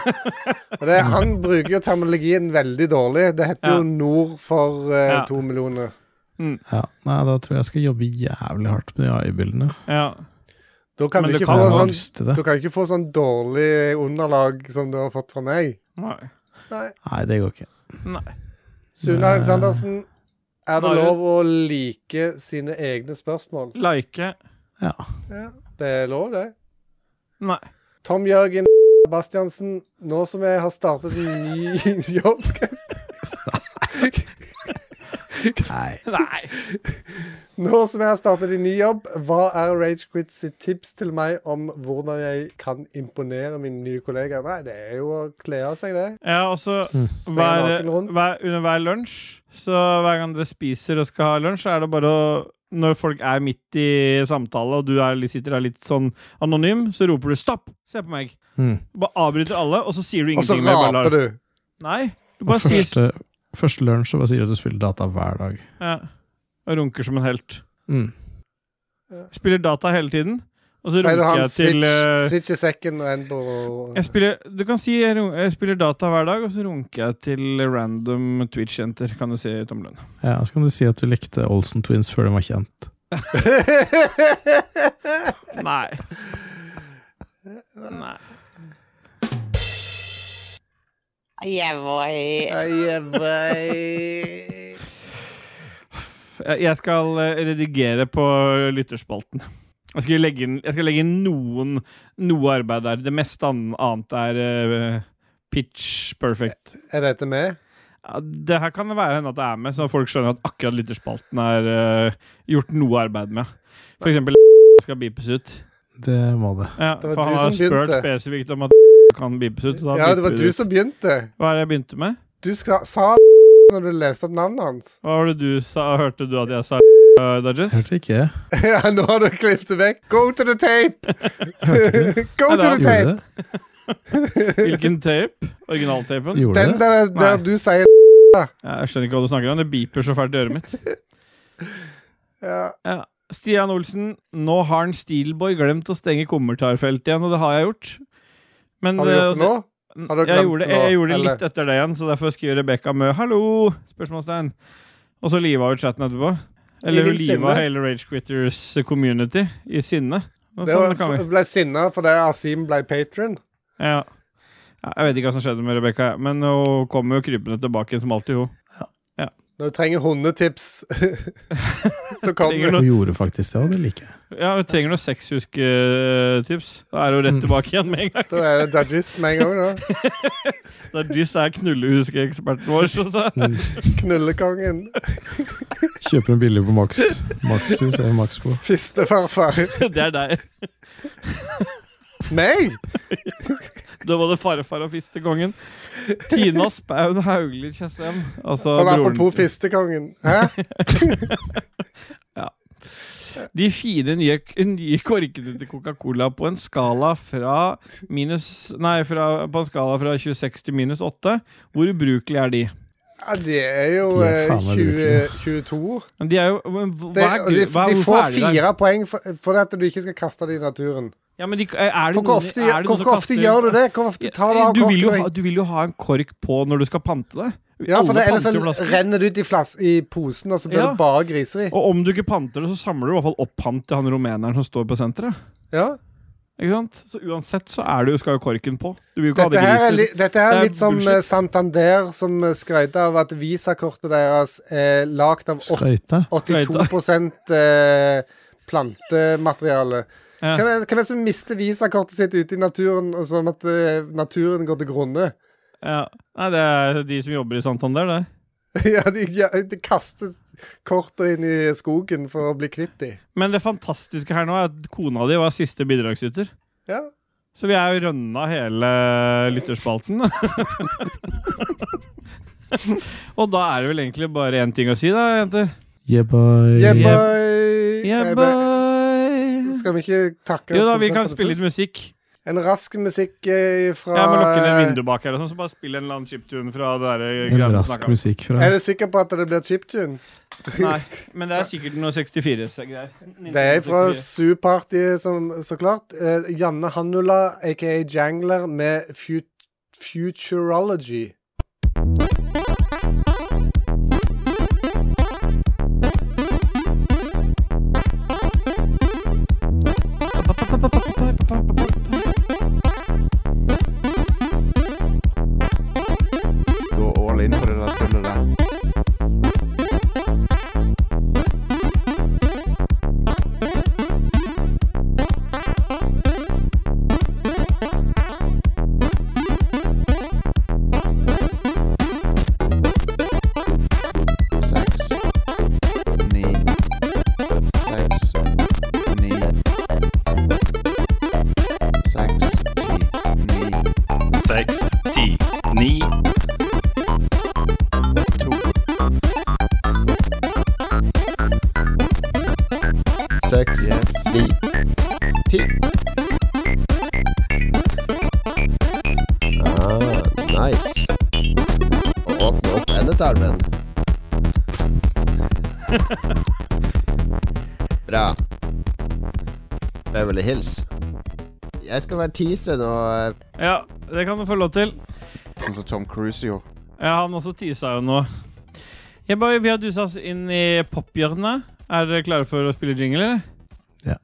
[SPEAKER 1] Og det, han bruker jo terminologien veldig dårlig. Det heter
[SPEAKER 2] Ja.
[SPEAKER 1] jo nord for eh,
[SPEAKER 2] Ja.
[SPEAKER 1] to millioner.
[SPEAKER 3] Ja, nei, da tror jeg jeg skal jobbe jævlig hardt med de AI-bildene.
[SPEAKER 2] Ja.
[SPEAKER 1] Da kan
[SPEAKER 2] Men
[SPEAKER 1] du
[SPEAKER 2] det
[SPEAKER 1] ikke
[SPEAKER 2] kan
[SPEAKER 1] få
[SPEAKER 2] jo
[SPEAKER 1] sånn
[SPEAKER 3] angst til det.
[SPEAKER 1] du kan ikke få sånn dårlig underlag som du har fått fra meg.
[SPEAKER 2] Nei.
[SPEAKER 1] Nei.
[SPEAKER 3] Nei, det går ikke.
[SPEAKER 2] Nei.
[SPEAKER 1] Sune
[SPEAKER 3] Nei.
[SPEAKER 1] Aleksandersen, er det
[SPEAKER 2] Marius.
[SPEAKER 1] lov å like sine egne spørsmål?
[SPEAKER 2] Like.
[SPEAKER 3] Ja.
[SPEAKER 1] Ja, det er lov, det.
[SPEAKER 2] Nei.
[SPEAKER 1] Tom Jørgen Bastiansen, nå som jeg har startet en ny jobb
[SPEAKER 3] Nei.
[SPEAKER 2] Nei.
[SPEAKER 1] Nå som jeg har startet en ny jobb, hva er Rage Quit sitt tips til meg om hvordan jeg kan imponere mine nye kollegaer? Nei, det er jo å kle av seg, det.
[SPEAKER 2] Ja, og så
[SPEAKER 1] Springe
[SPEAKER 2] hver,
[SPEAKER 1] naken rundt.
[SPEAKER 2] hver, under hver lunsj Så hver gang dere spiser og skal ha lunsj, så er det bare å Når folk er midt i samtale, og du er, litt- sitter der litt sånn anonym, så roper du 'stopp! Se på meg!'
[SPEAKER 3] Mm.
[SPEAKER 2] Bare avbryter alle, og så sier du
[SPEAKER 1] Og så
[SPEAKER 2] ingenting mer. bare lar-
[SPEAKER 1] raper du.
[SPEAKER 2] Nei, du
[SPEAKER 3] Og
[SPEAKER 2] bare sier
[SPEAKER 3] første, første lunsj så bare sier du at du spiller data hver dag.
[SPEAKER 2] ja, Og runker som en helt.
[SPEAKER 3] Mm.
[SPEAKER 2] Spiller data hele tiden, og så
[SPEAKER 1] Sier du
[SPEAKER 2] runker
[SPEAKER 1] han
[SPEAKER 2] jeg til eh,
[SPEAKER 1] switch, switch i sekken og en på
[SPEAKER 2] jeg spiller, du kan si jeg run- jeg spiller data hver dag, og så runker jeg til random Twitch-jenter, kan du si, Tom Lund.
[SPEAKER 3] Ja, så kan du si at du likte Olsen Twins før de var kjent.
[SPEAKER 2] Nei. Nei.
[SPEAKER 7] Yeah, boy.
[SPEAKER 1] Eie, vei.
[SPEAKER 2] Jeg jeg skal eh, redigere på lytterspalten. Jeg skal legge inn, jeg skal legge inn noen, noe arbeid der. Det meste an- annet er eh, pitch perfect.
[SPEAKER 1] Er dette med?
[SPEAKER 2] Ja, det her kan det være hende at det er med, så folk skjønner at akkurat lytterspalten er eh, gjort noe arbeid med. For eksempel skal beepes ut.
[SPEAKER 3] Det må det.
[SPEAKER 2] Ja,
[SPEAKER 1] Det var
[SPEAKER 2] for
[SPEAKER 1] du
[SPEAKER 2] han har
[SPEAKER 1] som
[SPEAKER 2] spurt
[SPEAKER 1] begynte.
[SPEAKER 2] spesifikt om at kan beepes ut. Så da
[SPEAKER 1] Ja, det var
[SPEAKER 2] beeper
[SPEAKER 1] du
[SPEAKER 2] vi ut.
[SPEAKER 1] som begynte.
[SPEAKER 2] Hva er det jeg begynte med?
[SPEAKER 1] Du skal, sa når du leste opp navnet hans.
[SPEAKER 2] Hva var det du sa? Hørte du at jeg sa uh, Dodges?
[SPEAKER 3] Hørte ikke jeg.
[SPEAKER 1] Ja, nå har du klippet det vekk. Go to the tape! Go to the
[SPEAKER 3] Gjorde
[SPEAKER 1] tape!
[SPEAKER 3] det?
[SPEAKER 2] Hvilken tape? Originaltapen?
[SPEAKER 3] Gjorde
[SPEAKER 1] Den
[SPEAKER 3] det?
[SPEAKER 1] der, der
[SPEAKER 2] Nei.
[SPEAKER 1] du sier
[SPEAKER 2] Jeg skjønner ikke hva du snakker om. Det beeper så fælt i øret mitt.
[SPEAKER 1] ja,
[SPEAKER 2] Ja. Stian Olsen, nå har en Steelboy glemt å stenge kommentarfeltet igjen, og det har jeg gjort. Men,
[SPEAKER 1] Har du gjort det nå? Har du
[SPEAKER 2] jeg
[SPEAKER 1] glemt
[SPEAKER 2] gjorde det,
[SPEAKER 1] det nå,
[SPEAKER 2] jeg gjorde det
[SPEAKER 1] eller?
[SPEAKER 2] litt etter det igjen, så derfor skriver Rebekka Mø 'hallo', spørsmålstegn. Og så liva ut chatten etterpå.
[SPEAKER 1] I
[SPEAKER 2] Eller
[SPEAKER 1] vilt sinne.
[SPEAKER 2] liva hele Rage Quitters community i sinne. Og
[SPEAKER 1] Det
[SPEAKER 2] Sånn
[SPEAKER 1] var,
[SPEAKER 2] kan vi.
[SPEAKER 1] ble sinna fordi Asim ble patron.
[SPEAKER 2] Ja. Ja, Jeg vet ikke hva som skjedde med Rebekka, men hun kommer jo krypende tilbake som alltid, hun.
[SPEAKER 1] Når du trenger hundetips, så
[SPEAKER 2] Trenger
[SPEAKER 1] kommer
[SPEAKER 2] noe-
[SPEAKER 3] Hun gjorde faktisk det, og det liker jeg.
[SPEAKER 2] Ja, hun trenger noen sexhusketips. Da er hun rett tilbake igjen med en gang.
[SPEAKER 1] Da er det judges med en gang. da.
[SPEAKER 2] Det er disse er knullehuske-eksperten vår. Så det,
[SPEAKER 1] Knullekongen.
[SPEAKER 3] Kjøper en billig på Max. Maxhus eller Maxbo.
[SPEAKER 1] Fistefarfar.
[SPEAKER 2] det er deg.
[SPEAKER 1] Meg?
[SPEAKER 2] Du er både farfar og fistekongen. Tina Spaun Hauglie Tjessem. Altså
[SPEAKER 1] Sånn apropos
[SPEAKER 2] broren.
[SPEAKER 1] fistekongen. Hæ?
[SPEAKER 2] De fire nye, nye korkene til Coca-Cola på en skala fra minus Nei, fra, på en skala fra 26 til minus 8. Hvor ubrukelige er de?
[SPEAKER 1] Ja, de er jo
[SPEAKER 3] De er
[SPEAKER 1] eh,
[SPEAKER 3] faen meg
[SPEAKER 1] 20, 22.
[SPEAKER 2] Men De er jo men hva
[SPEAKER 1] Det,
[SPEAKER 2] er,
[SPEAKER 1] og de,
[SPEAKER 2] gru- hva er,
[SPEAKER 1] de
[SPEAKER 2] hvorfor
[SPEAKER 1] får
[SPEAKER 2] er de der?
[SPEAKER 1] fire poeng for, for at du ikke skal kaste det i naturen.
[SPEAKER 2] Ja, men de, er det
[SPEAKER 1] For
[SPEAKER 2] noen-
[SPEAKER 1] Hvor ofte,
[SPEAKER 2] er det noen som
[SPEAKER 1] hvor ofte
[SPEAKER 2] kaster-
[SPEAKER 1] gjør du det? Hvor ofte tar du av
[SPEAKER 2] du vil, jo
[SPEAKER 1] korkene?
[SPEAKER 2] ha, du vil jo ha en kork på når du skal pante det.
[SPEAKER 1] Ja, for
[SPEAKER 2] Alle
[SPEAKER 1] det, ellers
[SPEAKER 2] panter
[SPEAKER 1] så
[SPEAKER 2] flasker.
[SPEAKER 1] renner det ut i, flas i posen, og så blir
[SPEAKER 2] Ja.
[SPEAKER 1] det bare griseri.
[SPEAKER 2] Og om du ikke panter det, så samler du i hvert fall opp pant til han rumeneren som står på senteret.
[SPEAKER 1] Ja.
[SPEAKER 2] Ikke sant? Så uansett så er det jo, skal jo korken på. Du vil jo ikke
[SPEAKER 1] Dette,
[SPEAKER 2] ha
[SPEAKER 1] her
[SPEAKER 2] det
[SPEAKER 1] er, li
[SPEAKER 2] griset.
[SPEAKER 1] dette her er
[SPEAKER 2] Det er
[SPEAKER 1] litt som
[SPEAKER 2] bullshit.
[SPEAKER 1] eh, Santander, som eh, skrøyter av at visakortet deres er lagd av åt-
[SPEAKER 3] Skøyte.
[SPEAKER 1] 82 eh, plantemateriale.
[SPEAKER 2] Ja.
[SPEAKER 1] Hvem er hvem er det som mister visakortet sitt ute i naturen, og sånn at eh, naturen går til grunne?
[SPEAKER 2] Ja. Nei, det er de som jobber i Santander, det.
[SPEAKER 1] ja, de, ja, de kaster kortene inn i skogen for å bli kvitt dem.
[SPEAKER 2] Men det fantastiske her nå er at kona di var siste bidragsyter.
[SPEAKER 1] Ja.
[SPEAKER 2] Så vi er jo rønna hele lytterspalten. Og da er det vel egentlig bare én ting å si, da, jenter.
[SPEAKER 3] Yeah, boy.
[SPEAKER 1] Yeah,
[SPEAKER 2] Yeah.
[SPEAKER 1] boy. Eh,
[SPEAKER 2] Yeah,
[SPEAKER 1] men
[SPEAKER 2] boy.
[SPEAKER 1] Skal vi ikke takke
[SPEAKER 2] Jo da, vi kan
[SPEAKER 1] produsenten
[SPEAKER 2] spille litt
[SPEAKER 1] først?
[SPEAKER 2] musikk.
[SPEAKER 1] En rask musikk eh, fra
[SPEAKER 2] Jeg må lukke ned vinduet bak her, og sånn, så bare spill en eller annen chiptune fra det der eh,
[SPEAKER 3] En
[SPEAKER 2] greiene du
[SPEAKER 3] rask
[SPEAKER 2] snakket om.
[SPEAKER 3] musikk fra
[SPEAKER 1] Er du sikker på at det blir chiptune?
[SPEAKER 2] Nei, men det er sikkert noe 64-greier.
[SPEAKER 1] Det er fra Suparty, som, så klart. Eh, Janne Hannula, aka Jangler, med fut Futurology.
[SPEAKER 4] Gå all in på det der tullet der. Seks. Ni. Seks. Ni. Seks. Ti. Ni.
[SPEAKER 8] 6, 10, 9,
[SPEAKER 4] Seks. Ni. Ti. Ah, nice. Og åpne opp endetarmen. Bra. Beverly Hills. Jeg skal være teaser nå, eh,
[SPEAKER 2] Ja, det kan du få lov til.
[SPEAKER 4] sånn som Tom Cruise gjorde.
[SPEAKER 2] Ja, han også tisa jo nå. Jeg bare, vi har dusa oss inn i pophjørnet. Er dere klare for å spille jingle, eller?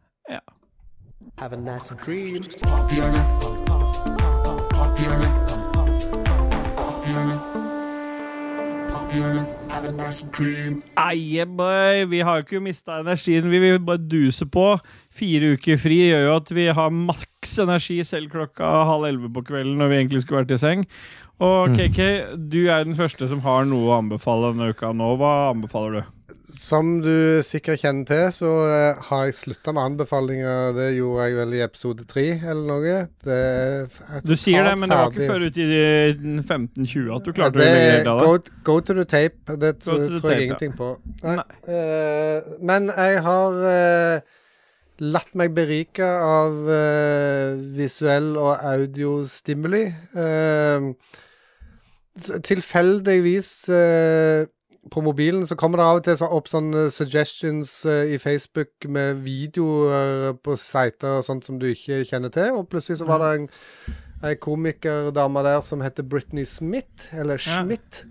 [SPEAKER 2] Eie, boy. Vi har jo ikke mista energien. Vi vil bare duse på. Fire uker fri gjør jo at vi har maks energi selv klokka halv elleve på kvelden når vi egentlig skulle vært i seng. Og KK, du er den første som har noe å anbefale denne uka nå. Hva anbefaler du?
[SPEAKER 1] Som du sikkert kjenner til, så eh, har jeg slutta med anbefalinger. Det gjorde jeg vel i episode tre eller noe. Det er f- jeg er
[SPEAKER 2] Du sier det,
[SPEAKER 1] totalt
[SPEAKER 2] men det var
[SPEAKER 1] ferdig.
[SPEAKER 2] ikke før uti 15-20 at du klarte
[SPEAKER 1] det,
[SPEAKER 2] å legge det av deg.
[SPEAKER 1] go, go to the tape. Det
[SPEAKER 2] Go to the
[SPEAKER 1] tror
[SPEAKER 2] tape, ja.
[SPEAKER 1] jeg ingenting på. Nei. Eh, men jeg har eh, latt meg berike av eh, visuell og audiostimuli. Eh, s- tilfeldigvis eh, på mobilen så kommer det av og til så opp sånne suggestions eh, i Facebook med videoer på sider og sånt som du ikke kjenner til, og plutselig så var det en ei komikerdame der som heter Britney Smith, eller
[SPEAKER 2] Ja.
[SPEAKER 1] Schmidt,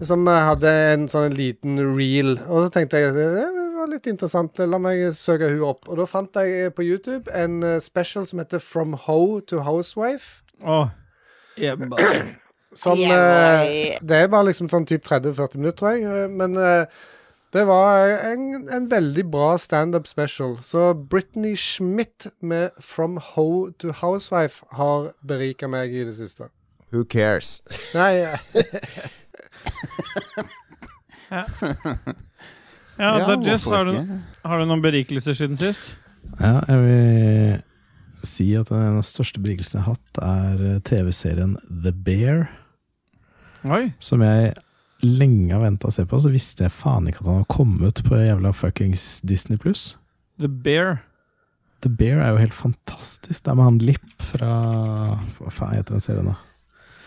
[SPEAKER 1] som eh, hadde en sånn liten reel. Og så tenkte jeg at det var litt interessant, la meg søke hun opp. Og da fant jeg eh, på YouTube en eh, special som heter From Ho to Housewife.
[SPEAKER 2] Åh. Jeg bare-
[SPEAKER 1] Som eh,
[SPEAKER 7] Jeg var i-
[SPEAKER 1] Det er bare liksom sånn typ 30-40 minutter, tror jeg. eh, Men eh, det var en, en veldig bra standup special. Så Britney Schmidt med From Ho to Housewife har berika meg i det siste.
[SPEAKER 4] Who cares?
[SPEAKER 1] Nei, eh,
[SPEAKER 2] Ja,
[SPEAKER 4] Ja,
[SPEAKER 2] Dodges,
[SPEAKER 4] hvorfor
[SPEAKER 2] har, du-
[SPEAKER 4] ikke?
[SPEAKER 2] har du noen berikelser siden sist?
[SPEAKER 3] Ja, jeg vil si at en av de største berikelsene jeg har hatt, er eh, TV-serien The Bear.
[SPEAKER 2] Oi.
[SPEAKER 3] Som jeg lenge har venta å se på, så visste jeg faen ikke at han hadde kommet på jævla fuckings Disney pluss.
[SPEAKER 2] The Bear.
[SPEAKER 3] The Bear er jo helt fantastisk. Det er med han Lipp fra Hva faen heter den serien, da?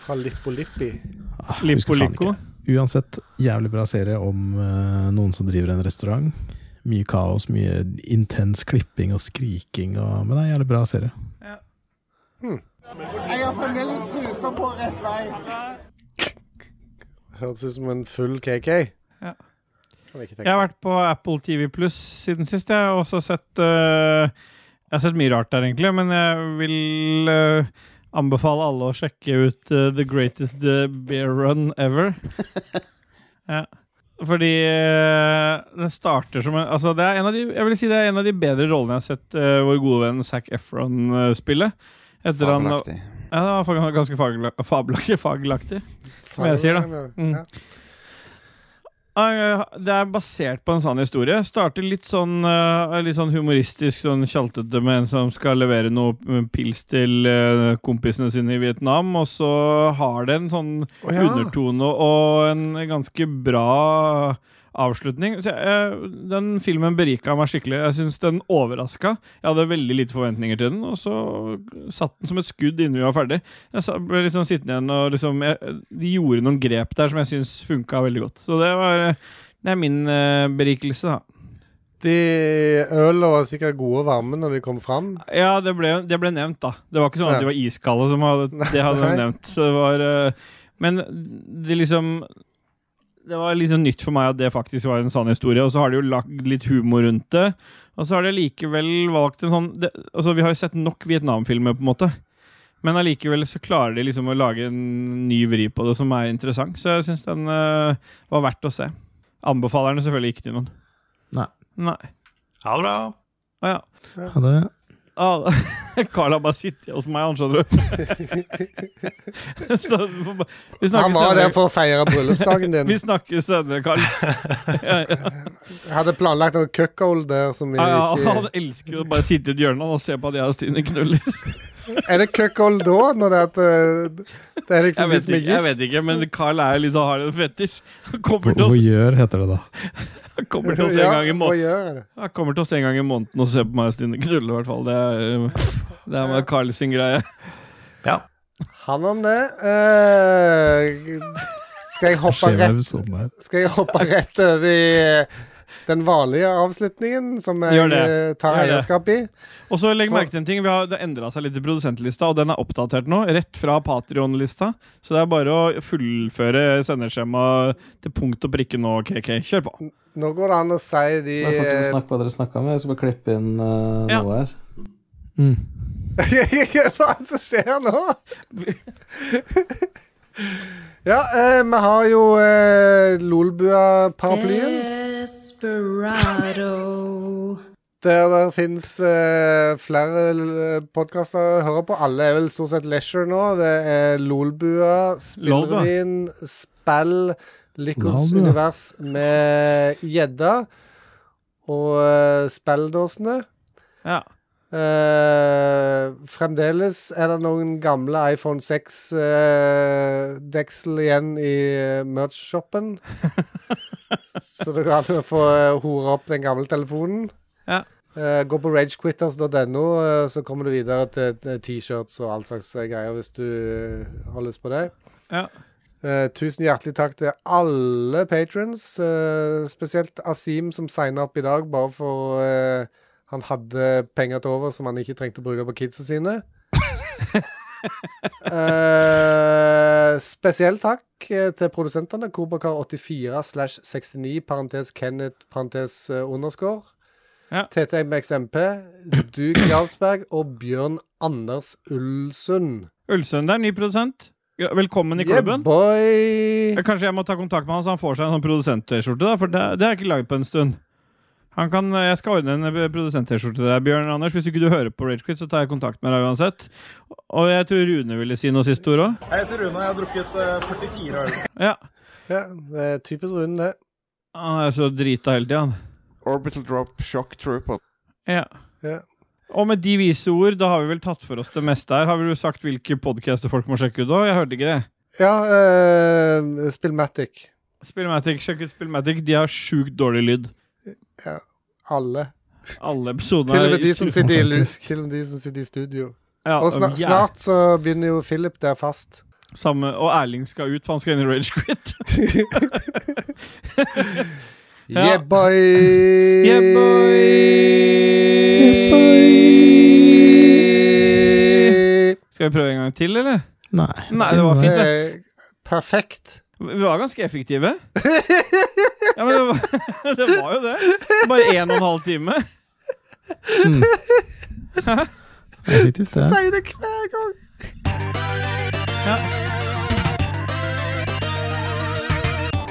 [SPEAKER 1] fra Lippolippi.
[SPEAKER 3] Ah, jeg husker faen
[SPEAKER 2] Lippolico.
[SPEAKER 3] ikke. Uansett, jævlig bra serie om eh, noen som driver en restaurant. Mye kaos, mye intens klipping og skriking, og, men det er en jævlig bra serie.
[SPEAKER 1] Høres ut som en full KK.
[SPEAKER 2] Ja.
[SPEAKER 1] Kan jeg ikke
[SPEAKER 2] Jeg
[SPEAKER 1] tenke.
[SPEAKER 2] har vært på Apple TV Pluss siden sist. Jeg har også sett eh, Jeg har sett mye rart der, egentlig, men jeg vil eh, anbefale alle å sjekke ut eh, The Greatest eh, Bear Run Ever. ja. Fordi eh, den starter som en Altså, det er en av de Jeg vil si det er en av de bedre rollene jeg har sett eh, vår gode venn Zac Efron eh, spille. Etter han, ja,
[SPEAKER 4] Fabelaktig.
[SPEAKER 2] det var fag- ganske fabelaktig. Fabelaktig. fabelaktig. som jeg sier, da. Mm.
[SPEAKER 1] Ja.
[SPEAKER 2] Ah, Det er basert på en sann historie. Starter litt sånn, eh, litt sånn humoristisk, sånn tjaltete med en som skal levere noe eh, pils til eh, kompisene sine i Vietnam, og så har det en sånn
[SPEAKER 1] Å, ja.
[SPEAKER 2] undertone og en ganske bra avslutning. Så jeg, eh, den filmen berika meg skikkelig. Jeg syns den overraska. Jeg hadde veldig lite forventninger til den, og så satt den som et skudd innen vi var ferdig. Jeg sa- ble liksom sittende igjen og liksom jeg, De gjorde noen grep der som jeg syns funka veldig godt. Så det var eh, Det er min eh, berikelse, da.
[SPEAKER 1] De øla var sikkert gode og varme når de kom fram.
[SPEAKER 2] Ja, det ble, det ble nevnt, da. Det var ikke sånn at
[SPEAKER 1] Ja.
[SPEAKER 2] de var iskalde. Som hadde, det hadde de
[SPEAKER 1] Nei.
[SPEAKER 2] nevnt. Så det var, eh, men det liksom Det var litt sånn nytt for meg at det faktisk var en sann historie. Og så har de jo lagd litt humor rundt det. Og så har de likevel valgt en sånn det, Altså, vi har jo sett nok Vietnam-filmer, på en måte. Men allikevel så klarer de liksom å lage en ny vri på det som er interessant. Så jeg syns den eh, var verdt å se. Anbefaler den selvfølgelig ikke til noen.
[SPEAKER 3] Nei.
[SPEAKER 2] Nei.
[SPEAKER 8] Ha det bra.
[SPEAKER 2] Å ja.
[SPEAKER 3] Ja, det,
[SPEAKER 2] Ah, Carl har bare sittet hos meg, han skjønner du. Så du får bare- vi
[SPEAKER 1] Han
[SPEAKER 2] snakkes
[SPEAKER 1] var der
[SPEAKER 2] senere,
[SPEAKER 1] for å feire bryllupsdagen
[SPEAKER 2] vi
[SPEAKER 1] din.
[SPEAKER 2] snakkes senere, Carl. Ja, ja.
[SPEAKER 1] Hadde planlagt noe cuckold der som vi
[SPEAKER 2] Ja, ja, han
[SPEAKER 1] ikke
[SPEAKER 2] elsker jo å bare sitte i et hjørne han, og se på at jeg og Stine knuller.
[SPEAKER 1] Er det cuckold da, når det er at eh, Det er
[SPEAKER 2] Jeg
[SPEAKER 1] liksom de
[SPEAKER 2] vet
[SPEAKER 1] som er
[SPEAKER 2] ikke, jeg
[SPEAKER 1] gift?
[SPEAKER 2] vet ikke men Carl er jo litt, sånn, har en fetisj. Han kommer til oss,
[SPEAKER 3] voyeur heter det da.
[SPEAKER 2] han kommer til oss en
[SPEAKER 1] Ja,
[SPEAKER 2] gang i
[SPEAKER 1] hva
[SPEAKER 2] måneden
[SPEAKER 1] gjør jeg det?
[SPEAKER 2] Han kommer til oss en gang i måneden og ser på meg og Stine knulle, i hvert fall. Det er, eh, det er med Carl sin greie.
[SPEAKER 8] Ja.
[SPEAKER 1] Han om det. Eh, skal jeg hoppe
[SPEAKER 3] Skjer
[SPEAKER 1] rett
[SPEAKER 3] med episoden her.
[SPEAKER 1] Skal jeg hoppe rett over i eh, den vanlige avslutningen, som jeg
[SPEAKER 2] Gjør det.
[SPEAKER 1] eh, tar
[SPEAKER 2] Gjør det.
[SPEAKER 1] eierskap i?
[SPEAKER 2] Og så legg
[SPEAKER 1] For-
[SPEAKER 2] merke til en ting. Vi har, det endra seg litt i produsentlista, og den er oppdatert nå. Rett fra Patrion-lista. Så det er bare å fullføre sendeskjemaet til punkt og prikke nå, KK. Kjør på.
[SPEAKER 1] Nå går det an å si de
[SPEAKER 6] Jeg får ikke snakke hva dere snakka om. Jeg skal bare klippe inn eh,
[SPEAKER 2] Ja.
[SPEAKER 6] noe her.
[SPEAKER 3] Mm.
[SPEAKER 1] Hva er det som skjer nå? ja, eh, vi har jo eh, Lolbua-paraplyen.
[SPEAKER 9] Desperado.
[SPEAKER 1] Der det fins eh, flere podkaster å høre på. Alle er vel stort sett leisure nå. Det er Lolbua, Spillrevyen, Spill, Lykkos
[SPEAKER 3] Lolbua.
[SPEAKER 1] univers med gjedda og eh, spelldåsene.
[SPEAKER 2] Ja.
[SPEAKER 1] Eh, fremdeles er det noen gamle iPhone 6-deksel igjen i eh, merch-shoppen. Så det går an å få eh, hore opp den gamle telefonen.
[SPEAKER 2] Ja.
[SPEAKER 1] Eh, gå på ragequitters.no, eh, så kommer du videre til til T-shirts og all slags eh, greier hvis du eh, har lyst på det.
[SPEAKER 2] Ja.
[SPEAKER 1] Eh, tusen hjertelig takk til alle patrons, eh, spesielt Asim som signa opp i dag bare for eh, han hadde penger til over som han ikke trengte å bruke på kidsa sine. Eh, spesiell takk eh, til produsentene, Kobrakar84 slash 69, parentes Kenneth, parentes eh, underscore.
[SPEAKER 2] Ja.
[SPEAKER 1] TTMXMP, Duke Jarlsberg og Bjørn Anders Ulsund.
[SPEAKER 2] Ølsund er ny produsent. Ja, Velkommen i klubben.
[SPEAKER 1] boy!
[SPEAKER 2] Ja, Kanskje jeg må ta kontakt med han så han får seg en sånn produsent-T-skjorte, da, for det, det har jeg ikke laget på en stund. Han kan, jeg skal ordne en eh, produsent-T-skjorte til deg, Bjørn Anders. Hvis ikke du hører på Ragequit, så tar jeg kontakt med deg uansett. Og jeg tror Rune ville si noe siste ord òg.
[SPEAKER 10] Jeg heter Rune, og jeg har drukket eh, 44 øl.
[SPEAKER 2] Ja.
[SPEAKER 1] Ja, det er typisk Rune, det.
[SPEAKER 2] Han er så drita hele tida, han.
[SPEAKER 11] Orbital Drop Shock Trooper.
[SPEAKER 2] Ja.
[SPEAKER 1] Ja.
[SPEAKER 2] Og med de vise ord, da har vi vel tatt for oss det meste her. Har vi jo sagt hvilke podcaster folk må sjekke ut da? Jeg hørte ikke det.
[SPEAKER 1] Ja, eh, Spillmatic.
[SPEAKER 2] Spillmatic, sjekk ut Spillmatic. De har sjukt dårlig lyd.
[SPEAKER 1] Alle.
[SPEAKER 2] Alle episodene
[SPEAKER 1] Til og med de som sitter i, lu-
[SPEAKER 3] fantastisk.
[SPEAKER 1] til og med de som sitter i studio.
[SPEAKER 2] Ja,
[SPEAKER 1] Og snart,
[SPEAKER 2] ja.
[SPEAKER 1] snart så begynner jo Philip der fast.
[SPEAKER 2] Samme, og Erling skal ut, for han skal inn i Ragequit. Ja.
[SPEAKER 1] Yeah, boy!
[SPEAKER 2] Yeah, boy! Skal vi prøve en gang til, eller?
[SPEAKER 3] Nei.
[SPEAKER 2] Nei, det var
[SPEAKER 1] Det
[SPEAKER 2] fint, det.
[SPEAKER 1] er Eh, perfekt.
[SPEAKER 2] Vi var ganske effektive. Ja, men det var, det var jo det. Bare én og en halv time.
[SPEAKER 3] Effektivt, det.
[SPEAKER 1] Sier det hver gang.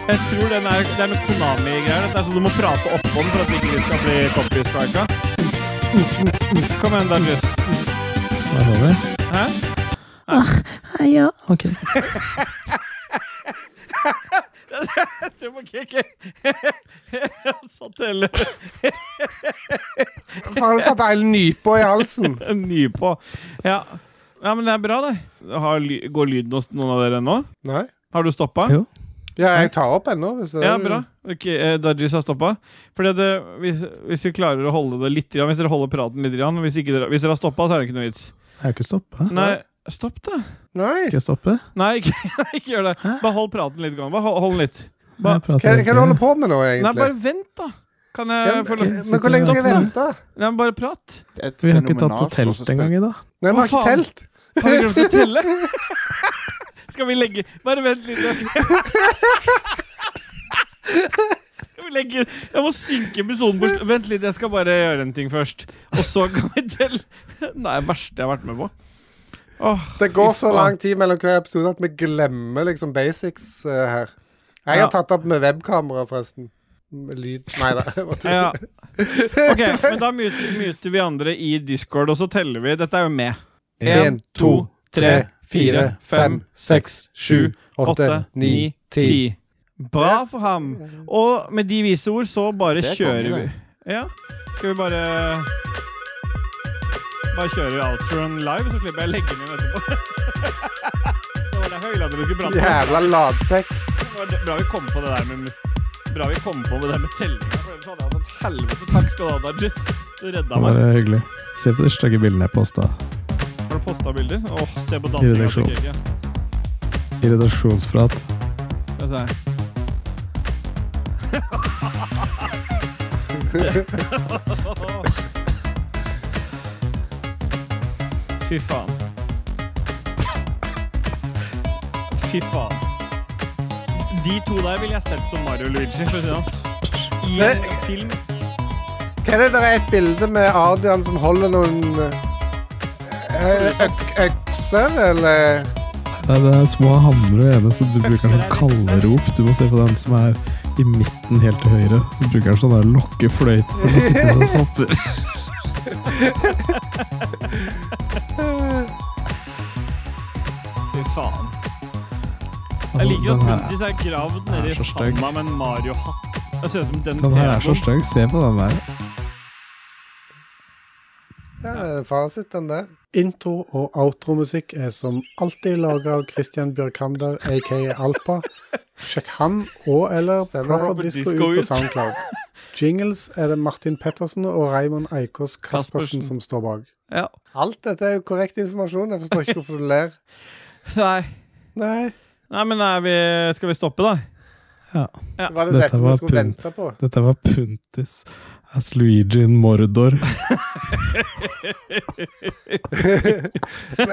[SPEAKER 2] Jeg tror den er, det er noe Konami-greier. Dette er sånn du må prate oppå den for at ikke de skal bli copy-strika. Kom igjen, Dajis.
[SPEAKER 3] Da var det.
[SPEAKER 2] Hæ?
[SPEAKER 3] Ja, ok.
[SPEAKER 2] Se på KK. Han satt hele
[SPEAKER 1] Faen, satt Eilen nypa i halsen.
[SPEAKER 2] ny på. Ja. ja, men det er bra, det. Har, ly- går lyden hos noen av dere nå?
[SPEAKER 1] Nei.
[SPEAKER 2] Har du stoppa?
[SPEAKER 3] Jo.
[SPEAKER 1] Ja, jeg tar opp ennå. hvis det-
[SPEAKER 2] Ja, bra. Ok, eh, Dodges har stoppa. Fordi det, hvis, hvis vi klarer å holde det litt, grann, hvis dere holder praten litt, grann, hvis, ikke dere, hvis dere har stoppa, så er det ikke noe vits.
[SPEAKER 3] Jeg har jo ikke stoppa.
[SPEAKER 2] Nei, stopp, da.
[SPEAKER 1] Nei.
[SPEAKER 3] Skal jeg stoppe?
[SPEAKER 2] Nei, ikke, ikke gjør det. Bare hold praten litt. grann. Bare hold, hold den litt. Bare,
[SPEAKER 3] Jeg prater
[SPEAKER 1] Hva, hva er det
[SPEAKER 3] ikke.
[SPEAKER 1] du holder på med nå,
[SPEAKER 2] nei,
[SPEAKER 1] egentlig?
[SPEAKER 2] bare eh, vent, da. Kan jeg
[SPEAKER 1] Ja,
[SPEAKER 2] få
[SPEAKER 1] men,
[SPEAKER 2] lov
[SPEAKER 3] ok.
[SPEAKER 1] men hvor lenge skal jeg vente?
[SPEAKER 2] Nei, men bare prat.
[SPEAKER 11] Et
[SPEAKER 3] Vi har ikke tatt
[SPEAKER 11] fenomenalt
[SPEAKER 3] og telt
[SPEAKER 11] slåssespill.
[SPEAKER 3] engang i dag.
[SPEAKER 1] Nei, vi
[SPEAKER 2] Hva
[SPEAKER 1] har ikke
[SPEAKER 2] faen?
[SPEAKER 1] telt.
[SPEAKER 2] Har du glemt å telle? Skal vi legge Bare vent litt. Skal vi legge Jeg må synke episoden bort. Vent litt, jeg skal bare gjøre en ting først. Og så kan vi telle. Nei, det verste jeg har vært med på. Åh,
[SPEAKER 1] Det går så
[SPEAKER 2] faen.
[SPEAKER 1] lang tid mellom hver episode at vi glemmer liksom basics eh, her. Jeg
[SPEAKER 2] Ja.
[SPEAKER 1] har tatt opp med webkamera, forresten. Med Lyd Nei da. jeg bare tuller.
[SPEAKER 2] ja. OK, men da muter, muter vi andre i Discord, og så teller vi. Dette er jo med. En, to, tre, fire, fem, seks, sju, åtte, ni, ti. Bra for ham. Og med de vise ord så bare
[SPEAKER 11] Det kom
[SPEAKER 2] kjører
[SPEAKER 11] jo,
[SPEAKER 2] vi. Ja. Skal vi bare Bare kjører outroen live, så slipper jeg å legge den inn etterpå. det var derfor jeg ville at dere skulle prate.
[SPEAKER 1] Jævla latsekk.
[SPEAKER 2] Det var Bra vi kom på det der med Bra vi kom på det der med tellinga, for ellers hadde jeg hatt et helvete. Takk skal du ha, Dodges. Du redda meg.
[SPEAKER 3] Bare hyggelig. Se på de stygge bildene jeg posta.
[SPEAKER 2] Har du posta bilder? Åh, se på
[SPEAKER 3] I
[SPEAKER 2] dansinga
[SPEAKER 3] redaksjon.
[SPEAKER 2] til Kiki.
[SPEAKER 3] I redaksjonsprat.
[SPEAKER 2] Skal vi se. Fy faen. Fy faen. De to der ville jeg sett som Mario og Luigi. For å si det sånn. I en film.
[SPEAKER 1] Hva er det der er et bilde med Adrian som holder noen eh, øk økser, eller
[SPEAKER 3] Det er, det er små hamre og ene, så du bruker sånn kallerop. Du må se på den som er i midten helt til høyre. Så bruker han sånn der lokkefløyte for å lokke til seg sopper.
[SPEAKER 2] Fy faen. Jeg
[SPEAKER 3] Altså,
[SPEAKER 2] liker at
[SPEAKER 3] den her
[SPEAKER 2] Puntis er gravd
[SPEAKER 3] den er
[SPEAKER 2] nede i
[SPEAKER 3] så stygg.
[SPEAKER 2] sanda med en Mario-hatt. Det ser ut som den
[SPEAKER 3] Den her er så
[SPEAKER 2] pedoen.
[SPEAKER 3] stygg. Se på den der.
[SPEAKER 1] Det er fasit, den der. Intro- og outromusikk er som alltid laga av Christian Bjørkander, aka Alpa. Sjekk han og eller Proper Disco ut på Soundcloud. Jingles er det Martin Pettersen og Raymond Eikås Kaspersen
[SPEAKER 2] Kaspersen.
[SPEAKER 1] som står bak.
[SPEAKER 2] Ja.
[SPEAKER 1] Alt dette er jo korrekt informasjon. Jeg forstår ikke hvorfor du ler.
[SPEAKER 2] Nei.
[SPEAKER 1] Nei,
[SPEAKER 2] Nei, men er vi, skal vi stoppe, da?
[SPEAKER 1] Var det
[SPEAKER 3] Dette
[SPEAKER 1] dette
[SPEAKER 3] var
[SPEAKER 1] vi skulle
[SPEAKER 3] pun.
[SPEAKER 1] vente på?
[SPEAKER 3] Dette var Puntis. As Luigi in Mordor.
[SPEAKER 1] Men,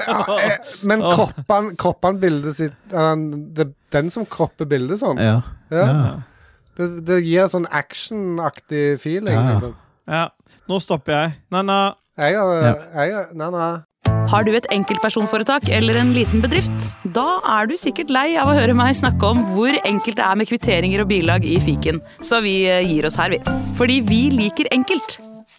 [SPEAKER 1] ah, eh, men kroppen, kroppen bildet sitt han- det, Den som kropper bildet sånn,
[SPEAKER 3] Ja. ja.
[SPEAKER 1] ja. det, det gir sånn actionaktig feeling.
[SPEAKER 3] Ja, ja.
[SPEAKER 1] Liksom.
[SPEAKER 2] Ja. Nå stopper jeg. Nei-nei.
[SPEAKER 1] Jeg har,
[SPEAKER 3] Ja.
[SPEAKER 1] jeg har Nei, nei.
[SPEAKER 9] Har du et enkeltpersonforetak eller en liten bedrift? Da er du sikkert lei av å høre meg snakke om hvor enkelt det er med kvitteringer og bilag i fiken, så vi eh, gir oss her, vi. Fordi vi liker enkelt.